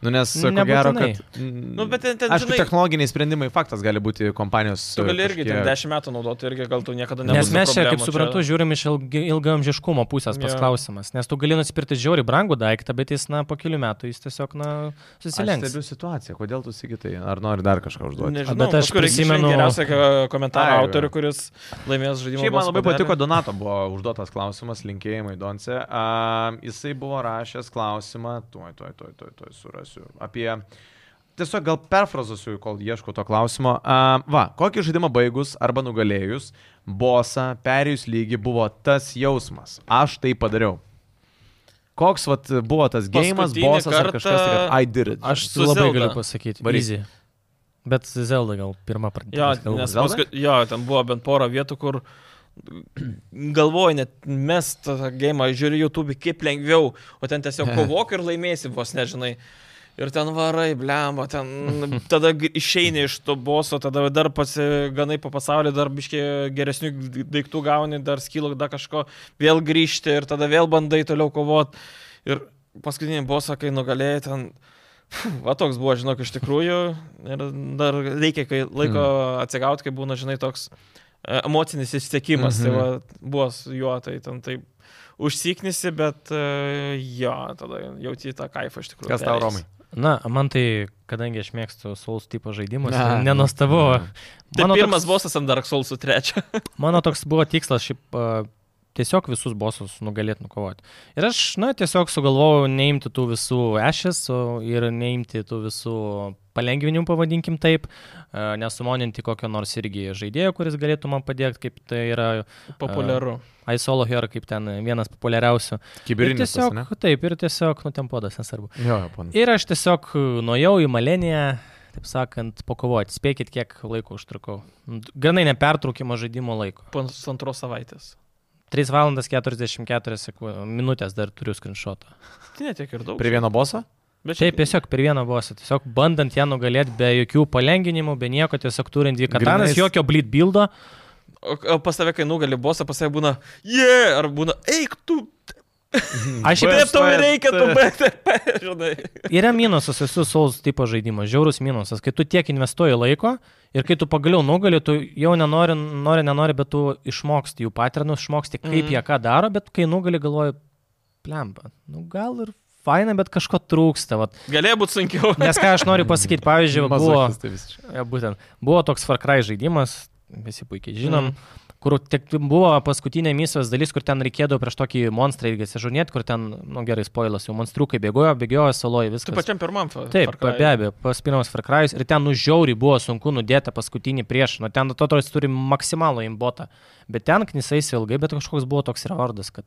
Speaker 1: Nu, nes, ko gero,
Speaker 2: Nebūtinai.
Speaker 1: kad... Nu,
Speaker 3: Nu, bet ten- ten,
Speaker 1: Aišku,
Speaker 3: žinai-
Speaker 1: technologiniai sprendimai faktas gali būti kompanijos. e,
Speaker 3: Tu gali irgi ten
Speaker 1: kažkiek-
Speaker 3: 10 metų naudoti, irgi gal tu niekada nebūsi.
Speaker 2: Nes mes čia, kaip suprantu, žiūrim iš ilgi- ilgaamžiškumo pusės pats
Speaker 3: Jo.
Speaker 2: klausimas. Nes tu gali nusipirkti žiauri brangų daiktą, bet jis, na, po kelių metų jis tiesiog, na,
Speaker 1: Aš
Speaker 2: susilenks.
Speaker 1: stebiu situaciją, kodėl tu sigitai, ar nori dar kažką užduoti.
Speaker 3: Nežinau,
Speaker 2: Bet aš
Speaker 3: kažkur reikia išrinkt
Speaker 2: prisimenu-
Speaker 3: Geriausią ka- komentarą
Speaker 1: Ai,
Speaker 3: autorių, kuris laimės žaidimą.
Speaker 1: Šiaip man
Speaker 3: balsų
Speaker 1: labai
Speaker 3: padarė.
Speaker 1: patiko Donato buvo užduotas klausimas, linkėjimai Donce. Uh, jisai buvo rašęs klausimą, tuoj, tuoj, tuoj, tuoj, tuoj surasiu, apie... Tiesiog gal perfrazuosiu, kol ieško to klausimo. Uh, va, kokį žaidimą baigus arba nugalėjus, bosą, perėjus lygį buvo tas jausmas. Aš tai padariau. Koks vat, buvo tas gėjimas,
Speaker 3: Paskutinį
Speaker 1: bosas ar
Speaker 3: kartą
Speaker 1: kažkas, tai, kad I did it.
Speaker 2: Aš
Speaker 3: Su
Speaker 2: labai
Speaker 3: Zelda.
Speaker 2: galiu pasakyti.
Speaker 1: Varyk.
Speaker 2: Easy. Bet Zelda gal pirmą
Speaker 3: Jo,
Speaker 2: pradėjo.
Speaker 3: nes
Speaker 1: Zelda?
Speaker 3: paskui, jo, ten buvo bent pora vietų, kur galvoju, net mes tą gėjimą žiūri YouTube, kaip lengviau, o ten tiesiog kovok ir laimėsi vos nežinai. Ir ten varai, blemba, ten tada gr- išeini iš to boso, tada dar pasiganai po pasaulį, dar biškiai geresnių d- daiktų gauni, dar skylok, dar kažko, vėl grįžti ir tada vėl bandai toliau kovot. Ir paskutinį bosą, kai nugalėjai, ten Va toks buvo, žinok, iš tikrųjų. Ir dar reikia kai laiko mm.
Speaker 1: Hmm.
Speaker 3: atsigauti, kai būna, žinai, toks e, emocinis įsiekimas. Mm
Speaker 1: Mhm.
Speaker 3: -hmm. Tai va, buvo su juo, tai ten taip užsiknisi, bet e, jo, tada jauti tą kaifą iš tikrųjų.
Speaker 1: Kas tau,
Speaker 3: perėjęs.
Speaker 1: Romai?
Speaker 2: Na, man tai, kadangi aš mėgstu Souls tipo žaidimus,
Speaker 1: Na.
Speaker 2: nenustabu.
Speaker 3: Tai
Speaker 2: Mano,
Speaker 3: pirmas
Speaker 2: toks-
Speaker 3: bosas ant Dark Souls 3.
Speaker 2: mano toks buvo tikslas šiaip a, tiesiog visus bosus nugalėti nukovoti. Ir aš, na, tiesiog sugalvojau neimti tų visų ešės ir neimti tų visų palengvinimų, pavadinkim taip, a, nesumoninti kokio nors irgi žaidėjo, kuris galėtų man padėti, kaip tai yra
Speaker 3: Populiaru.
Speaker 2: iSolo Hero, kaip ten vienas populiariausių. Ir
Speaker 1: Kiberinis. tas,
Speaker 2: tiesiog,
Speaker 1: ne?
Speaker 2: taip, ir tiesiog nutempodas, nesvarbu.
Speaker 1: Jo, jo, pan.
Speaker 2: Ir aš tiesiog e, nuėjau į Maleniją, taip sakant, pakovoti. Spėkit, kiek laiko užtrukau. Ganai nepertraukimo žaidimo laiko.
Speaker 3: Pusantros savaitės.
Speaker 2: 3 valandas 44 seku- minutės dar turiu screenshotą.
Speaker 3: Tai netiek ir daug.
Speaker 1: Prie vieno boso?
Speaker 3: Bet
Speaker 2: Šiaip tiesiog per vieną bosą, tiesiog bandant ją nugalėti be jokių palengvinimų, be nieko, tiesiog turint dvi katanas,
Speaker 1: Grynais-
Speaker 2: jokio bleed buildo.
Speaker 3: O o pas tave, kai nugali bosą, pas tave būna, jie, ar būna, eik tu,
Speaker 2: Aš
Speaker 3: taip
Speaker 2: šiaip
Speaker 3: tau ir
Speaker 1: bet-
Speaker 3: reikia, tu, bet, žinai.
Speaker 2: yra minusas visų Souls tipo žaidimo, žiaurus minusas, kai tu tiek investuoji laiko ir kai tu pagaliau nugali, tu jau nenori, nori, nenori, bet tu išmoksti jų paternus, išmoksti, kaip
Speaker 3: Mhm.
Speaker 2: jie ką daro, bet kai nugali galvoji, plemba, nu gal ir faina, bet kažko trūksta. Vat.
Speaker 3: Galėjo būti sunkiau.
Speaker 2: Nes ką aš noriu pasakyti, pavyzdžiui, buvo...
Speaker 1: Mazochistai visiškai.
Speaker 2: Ja, būtent. Buvo toks Far Cry žaidimas, visi puikiai žinom,
Speaker 3: Mm.
Speaker 2: mm. kur tik buvo paskutinė misijos dalis, kur ten reikėdavo prieš tokį monstrą irgi sižurnėti, kur ten, nu gerai, spoilas, jau monstrukai bėgojo, bėgiojo saloje,
Speaker 3: Tu
Speaker 2: viskas.
Speaker 3: pačiam pirmam. fa-
Speaker 2: Taip,
Speaker 3: Far Cry.
Speaker 2: be abejo, pas pirmas Far Cry'us ir ten nužiauri buvo sunku nudėti paskutinį prieš, nu ten to toris turi maksimalų imbotą, bet ten knysaisi ilgai, bet kažkoks buvo toks revardas, kad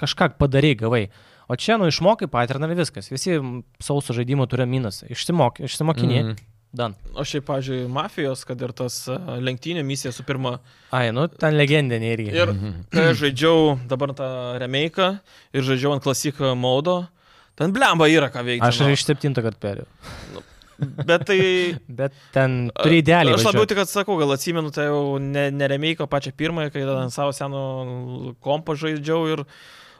Speaker 2: kažką padarai, gavai. O čia, nu, išmokai patirnavį viskas, visi sausų žaidimų turi minusą, išsimok, išsimokini, mm.
Speaker 1: Mhm.
Speaker 2: dan.
Speaker 3: O šiaip, pažiūrėjau, mafijos, kad ir tas a, lenktynė misija su pirma.
Speaker 2: Ai, nu, ten legendinė irgi.
Speaker 3: Ir kai aš žaidžiau dabar tą remake'ą ir žaidžiau ant klasiką modo, ten blemba yra ką veikti.
Speaker 2: Aš
Speaker 3: nu.
Speaker 2: ir iš septinto karto perėjau.
Speaker 3: Bet tai
Speaker 2: Bet ten turi idealiai.
Speaker 3: Aš labiau
Speaker 2: važiuot.
Speaker 3: tik atsakau, gal atsimenu, tai jau ne- neremeiką pačią pirmąją, kai tada ant savo seno kompo žaidžiau ir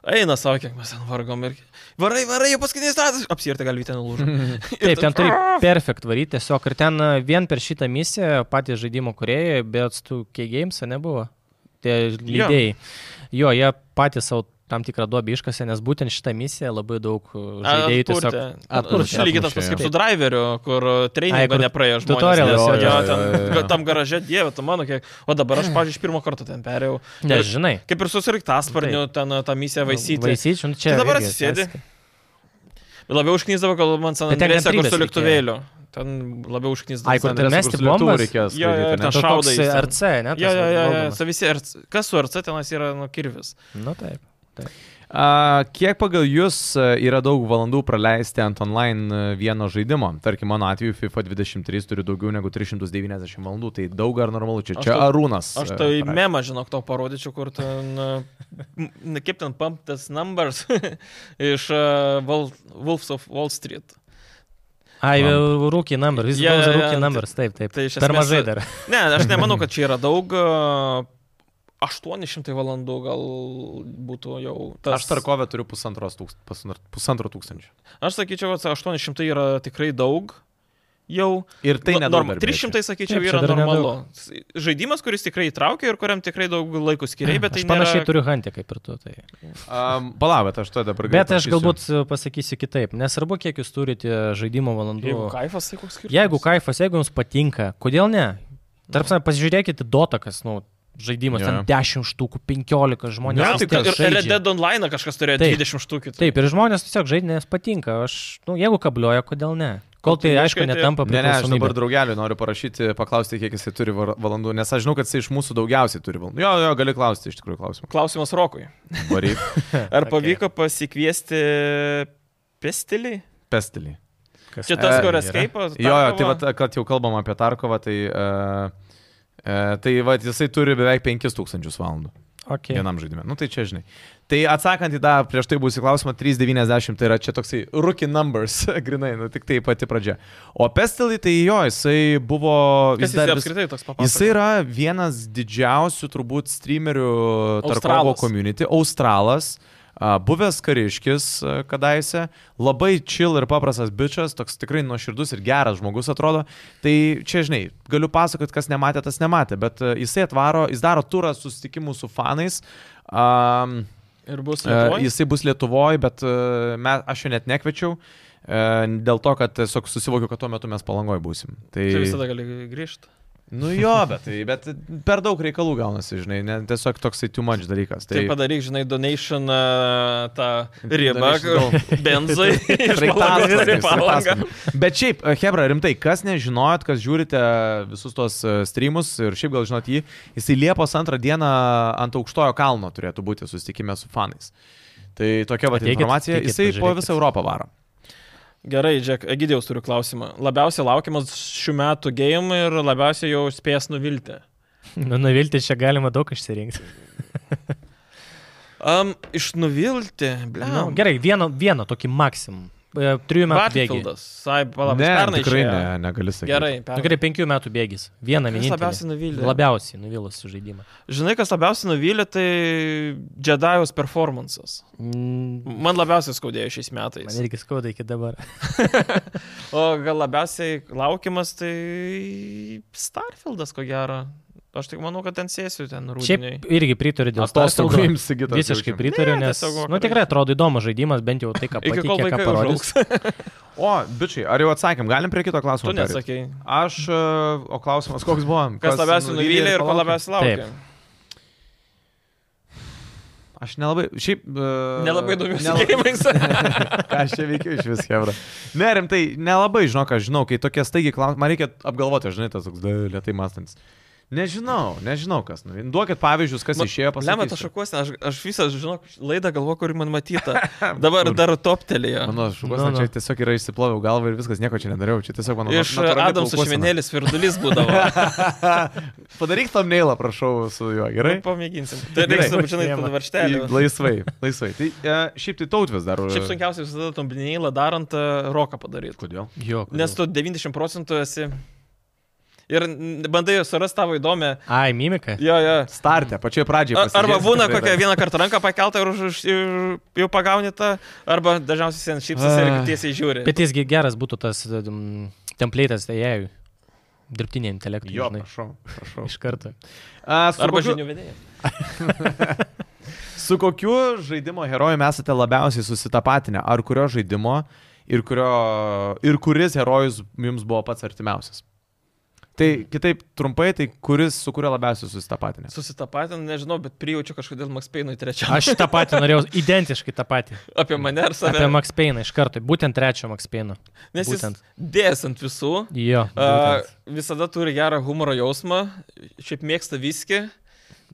Speaker 3: eina savo, kiek mes ten vargom ir varai, varai, jau paskutinis ratas, apsirti gali ten lūžti.
Speaker 2: Taip, ten turi perfekt varyti tiesiog. Ir ten e, vien per šitą misiją patys žaidimo kuriejai, bet tu K-Games nebuvo. Tie lydėjai. Jo, jie patys savo tam tikrą duobį iškasė, nes būtent šitą misiją labai daug e, žaidėjai tiesiog...
Speaker 1: atpurtė,
Speaker 3: Aš lygiai tas pats kaip
Speaker 2: atmušė,
Speaker 3: su driveriu, kur
Speaker 2: Ai,
Speaker 3: treningo
Speaker 2: kur
Speaker 3: nepraėjo žmonės.
Speaker 2: tutorialas,
Speaker 3: nes-
Speaker 1: jo,
Speaker 3: jo,
Speaker 1: jo, jo, jo, jo.
Speaker 3: ten- Tam garaže, dieve, tu mano, kiek. O dabar aš, pažiūrėjau, iš pirmo karto ten perėjau.
Speaker 2: Nes žinai.
Speaker 3: Kaip ir susiriktasparniu, ten tą misiją vaisyti.
Speaker 2: Vaisyčių, nu, čia.
Speaker 3: Tai dabar
Speaker 2: irgi
Speaker 3: atsisėdi.
Speaker 2: atsisėdi.
Speaker 3: Labiau užknyzdavo, kol man San
Speaker 2: Bet ten
Speaker 3: Andrėse, kur su
Speaker 2: kantrybės reikėjo.
Speaker 3: lėktuvėliu. Ten labiau užknyzdavo.
Speaker 2: Ai, kur ten mesti bombas?
Speaker 1: reikės.
Speaker 3: Jo, jo,
Speaker 1: skraidyti,
Speaker 3: ten
Speaker 1: ne?
Speaker 2: Ten šaudai.
Speaker 3: šaudai jis ten.
Speaker 2: RC, ne?
Speaker 3: Jo, jo, jo, jo.
Speaker 2: tas
Speaker 3: su Visi, RC kas su RC tenas yra nu kirvis?
Speaker 2: valdomas. Nu taip.
Speaker 1: A, Kiek pagal jūs a, yra daug valandų praleisti ant online a, vieno žaidimo? Tarkim, mano atveju FIFA 23 turi daugiau negu 390 valandų, tai daug ar normalu čia.
Speaker 3: Aš
Speaker 1: Čia
Speaker 3: tau-
Speaker 1: Arūnas. e,
Speaker 3: Aš
Speaker 1: a,
Speaker 3: tai
Speaker 1: parašė.
Speaker 3: memą, žinok, to parodyčiau, kur ten, e, m, na, kaip ten pumptas numbers iš uh, Wal- Wolves of Wall Street.
Speaker 2: Ai,
Speaker 1: Lamp.
Speaker 2: rūkiai number, vis
Speaker 3: Jo,
Speaker 2: dėlto
Speaker 3: jo, jo,
Speaker 2: rūkiai
Speaker 3: tai-
Speaker 2: numbers, taip, taip.
Speaker 3: tai iš
Speaker 2: Per
Speaker 3: esmės-
Speaker 2: mažai dar.
Speaker 3: Ne, aš nemanau, kad čia yra daug. a, 800 valandų gal būtų jau tas.
Speaker 1: Aš tarkovę turiu pusantros tūkst, pusantro- pusantro tūkstančio.
Speaker 3: Aš sakyčiau, kad 800 yra tikrai daug. Jau.
Speaker 1: Ir tai
Speaker 3: Nu,
Speaker 1: nedaug.
Speaker 3: norma-
Speaker 1: dar, beje,
Speaker 3: 300, sakyčiau,
Speaker 2: Taip, čia
Speaker 3: yra
Speaker 2: dar
Speaker 3: normalu. Žaidimas, kuris tikrai įtraukia ir kuriam tikrai daug laiko skiriai, bet tai
Speaker 2: Aš panašiai
Speaker 3: nėra...
Speaker 2: turiu hantį kaip ir tu. Tai.
Speaker 1: Um, Pala, bet aš to dabar
Speaker 2: Bet aš
Speaker 1: parašysiu.
Speaker 2: galbūt e, pasakysiu kitaip. Nesvarbu, kiek jūs turite žaidimo valandų.
Speaker 3: Jeigu kaifas, tai koks skirtumas?
Speaker 2: Jeigu kaifas, jeigu jums patinka, kodėl ne? Tarpsime, pasižiūrėkite dotakas, nu, žaidimas
Speaker 1: Jo.
Speaker 2: yeah. ten 10 štukų, 15 žmonių.
Speaker 1: Ne,
Speaker 2: vis
Speaker 1: tai
Speaker 2: tiek
Speaker 1: kad
Speaker 3: Ir
Speaker 2: žaidžia.
Speaker 3: Red Dead Online kažkas turėjo
Speaker 2: Taip.
Speaker 3: 20 štukių. tai-
Speaker 2: Taip, ir žmonės tiesiog žaidžia, nes patinka. Aš, nu, jeigu kablioja, kodėl ne? Kol tai, aišku,
Speaker 3: Kokybiškai tai-
Speaker 2: netampa
Speaker 1: Ne, ne, aš dabar
Speaker 2: priklausomybė.
Speaker 1: draugeliu noriu parašyti, paklausti, kiek jisai turi var- valandų, nes aš žinau, kad jisai iš mūsų daugiausiai turi valandų. Jo, jo, gali klausti iš tikrųjų klausimą.
Speaker 3: Klausimas Rokui.
Speaker 1: Varyk,
Speaker 3: Ar pavyko pasikviesti pestilį?
Speaker 1: pestelį.
Speaker 2: Kas
Speaker 3: Čia tas,
Speaker 1: E,
Speaker 3: kur
Speaker 2: yra.
Speaker 3: escape.
Speaker 1: Jo, jo, tai vat, kad jau kalbam apie Tarkovą, tai, uh, uh, tai vat, jisai turi beveik 5000 valandų
Speaker 2: Okay.
Speaker 1: vienam žaidimui. Nu tai čia žinai. Tai atsakant į tą prieš tai būsį klausimą, 390 tai yra čia toksai rookie numbers, grinai, nu, tik tai pati pradžia. O Pestelį, tai jo, jisai buvo...
Speaker 3: Jis
Speaker 1: dar
Speaker 3: dar
Speaker 1: vis-
Speaker 3: apskritai toks paprastas.
Speaker 1: Jis yra vienas didžiausių turbūt streamerių Tarkovo
Speaker 3: Australas.
Speaker 1: community, Australas, a, buvęs kariškis a, kadaise, labai chill ir paprastas bičias, toks tikrai nuoširdus ir geras žmogus atrodo. Tai čia, žinai, galiu pasakoti, kas nematė, tas nematė, bet a, jisai atvaro, jis daro turą susitikimų su fanais. Um,
Speaker 3: Ir bus.
Speaker 1: Uh,
Speaker 3: Lietuvoj?
Speaker 1: jisai bus Lietuvoje, bet uh, me, aš jo net nekviečiau. e, Dėl to, kad tiesiog susivokiau, kad tuo metu mes palangoje būsim. Tai,
Speaker 3: Čia visada gali grįžti.
Speaker 1: Nu jo, bet, tai, bet per daug reikalų gaunasi, žinai, ne, tiesiog toksai too much dalykas.
Speaker 3: Tai
Speaker 1: Tai,
Speaker 3: padaryk, žinai, donation uh, tą ribą
Speaker 1: Donation
Speaker 3: kur- benzui. iš Palangos
Speaker 1: Sraigtasparnis,
Speaker 3: į Palangą.
Speaker 1: sraigtasparnis. Bet šiaip, Hebra, rimtai, kas nežinojot, kas žiūrite visus tos e, streamus ir šiaip gal žinot jį, jisai Liepos antrą dieną ant aukštojo kalno turėtų būti susitikime su fanais. Tai tokia va
Speaker 2: Ateikit,
Speaker 1: informacija,
Speaker 2: ateikit,
Speaker 1: jisai po
Speaker 2: pažiūrėkit.
Speaker 1: visą Europą varo.
Speaker 3: Gerai, Džek, Egidijos turiu klausimą. Labiausiai laukiamas šių metų game ir labiausiai jau spės nuvilti.
Speaker 2: Nu, nuvilti čia galima daug išsirinkti.
Speaker 3: Um, iš nuvilti, ble.
Speaker 2: Nu, gerai, vieno, vieno tokį maksimum. E, Trijų metų bėgis.
Speaker 3: Battlefieldas. Ai, palauk,
Speaker 1: Ne, nu,
Speaker 3: jis pernai
Speaker 1: tikrai
Speaker 3: išėjo.
Speaker 1: ne, negali sakyti.
Speaker 3: Gerai,
Speaker 2: Nu,
Speaker 3: pernai.
Speaker 2: gerai, penkių metų bėgis. Vieną
Speaker 3: Kas
Speaker 2: vienintelį.
Speaker 3: labiausiai nuvylė?
Speaker 2: Labiausiai nuvilusi žaidimą.
Speaker 3: Žinai, kas labiausiai nuvylė, tai Jedi'os performances.
Speaker 2: Man
Speaker 3: Man labiausiai skaudėjo šiais metais.
Speaker 2: irgi skauda iki dabar.
Speaker 3: O gal labiausiai laukiamas tai Starfieldas, ko gero. Aš tik manau, kad ten sėsiu ten rūdiniai.
Speaker 2: Šiaip irgi pritariu dėl
Speaker 1: Atostogų
Speaker 2: Starfieldo.
Speaker 1: imsi kitą.
Speaker 2: Visiškai pritariu,
Speaker 3: Ne,
Speaker 2: nes...
Speaker 3: tiesiog
Speaker 2: Nu,
Speaker 3: vakarais.
Speaker 2: tikrai atrodo įdomus žaidimas, bent jau tai, ką
Speaker 3: Iki kol
Speaker 2: patikė, ką
Speaker 3: vaikai
Speaker 2: parodys.
Speaker 1: O, bičiai, ar jau atsakėm, galim prie kito klausimo.
Speaker 3: Tu
Speaker 1: pereit?
Speaker 3: nesakėjai.
Speaker 1: Aš, e, o klausimas, koks buvo?
Speaker 3: Kas labiausiai nuvylė ir ko
Speaker 1: palaukė?
Speaker 3: labiausiai laukia.
Speaker 1: Aš nelabai, šiaip... Uh,
Speaker 3: Nelabai domiuosi gėjimais.
Speaker 1: Ką aš čia veikiu iš vis, Hebra. Ne, rimtai, nelabai žinau, ką žinau, kai tokie staigiai klausimai, man reikia apgalvoti, žinai, tas toks da, lietai mąstantis. Nežinau, nežinau kas. nu, Duokit pavyzdžius, kas išėjo pas
Speaker 3: Lemą, aš šakuosi, aš, aš visą, žinok, laidą galvo, kur man matyta. Dabar dar toptelėjo.
Speaker 1: Mano šukos,
Speaker 2: Nu,
Speaker 1: no,
Speaker 2: nu.
Speaker 1: no. čia tiesiog yra išsiploviau galvą ir viskas, nieko čia nedariau. Čia tiesiog mano...
Speaker 3: Iš e,
Speaker 1: natūrali
Speaker 3: Adamso
Speaker 1: plaukosena.
Speaker 3: švenėlis virdulys būdavo.
Speaker 1: Padaryk tam neilą, prašau, su juo, gerai?
Speaker 3: Pamėginsim. Tai reiks,
Speaker 1: Gerai.
Speaker 3: žinai,
Speaker 2: Žiemą.
Speaker 3: tada varštelį.
Speaker 1: Laisvai, laisvai. Tai e, šiaip tai tautvis dar.
Speaker 3: Šiaip sunkiausia visada tombinėlą darant e, roką padaryti.
Speaker 1: Kodėl?
Speaker 2: Jo,
Speaker 3: Nes tu 90 procentų esi. Ir n- bandai surasti tavo įdomią.
Speaker 2: Ai, mimika.
Speaker 3: Jo, jo.
Speaker 1: Startę, pačioje pradžioje.
Speaker 3: A- Arba
Speaker 1: pasižiūrėsi
Speaker 3: būna
Speaker 1: tikrai
Speaker 3: kokią
Speaker 1: dar.
Speaker 3: vieną kartą ranką pakeltą ir, už, už, ir jau pagauni tą, arba dažniausiai sen šypsas ir
Speaker 1: Ai.
Speaker 3: tiesiai žiūri.
Speaker 2: Bet jisgi geras būtų tas mm, templėtas AI, dirbtinė intelektui.
Speaker 1: Jo,
Speaker 2: žinai.
Speaker 1: prašau, prašau.
Speaker 2: Iš karto.
Speaker 1: A, su,
Speaker 3: Arba
Speaker 1: kokiu,
Speaker 3: žinių vedėjas.
Speaker 1: su kokiu žaidimo herojumi esate labiausiai susitapatinę? Ar kurio žaidimo ir, kurio, ir kuris herojus jums buvo pats artimiausias? Tai kitaip trumpai, tai kuris su kuriuo labiausiai susitapatinę?
Speaker 3: Susitapatin, nežinau, bet prijaučiu kažkodėl Max Payne'ui trečiam.
Speaker 2: Aš tą patį norėjau, identiškai tą patį.
Speaker 3: Apie mane ar save.
Speaker 2: Apie Max Payne iš karto, būtent trečio Max Payne.
Speaker 3: Nes jis
Speaker 2: būtent.
Speaker 3: dės ant visų.
Speaker 2: Jo.
Speaker 3: A,
Speaker 2: būtent.
Speaker 3: visada turi gerą humoro jausmą, šiaip mėgsta viskį,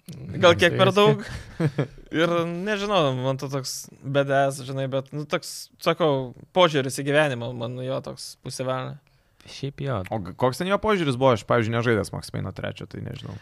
Speaker 2: Mm,
Speaker 3: gal kiek per
Speaker 2: Viskį.
Speaker 3: daug. Ir nežinau, man to toks bedes, žinai, bet, nu, toks, sakau, požiūris į gyvenimą, man nu, jo toks pusivelė.
Speaker 2: Šiaip jo.
Speaker 1: O g- koks ten jo požiūris buvo, aš, pavyzdžiui, nežaidęs Maksimino trečio, tai nežinau.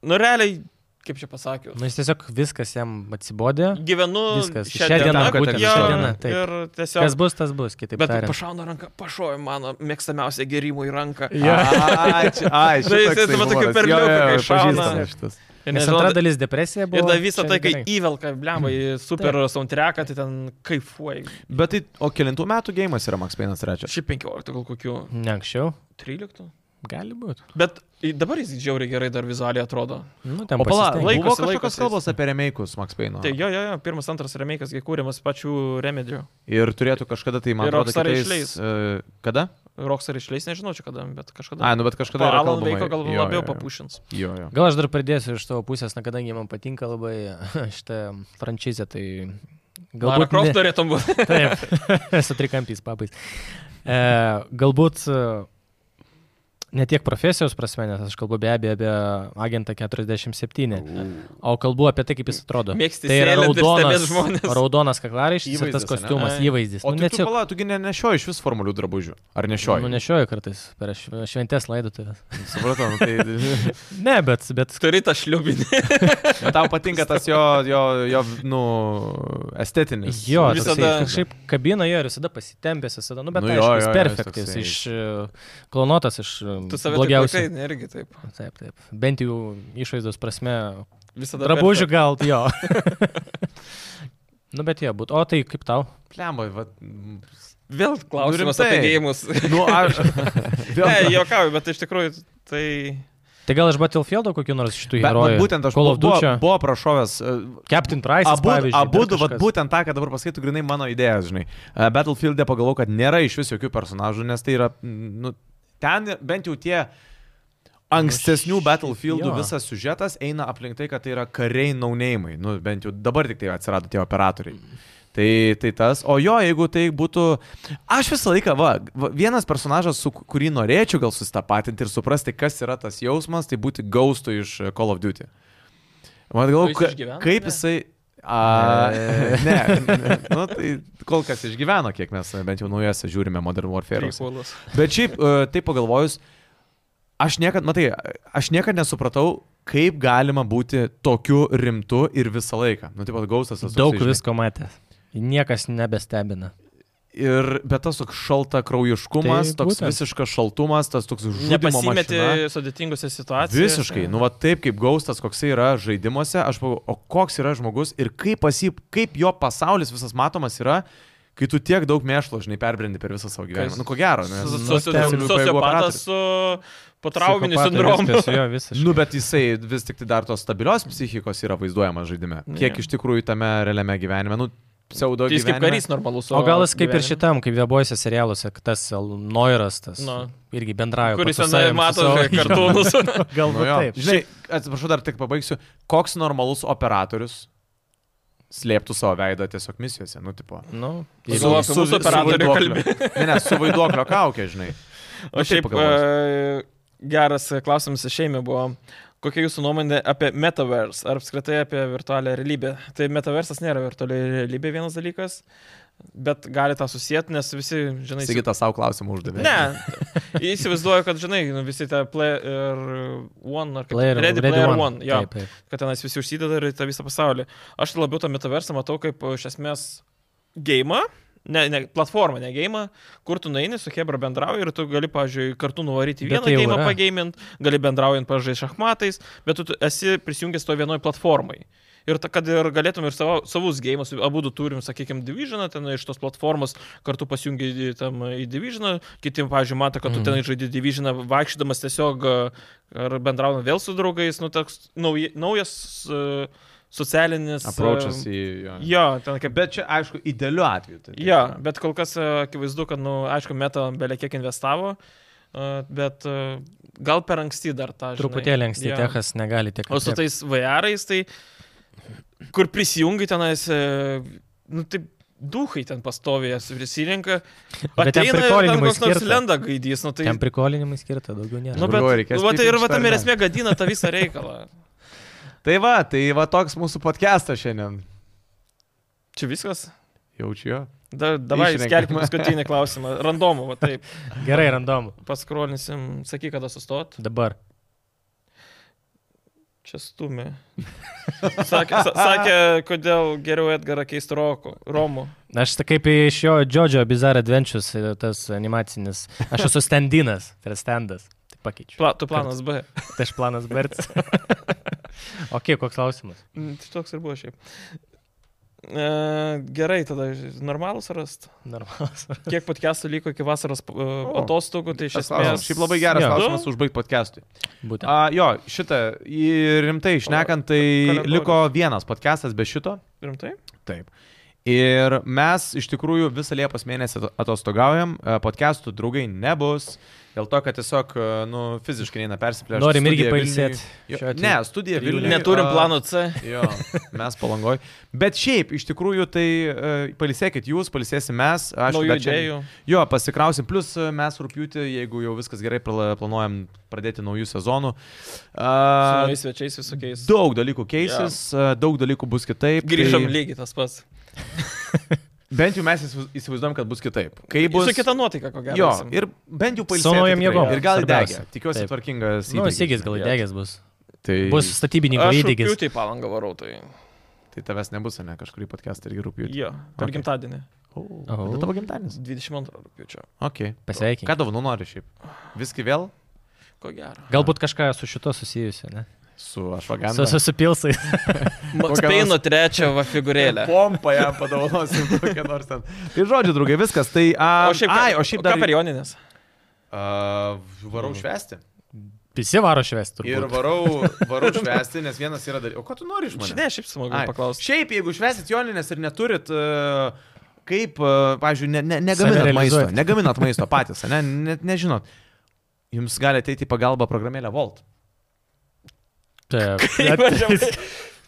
Speaker 3: Nu, realiai, kaip čia pasakiau,
Speaker 2: Nu, jis tiesiog viskas jam atsibodė.
Speaker 3: gyvenu
Speaker 2: Viskas,
Speaker 3: šią
Speaker 2: šią
Speaker 3: dieną,
Speaker 1: dieną, būtent
Speaker 3: jo,
Speaker 1: šią
Speaker 2: dieną, taip.
Speaker 3: ir tiesiog...
Speaker 2: Kas bus, tas bus, kitaip
Speaker 3: Bet
Speaker 2: tariant.
Speaker 3: pašauna ranką, pašoja mano mėgstamiausią gėrimų į ranką.
Speaker 1: Ačiū. Ačiū.
Speaker 3: Tai jis- jis tokiu perliuku, kai šauna.
Speaker 1: šitas.
Speaker 3: Ir
Speaker 2: Nes
Speaker 3: nežinau,
Speaker 2: antra dalis depresija buvo.
Speaker 3: Ir dar visą
Speaker 2: čia
Speaker 3: tai, kai
Speaker 2: gerai. Mm.
Speaker 3: įvelka, blemba, į super soundtracką, tai ten kaifuoji.
Speaker 1: Bet tai, o kilintų metų gėjimas yra Maksimas trečias?
Speaker 3: Šiaip 15, gal kokių
Speaker 2: Ne anksčiau.
Speaker 3: 13.
Speaker 2: Gali būti.
Speaker 3: Bet i- dabar jis žiauriai gerai dar vizualiai atrodo.
Speaker 2: Nu, ten
Speaker 1: O pala,
Speaker 2: pasistengė.
Speaker 3: laik-
Speaker 1: buvo
Speaker 3: Laikosi,
Speaker 1: kažkokios
Speaker 3: laikosi.
Speaker 1: kalbos apie remeikus Maksimino.
Speaker 3: Tai jo, jo, jo, pirmas, antras remakas, kai kūrimas pačių remedijų.
Speaker 1: Ir turėtų kažkada tai, man
Speaker 3: Ir
Speaker 1: atrodo,
Speaker 3: Rockstar
Speaker 1: kitais,
Speaker 3: išleis.
Speaker 1: e, kada?
Speaker 3: Roks ar išleis, nežinau čia kada, bet kažkada.
Speaker 1: A, nu bet kažkada. yra
Speaker 3: Alan
Speaker 1: kalbama.
Speaker 3: Veiko gal
Speaker 1: Jo, jo,
Speaker 3: labiau
Speaker 1: jo.
Speaker 3: papušins.
Speaker 1: Jo, jo.
Speaker 2: Gal aš dar pridėsiu iš tavo pusės, na kadangi man patinka labai šitą frančizę, tai
Speaker 3: Lara
Speaker 2: galbūt...
Speaker 3: Croft norėtum būti.
Speaker 2: ne, taip, su trikampiais papais. E, galbūt e, ne tiek profesijos prasme, nes aš kalbu be abejo apie agentą 47, o kalbu apie tai, kaip jis atrodo.
Speaker 3: Mėgsti
Speaker 2: tai yra
Speaker 3: sėlint ir
Speaker 2: raudonas,
Speaker 3: stebėt žmones.
Speaker 2: raudonas kaklaraištis ir
Speaker 1: Įvaizdis,
Speaker 2: tas
Speaker 1: ane?
Speaker 2: kostiumas,
Speaker 3: Ai.
Speaker 2: įvaizdis.
Speaker 1: O
Speaker 2: nu,
Speaker 1: tu, tu, pala, tugi ne, nešioji iš vis formulių drabužių. Ar nešioji?
Speaker 2: Nunešioju kartais per šv- šventes laidotuvės.
Speaker 1: Supratau, nu, tai...
Speaker 2: Ne, bet, bet
Speaker 3: Turi tą šliubinį.
Speaker 1: Bet tau patinka tas jo, jo, jo nu, estetinis.
Speaker 2: Jo,
Speaker 1: tas
Speaker 2: visada.
Speaker 3: Visada-
Speaker 2: Kažkaip kabina jo ir visada pasitempęs, visada, nu bet
Speaker 1: Nu
Speaker 2: nu,
Speaker 1: jo,
Speaker 2: aišku,
Speaker 1: jo,
Speaker 2: jis
Speaker 1: jo, jis
Speaker 2: perfektas,
Speaker 1: toksai-
Speaker 2: iš e, klonotas, iš
Speaker 3: Tu save
Speaker 2: blogiausiai.
Speaker 3: blogiausiai. Irgi taip.
Speaker 2: Taip, taip. Bent jau išvaizdos prasme.
Speaker 3: Visada.
Speaker 2: Drabužių gal, jo. nu bet jo, būtų. O tai kaip tau?
Speaker 1: Plemba, va.
Speaker 3: perfektas. Vėl klausimas
Speaker 1: Nu, rimtai.
Speaker 3: apie gėjimus.
Speaker 1: Nu, aš.
Speaker 3: ne, jokauju, bet iš tikrųjų tai...
Speaker 2: Tai gal aš Battlefieldo kokiu nors iš tų
Speaker 1: Bet, vat,
Speaker 2: herojų?
Speaker 1: būtent aš
Speaker 2: Call
Speaker 1: buvo,
Speaker 2: of
Speaker 1: buvo,
Speaker 2: Duty.
Speaker 1: buvo prašovęs. e,
Speaker 2: Captain Price.
Speaker 1: Abu,
Speaker 2: pavyzdžiui.
Speaker 1: abu
Speaker 2: dar
Speaker 1: vat,
Speaker 2: kažkas.
Speaker 1: būtent tą, ką dabar pasakytų, grinai mano idėja, žinai. E, Battlefield'e pagalvoju, kad nėra iš vis jokių personažų, nes tai yra, mm, nu, ten ir- bent jau tie ankstesnių
Speaker 2: Nu, š-
Speaker 1: Battlefield'ų
Speaker 2: jo.
Speaker 1: visas sužetas eina aplink tai, kad tai yra kariai naunėjimai. Nu, bent jau dabar tik tai atsirado tie operatoriai. Tai, tai tas, o jo, jeigu tai būtų... Aš visą laiką, va, va, vienas personažas, su ku- kurį norėčiau gal susitapatinti ir suprasti, kas yra tas jausmas, tai būti gaustų iš e, Call of Duty. Man
Speaker 3: jis
Speaker 1: galvoju,
Speaker 3: išgyveno,
Speaker 1: ka- kaip
Speaker 3: ne?
Speaker 1: jisai... A, ne, ne, nu, tai kol kas išgyveno, kiek mes e, bent jau naujose žiūrime Modern Warfare.
Speaker 3: prequelas.
Speaker 1: Bet šiaip, e, taip pagalvojus, aš niekad, matai, aš niekad nesupratau, kaip galima būti tokiu rimtu ir visą laiką. Nu, taip pat gausas esu.
Speaker 2: Daug visko matė. Niekas nebestebina.
Speaker 1: Ir bet tas toks šalta kraujiškumas,
Speaker 2: Tai
Speaker 1: tai toks
Speaker 2: būtent.
Speaker 1: visiškas šaltumas, tas toks žudimo
Speaker 3: Nepasimeti
Speaker 1: mašina.
Speaker 3: sudėtingose situacijose.
Speaker 1: Visiškai, nu va taip kaip gaustas, koks yra žaidimuose, aš pagalvoju, o koks yra žmogus ir kaip, pasi, kaip jo pasaulis visas matomas yra, kai tu tiek daug mėšlo, žinai, perbrendi per visą savo gyvenimą.
Speaker 3: Kas-
Speaker 1: Nu ko gero,
Speaker 3: Su-
Speaker 1: nes...
Speaker 3: su- su-
Speaker 1: specialiųjų pajėgų operatorius.
Speaker 3: Sociopatas su potrauminiu sindromu.
Speaker 1: Nu, bet jisai vis tik tai dar tos stabilios psichikos yra vaizduojamas žaidime.
Speaker 3: Ne.
Speaker 1: Kiek iš tikrųjų tame realiame gyvenime, nu, pseudo
Speaker 3: Tai jis kaip
Speaker 1: gyvenime.
Speaker 3: karys normalus.
Speaker 2: O gal jis kaip ir
Speaker 3: gyvenime.
Speaker 2: šitam, kaip vėbuojasi serialuose, kad tas Noiras, tas
Speaker 3: Nu.
Speaker 2: irgi bendrauja.
Speaker 3: kuris
Speaker 2: pats su
Speaker 3: senai
Speaker 2: savim, su
Speaker 3: mato
Speaker 2: savo-
Speaker 3: kartūnus.
Speaker 1: Nu,
Speaker 2: Galbūt
Speaker 1: jo.
Speaker 2: taip.
Speaker 1: Žinai, atsiprašau, dar tik pabaigsiu. Koks normalus operatorius slėptų savo veidą tiesiog misijose, nu, tipo.
Speaker 3: nu,
Speaker 1: Ir
Speaker 3: su, su, su operatoriu kalbė.
Speaker 1: vaiduoklio. Ne, ne, su vaiduoklio kaukė, žinai.
Speaker 3: O
Speaker 1: Nu,
Speaker 3: šiaip
Speaker 1: pagalvojus.
Speaker 3: e, geras klausimas iš šeimė buvo. Kokia jūsų nuomonė apie metaverse, ar apskritai apie virtualią realybę? Tai metaversas nėra virtuali realybė vienas dalykas, bet gali tą susijęti, nes visi, žinai, įsi-
Speaker 1: Sigita savo klausimą uždavė.
Speaker 3: Ne, įsivaizduoju, kad, žinai, nu, visi tą player one, ar kaip
Speaker 2: Player,
Speaker 3: ready, player one, jo,
Speaker 2: Taip, taip.
Speaker 3: kad tenais visi užsideda ir į tą visą pasaulį. Aš tai labiau tą metaversą matau kaip e, iš esmės gėjimą, ne, ne, platformą, ne gėjimą, kur tu nueini su Hebra bendrauji ir tu gali, pavyzdžiui, kartu nuvaryti
Speaker 2: Bet
Speaker 3: vieną
Speaker 2: tai jau
Speaker 3: gėjimą
Speaker 2: yra.
Speaker 3: pageimint, gali bendraujant, pavyzdžiui, šachmatais, bet tu t- esi prisijungęs to vienoj platformai. Ir ta, kad ir galėtum ir savo, savus gėjimus, abu du turim, sakykime, Divisioną, ten iš tos platformos kartu pasijungi į- tam į Divisioną, kiti, pavyzdžiui, mato, kad tu
Speaker 2: Mhm.
Speaker 3: mm. ten žaidži Divisioną, vaikščiodamas tiesiog e, ar bendraujant vėl su draugais, nu, toks nauj, naujas e, socialinis. e,
Speaker 1: Approachas į... Jo.
Speaker 3: Jo, ten kaip
Speaker 1: Bet čia, aišku, idealiu atveju. Tai,
Speaker 3: Jo, bet kol kas e, akivaizdu, kad, na, nu, aišku, meta belie kiek investavo, e, bet e, gal per anksti dar tą. žinai.
Speaker 2: Truputėlį anksti
Speaker 3: Jo.
Speaker 2: techas negali tiek.
Speaker 3: O su
Speaker 2: aprėpt.
Speaker 3: tais VR'ais, tai kur prisijungi tenais, e, nu, taip, duhai ten pastovėjęs prisirinka.
Speaker 2: Bet ten
Speaker 3: Ateina ir ten
Speaker 2: prikolinimui
Speaker 3: koks nors
Speaker 2: skirta.
Speaker 3: lenda gaidys, nu tai...
Speaker 2: Ten prikolinimai skirta, daugiau nėra.
Speaker 3: Nu,
Speaker 1: Aš
Speaker 3: bet,
Speaker 1: galvoju, reikės
Speaker 3: nu, va, tai ir
Speaker 1: pypint
Speaker 3: va tam
Speaker 1: šitą ar
Speaker 3: ir
Speaker 1: ne?
Speaker 3: esmė gadina tą visą reikalą.
Speaker 1: tai va, tai va toks mūsų podcastas šiandien.
Speaker 3: Čia viskas?
Speaker 1: Jaučiu jo.
Speaker 3: Da, davai,
Speaker 1: Išrenkam.
Speaker 3: skelbkime paskutinį klausimą. Randomu, va taip.
Speaker 2: Gerai, randomu.
Speaker 3: Paskrolinsim, sakyk, kada sustot.
Speaker 2: Dabar.
Speaker 3: Čia stumė. Sakė, sa, sakė, kodėl geriau Edgarą keisti Roku, Romu.
Speaker 2: Aš tai kaip iš jo Džodžio Bizarre Adventures, e, tas animacinis. Aš esu standinas, tai yra standas. Tai pakeičiu.
Speaker 3: Pla, tu planas B.
Speaker 2: Tai aš planas Berts. o kiek, koks klausimas?
Speaker 3: Mm, Tai toks ir buvo šiaip. E, gerai, tada normalus rast.
Speaker 2: Normalus.
Speaker 3: Kiek podcastų liko iki vasaros e,
Speaker 1: O,
Speaker 3: atostogų, tai iš
Speaker 1: Šitas klausimas.
Speaker 3: esmės.
Speaker 1: Šiaip labai geras
Speaker 2: Jo.
Speaker 1: klausimas užbaigti podcastui.
Speaker 2: Būtent.
Speaker 1: A, jo, šitą, į- rimtai išnekant, tai
Speaker 3: kalendorius.
Speaker 1: liko vienas podcastas be šito.
Speaker 3: Rimtai?
Speaker 1: Taip. Ir mes iš tikrųjų visą Liepos mėnesį ato- atostogaujam, e, podcastų draugai nebus, dėl to, kad tiesiog, e, nu, fiziškai neina persiplėšti.
Speaker 2: Norim irgi
Speaker 1: Studija
Speaker 2: pailsėti.
Speaker 1: Vilniuj-
Speaker 2: šiuo
Speaker 1: Jo,
Speaker 2: atveju.
Speaker 1: ne, studija Vilniuje.
Speaker 3: Neturim plano C.
Speaker 1: Jo, mes palangoj. Bet šiaip, iš tikrųjų, tai e, pailsėkit jūs, pailsėsim mes. Aš
Speaker 3: Naujų idėjų.
Speaker 1: Jo, pasikrausim, plus e, mes rūpjūti, jeigu jau viskas gerai, pla- planuojam pradėti naujų sezonų.
Speaker 3: Su
Speaker 1: A,
Speaker 3: naujais svečiais visokiais.
Speaker 1: daug dalykų keisis, a, daug dalykų bus kitaip.
Speaker 3: Grįžom
Speaker 1: tai-
Speaker 3: lygiai tas pats.
Speaker 1: Bent jau mes įsiv- įsivaizduojam, kad bus kitaip. Kai tai
Speaker 3: Bus...
Speaker 1: bus
Speaker 3: Su kita nuotaika, ko gero.
Speaker 1: Jo,
Speaker 3: eisim.
Speaker 1: ir bent jau pailsėti.
Speaker 2: Su naujom
Speaker 1: tikrai.
Speaker 2: jėgom,
Speaker 1: Ir gal
Speaker 2: svarbiausia.
Speaker 1: degė. Tikiuosi
Speaker 2: Taip.
Speaker 1: tvarkingas.
Speaker 2: Nu,
Speaker 1: įdegis,
Speaker 2: įsigis gal
Speaker 1: žinai.
Speaker 2: įdegęs bus.
Speaker 1: Tai,
Speaker 2: Bus statybininko
Speaker 3: Aš
Speaker 2: įdegis.
Speaker 3: rugpjūtį į palangą varau, tai.
Speaker 1: tai tavęs nebus, ne, kažkurį podcastą irgi rūpjūti.
Speaker 3: Jo, per
Speaker 1: Okay.
Speaker 3: okay. gimtadienį.
Speaker 1: O,
Speaker 2: Aha.
Speaker 1: kada tavo gimtadienis.
Speaker 3: 22 rugpjūčio.
Speaker 1: Ok.
Speaker 2: Pasveikink.
Speaker 1: Ką dovanų nori šiaip? Viskai vėl
Speaker 3: Ko gero.
Speaker 2: Galbūt kažką su šito susijusiu, ne?
Speaker 1: su
Speaker 2: Su,
Speaker 1: ašvaganu.
Speaker 2: su, su pilsais.
Speaker 1: Kokią
Speaker 3: Max Payne trečią va figūrėlę.
Speaker 1: Pompa jam padovanosim kokią nors ten. Tai žodžiu, draugai, viskas. Tai, a,
Speaker 3: O šiaip,
Speaker 1: ai, o šiaip dar...
Speaker 3: Ką per Joninės?
Speaker 1: A, varau švesti.
Speaker 2: Visi varo švestų.
Speaker 1: Ir varau, varau švesti, nes vienas yra dar... O ko tu nori iš manęs?
Speaker 3: Ne, šiaip smagu
Speaker 1: Ai,
Speaker 3: paklausti.
Speaker 1: Šiaip, jeigu švesit joninės ir neturit, e, kaip, e, pavyzdžiui, ne, ne, negaminat
Speaker 2: Save
Speaker 1: maisto,
Speaker 2: realizuojat.
Speaker 1: negaminat maisto patys, ne, net nežinot, jums gali ateiti į pagalbą programėlę Volt.
Speaker 2: Taip.
Speaker 3: Įvažiavai.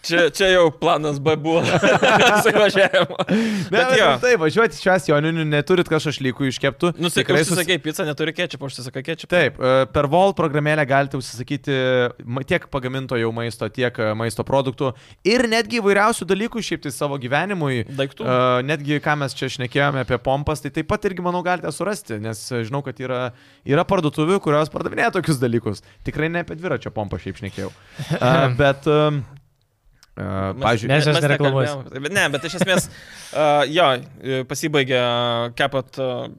Speaker 3: Čia, čia jau planas B buvo. Suvažiavimo.
Speaker 1: Ne,
Speaker 3: Bet jo. Nu,
Speaker 1: tai važiuoti čia joninių, neturit kažkokių šlykų iškeptų.
Speaker 3: Nusikai, užsisakai pizzą, neturi kečupo, užsisakai kečupo.
Speaker 1: Taip, e, per Vol programėlę galite užsisakyti ma- tiek pagaminto jau maisto, tiek e, maisto produktų ir netgi įvairiausių dalykų šiaip tai savo gyvenimui.
Speaker 3: Daiktų.
Speaker 1: E, Netgi ką mes čia šnekėjome apie pompas, tai taip pat irgi, manau, galite surasti, nes e, žinau, kad yra, yra parduotuvių, kurios pardavinėja tokius dalykus. Tikrai ne apie dviračio pompą šiaip šnekėjau. E, Bet, um, pažiūrėjau,
Speaker 2: Mes jos nereklamuosim.
Speaker 3: nekalbėjom. Bet Ne, bet iš esmės, uh, jo, e, pasibaigė kepat uh,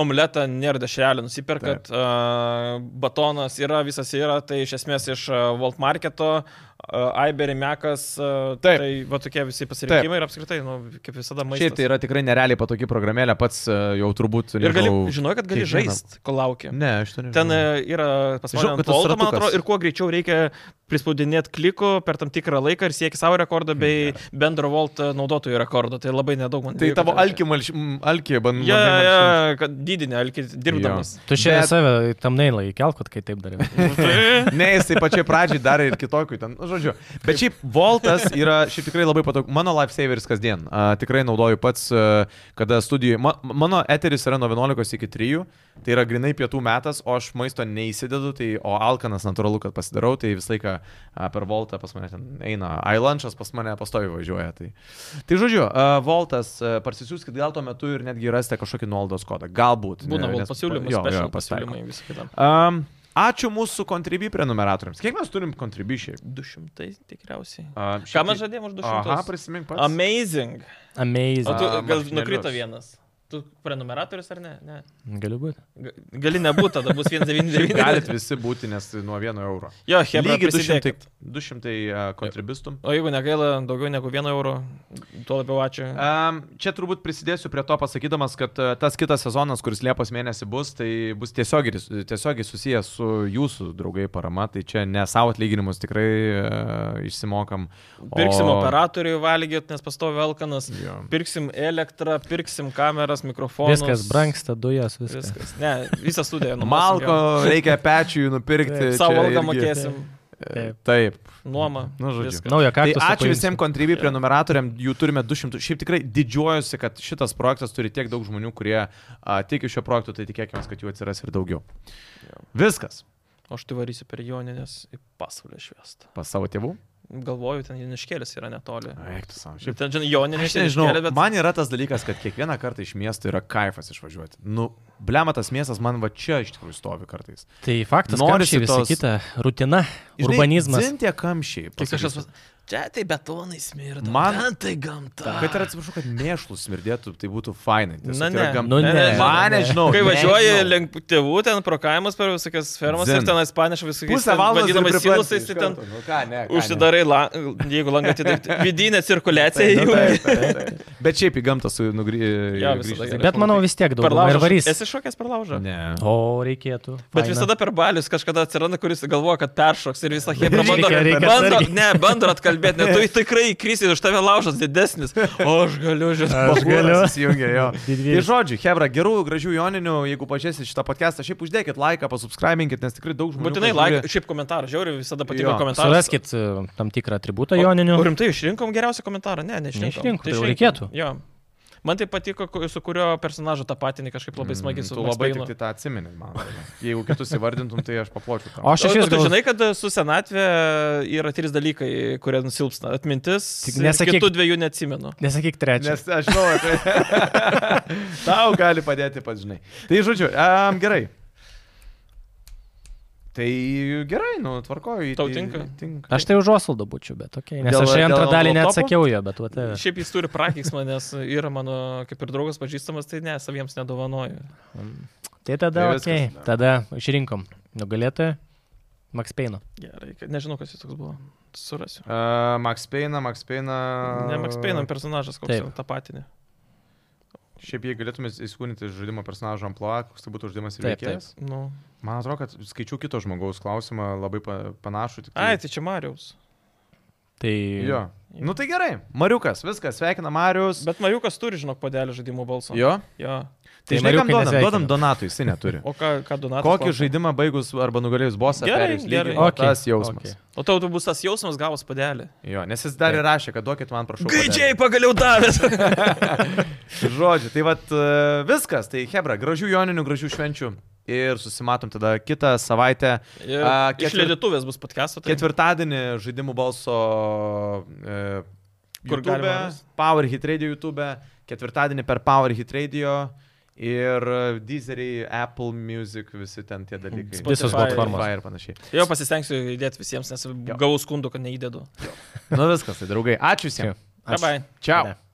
Speaker 3: omletą, nėra dešrelį, nusiperkat, uh, batonas yra, visas yra, tai iš esmės iš uh, Volt Marketo, uh, Iberry Mekas, uh,
Speaker 1: Taip.
Speaker 3: tai va tokie visi pasirinkimai ir apskritai, nu, kaip visada,
Speaker 1: šiaip tai
Speaker 3: maistas.
Speaker 1: yra tikrai nerealiai patogi programėlė, pats e, jau turbūt...
Speaker 3: Ir gali,
Speaker 1: nežinau,
Speaker 3: žinai, kad gali
Speaker 1: kiekvieną-
Speaker 3: žaisti, kol laukia.
Speaker 1: Ne, aš ten
Speaker 3: Ten e, yra pas
Speaker 1: Žinau,
Speaker 3: mane
Speaker 1: kad tas
Speaker 3: tolta, man
Speaker 1: ratukas.
Speaker 3: atrodo, ir kuo greičiau reikia prispaudinėti klikų per tam tikrą laiką ir sieki savo rekordą bei bendro volt naudotojų rekordo. Tai labai nedaug man.
Speaker 1: Tai
Speaker 3: reikia,
Speaker 1: tavo
Speaker 3: kad-
Speaker 1: alkį, malš- m, alkį bandai.
Speaker 3: Jo, jo, jo, kad didinė alkį dirbdamas. Nu,
Speaker 2: Tu čia
Speaker 1: Bet-
Speaker 2: Bet... save tam nailą įkelk, kad kai taip darai.
Speaker 3: tai
Speaker 1: Ne, jisai pačiai pradžiai darė ir kitokių ten, nu, žodžiu. Bet šiaip Voltas yra šiaip tikrai labai patogus. Mano lifesaveris kasdien. A, tikrai naudoju pats, a, kada studijoje. Ma, mano eteris yra nuo 11 iki 3, tai yra grinai pietų metas, o aš maisto neįsidedu, tai, o alkanas natūralu, kad pasidarau, tai visą laiką a, per Voltą pas mane ten eina. Ailančas pas mane pastovi važiuoja. Tai, tai žodžiu, a, Voltas, a, parsisiųskit gal tuo metu ir netgi rasite kažkokį nuolaidos kodą. Galbūt. ne,
Speaker 3: Būna volt
Speaker 1: nes-
Speaker 3: pasiūlymai,
Speaker 1: jo, jo,
Speaker 3: special
Speaker 1: pasitaiko.
Speaker 3: pasiūlymai visą kitą.
Speaker 1: Um, ačiū mūsų kontribį prenumeratoriams. Kiek mes turim kontribį šiaip?
Speaker 3: 200 tikriausiai.
Speaker 1: Um,
Speaker 3: Ką mes žadėjom už 200?
Speaker 1: Aha, prisimink pats.
Speaker 3: Amazing.
Speaker 2: Amazing.
Speaker 3: O tu
Speaker 1: A,
Speaker 3: gal
Speaker 1: marškinėlius.
Speaker 3: nukrito vienas? Tu prenumeratorius ar ne? ne.
Speaker 2: Galiu būti.
Speaker 3: Ga- Gali nebūti, tada bus 199.
Speaker 1: Galit visi būti, nes nuo vieno euro.
Speaker 3: Jo, hebra,
Speaker 1: Lygiai
Speaker 3: prisidėkit.
Speaker 1: 200, 200 uh, kontribistų.
Speaker 3: O jeigu negaila daugiau negu 1 euro, tuo labiau ačiū.
Speaker 1: Um, čia turbūt prisidėsiu prie to pasakydamas, kad e, tas kitas sezonas, kuris Liepos mėnesį bus, tai bus tiesiogiai, tiesiogiai susijęs su jūsų draugai parama, tai čia ne savo atlyginimus tikrai uh, išsimokam. o-
Speaker 3: Pirksim operatorių valgyt, nes pastovi Elkanas.
Speaker 1: Jo.
Speaker 3: Pirksim elektrą, pirksim kameras, mikrofonus.
Speaker 2: Viskas brangsta, dujos, viskas.
Speaker 3: Viskas. Ne, visą studiją. nuomosim
Speaker 1: Malko reikia pečių nupirkti.
Speaker 2: Taip.
Speaker 1: čia
Speaker 3: Savo algą
Speaker 1: irgi.
Speaker 3: mokėsim,
Speaker 1: E, Taip.
Speaker 3: nuomą.
Speaker 1: Nu, žodžiu.
Speaker 3: viską.
Speaker 2: Nauja
Speaker 1: Tai
Speaker 2: kaktusą.
Speaker 1: ačiū
Speaker 2: paimsiu.
Speaker 1: visiems kontribui prenumeratoriam, jų turime 200. Šiaip tikrai didžiuojuosi, kad šitas projektas turi tiek daug žmonių, kurie a, tiki šio projektu, tai tikėkime, kad jų atsiras ir daugiau. Viskas.
Speaker 3: O aš tai varysiu per Joninės į pasaulio šviestą.
Speaker 1: Pas savo tėvų.
Speaker 3: Galvoju, ten Joniškėlis yra netoli.
Speaker 1: Eik tu savo.
Speaker 3: Šiaip
Speaker 1: Šiaip.
Speaker 3: ten, žinai, Joninė.
Speaker 1: Aš nežinau, bet... man yra tas dalykas, kad kiekvieną kartą iš miesto yra kaifas išvažiuoti. Nu, blema tas miestas man va čia iš tikrųjų stovi kartais.
Speaker 2: Tai faktas,
Speaker 1: Norisi
Speaker 2: norisi visą
Speaker 1: tos-
Speaker 2: tos... kitą. Rutina, urbanizmas.
Speaker 1: Zintė kamščiai.
Speaker 3: Kaip kažkas
Speaker 1: pasakysiu.
Speaker 3: pas... Čia tai betonai smirda.
Speaker 1: Man-
Speaker 3: ten tai gamta.
Speaker 1: Kad ir atsiprašau, kad mėšlų smirdėtų, tai būtų fainai. Tiesiog
Speaker 3: Na,
Speaker 1: tai yra
Speaker 3: ne.
Speaker 1: gam-
Speaker 2: Nu, ne.
Speaker 1: Man nežinau.
Speaker 3: Kai važiuoji
Speaker 1: nežinau.
Speaker 3: link tėvų, ten pro kaimus per visokias fermas
Speaker 1: Zin.
Speaker 3: ir tenais paneša visokiais
Speaker 1: Pusę
Speaker 3: ten
Speaker 1: valandos ir
Speaker 3: vadinamais
Speaker 1: priprasi
Speaker 3: silusais,
Speaker 1: iš
Speaker 3: tai
Speaker 1: karto.
Speaker 3: ten
Speaker 1: Nu ką, ne, ką, ne.
Speaker 3: Užsidarai, la, jeigu langą atidaryti, vidinė cirkuliacija
Speaker 1: Nu,
Speaker 3: jau.
Speaker 1: taip, taip, taip. Bet šiaip į gamtą su
Speaker 3: Jo, visada
Speaker 1: nugrįžti.
Speaker 3: gerai.
Speaker 2: Bet manau vis tiek
Speaker 3: Per
Speaker 2: daugiau.
Speaker 3: laužą.
Speaker 2: Ir varys.
Speaker 3: Esi šokęs per laužą.
Speaker 1: Ne.
Speaker 2: O, reikėtų.
Speaker 3: Bet
Speaker 2: Faina.
Speaker 3: visada per balius kažkada atsiranda, kuris galvoja, kad peršoks ir visą
Speaker 2: Reikia-
Speaker 3: chemą bando,
Speaker 2: reikia
Speaker 3: bando,
Speaker 2: atsargiai.
Speaker 3: ne, bando atkalbėti, ne, tu tikrai įkrisi, už tave laužas didesnis. O aš galiu, žinai.
Speaker 2: Aš galiu.
Speaker 1: Įsijungia, jo.
Speaker 2: Didvyris.
Speaker 1: Tai žodžiu, Hebra, gerų, gražių joninių, jeigu pažiūrėsit šitą podcastą, šiaip uždėkit laiką, pasubscribinkit, nes tikrai daug žmonių.
Speaker 3: Būtinai
Speaker 1: kas
Speaker 3: laik,
Speaker 1: žiūri.
Speaker 3: šiaip komentarą, žiauriai visada
Speaker 1: Jo.
Speaker 3: patiko komentaras.
Speaker 2: Suraskit e, tam tikrą atributą
Speaker 3: O-
Speaker 2: joninių.
Speaker 3: O rimtai išrinkom geriausią komentarą, ne, neišrinkom.
Speaker 2: Neišrinkom,
Speaker 3: Tai
Speaker 2: tai jau
Speaker 3: išrinkom.
Speaker 2: reikėtų.
Speaker 3: Jo. Man tai patiko, ku- su kurio personažu tą patinį kažkaip labai smagiai su
Speaker 1: Tu labai tik tai tą atsimeni, man. atrodo. Jeigu kitus įvardintum, tai aš papločiau.
Speaker 2: O aš
Speaker 3: Aš
Speaker 2: iš
Speaker 3: esu. Tu
Speaker 2: jūsų.
Speaker 3: žinai, kad e, su senatvė yra trys dalykai, kurie nusilpsta. Atmintis.
Speaker 2: Tik
Speaker 3: ir
Speaker 2: nesakyk-
Speaker 3: Kitų dviejų neatsimenu.
Speaker 2: Nesakyk trečią.
Speaker 1: Nes aš žinau, tai tau gali padėti pats, žinai. Tai žodžiu, um, gerai. Tai gerai, nu, tvarkoju.
Speaker 3: Tau
Speaker 1: tai-
Speaker 3: tinka?
Speaker 1: Tinka.
Speaker 2: Aš tai už Osvaldo būčiau, bet tokia. Nes
Speaker 1: Dėl-
Speaker 2: dėl, aš į
Speaker 1: dėl
Speaker 2: antrą dalį
Speaker 1: laptopo?
Speaker 2: neatsakiau jo, bet va tai.
Speaker 3: Šiaip jis turi prakeiksmą, nes yra mano kaip ir draugas pažįstamas, tai ne, saviems nedovanoju.
Speaker 2: Tai tada,
Speaker 1: Tai
Speaker 2: okei,
Speaker 1: viskas.
Speaker 2: okay, tada išrinkom nugalėtoją Max Payne.
Speaker 3: Gerai, kad- nežinau, kas jis toks buvo. Surasiu.
Speaker 1: Uh, Max Payne, Max Payne.
Speaker 3: Ne, Max Payne nu, personažas, koks
Speaker 2: Taip.
Speaker 3: yra tą patinį.
Speaker 1: Šiaip jei galėtume įskūnyti žaidimo personažą Amploa, koks tai būtų žaidimas ir
Speaker 2: Taip,
Speaker 1: veikėjas.
Speaker 3: Nu.
Speaker 1: Man atrodo, kad skaičiu kito žmogaus klausimą labai pa- panašų. Tik tai
Speaker 3: Ai, tai čia Mariaus.
Speaker 2: Tai
Speaker 1: Jo, Nu tai gerai, Mariukas, viskas, sveikina Marius.
Speaker 3: Bet Mariukas turi, žinok, padėlį žaidimų balsą.
Speaker 1: Jo. Tai
Speaker 3: jo.
Speaker 2: Tai
Speaker 1: žinai, kam duodam?
Speaker 2: Mariukai
Speaker 1: Duodam
Speaker 2: nesveikina.
Speaker 1: Donatui, jis neturi.
Speaker 3: O ką, ką Donatas?
Speaker 1: Kokį
Speaker 3: klausia?
Speaker 1: žaidimą baigus arba nugalėjus bosą,
Speaker 3: Gerai,
Speaker 1: perėjus lygį,
Speaker 3: gerai.
Speaker 1: va
Speaker 2: Okei,
Speaker 1: tas jausmas.
Speaker 2: okei.
Speaker 3: O tau tu bus tas jausmas gavus padėlį.
Speaker 1: Jo, nes jis dar ir rašė, kad duokit man, prašau.
Speaker 3: Gaidžiai pagaliau davęs.
Speaker 1: padelį. Žodžiu, tai vad viskas. Tai Hebra, gražių joninių, gražių švenčių. Ir susimatom tada kitą savaitę. A,
Speaker 3: Iš
Speaker 1: ketvir-
Speaker 3: lėdėtuvės bus podcast'o. Tai...
Speaker 1: Ketvirtadienį žaidimų balso. E,
Speaker 3: Kur
Speaker 1: YouTube,
Speaker 3: galima rast?
Speaker 1: Power Hit Radio YouTube, ketvirtadienį per Power Hit Radio ir e, Deezerį, Apple Music, visi ten tie dalykai.
Speaker 3: Visos
Speaker 1: Spotify,
Speaker 2: platformos.
Speaker 1: Spotify ir panašiai.
Speaker 3: Jau pasistengsiu įdėti visiems, nes gavau skundų, kad neįdedu.
Speaker 1: Nu viskas, tai draugai. Ačiū visiems.
Speaker 2: Ačiū.
Speaker 3: Bye bye.
Speaker 1: Čia.
Speaker 2: Ate.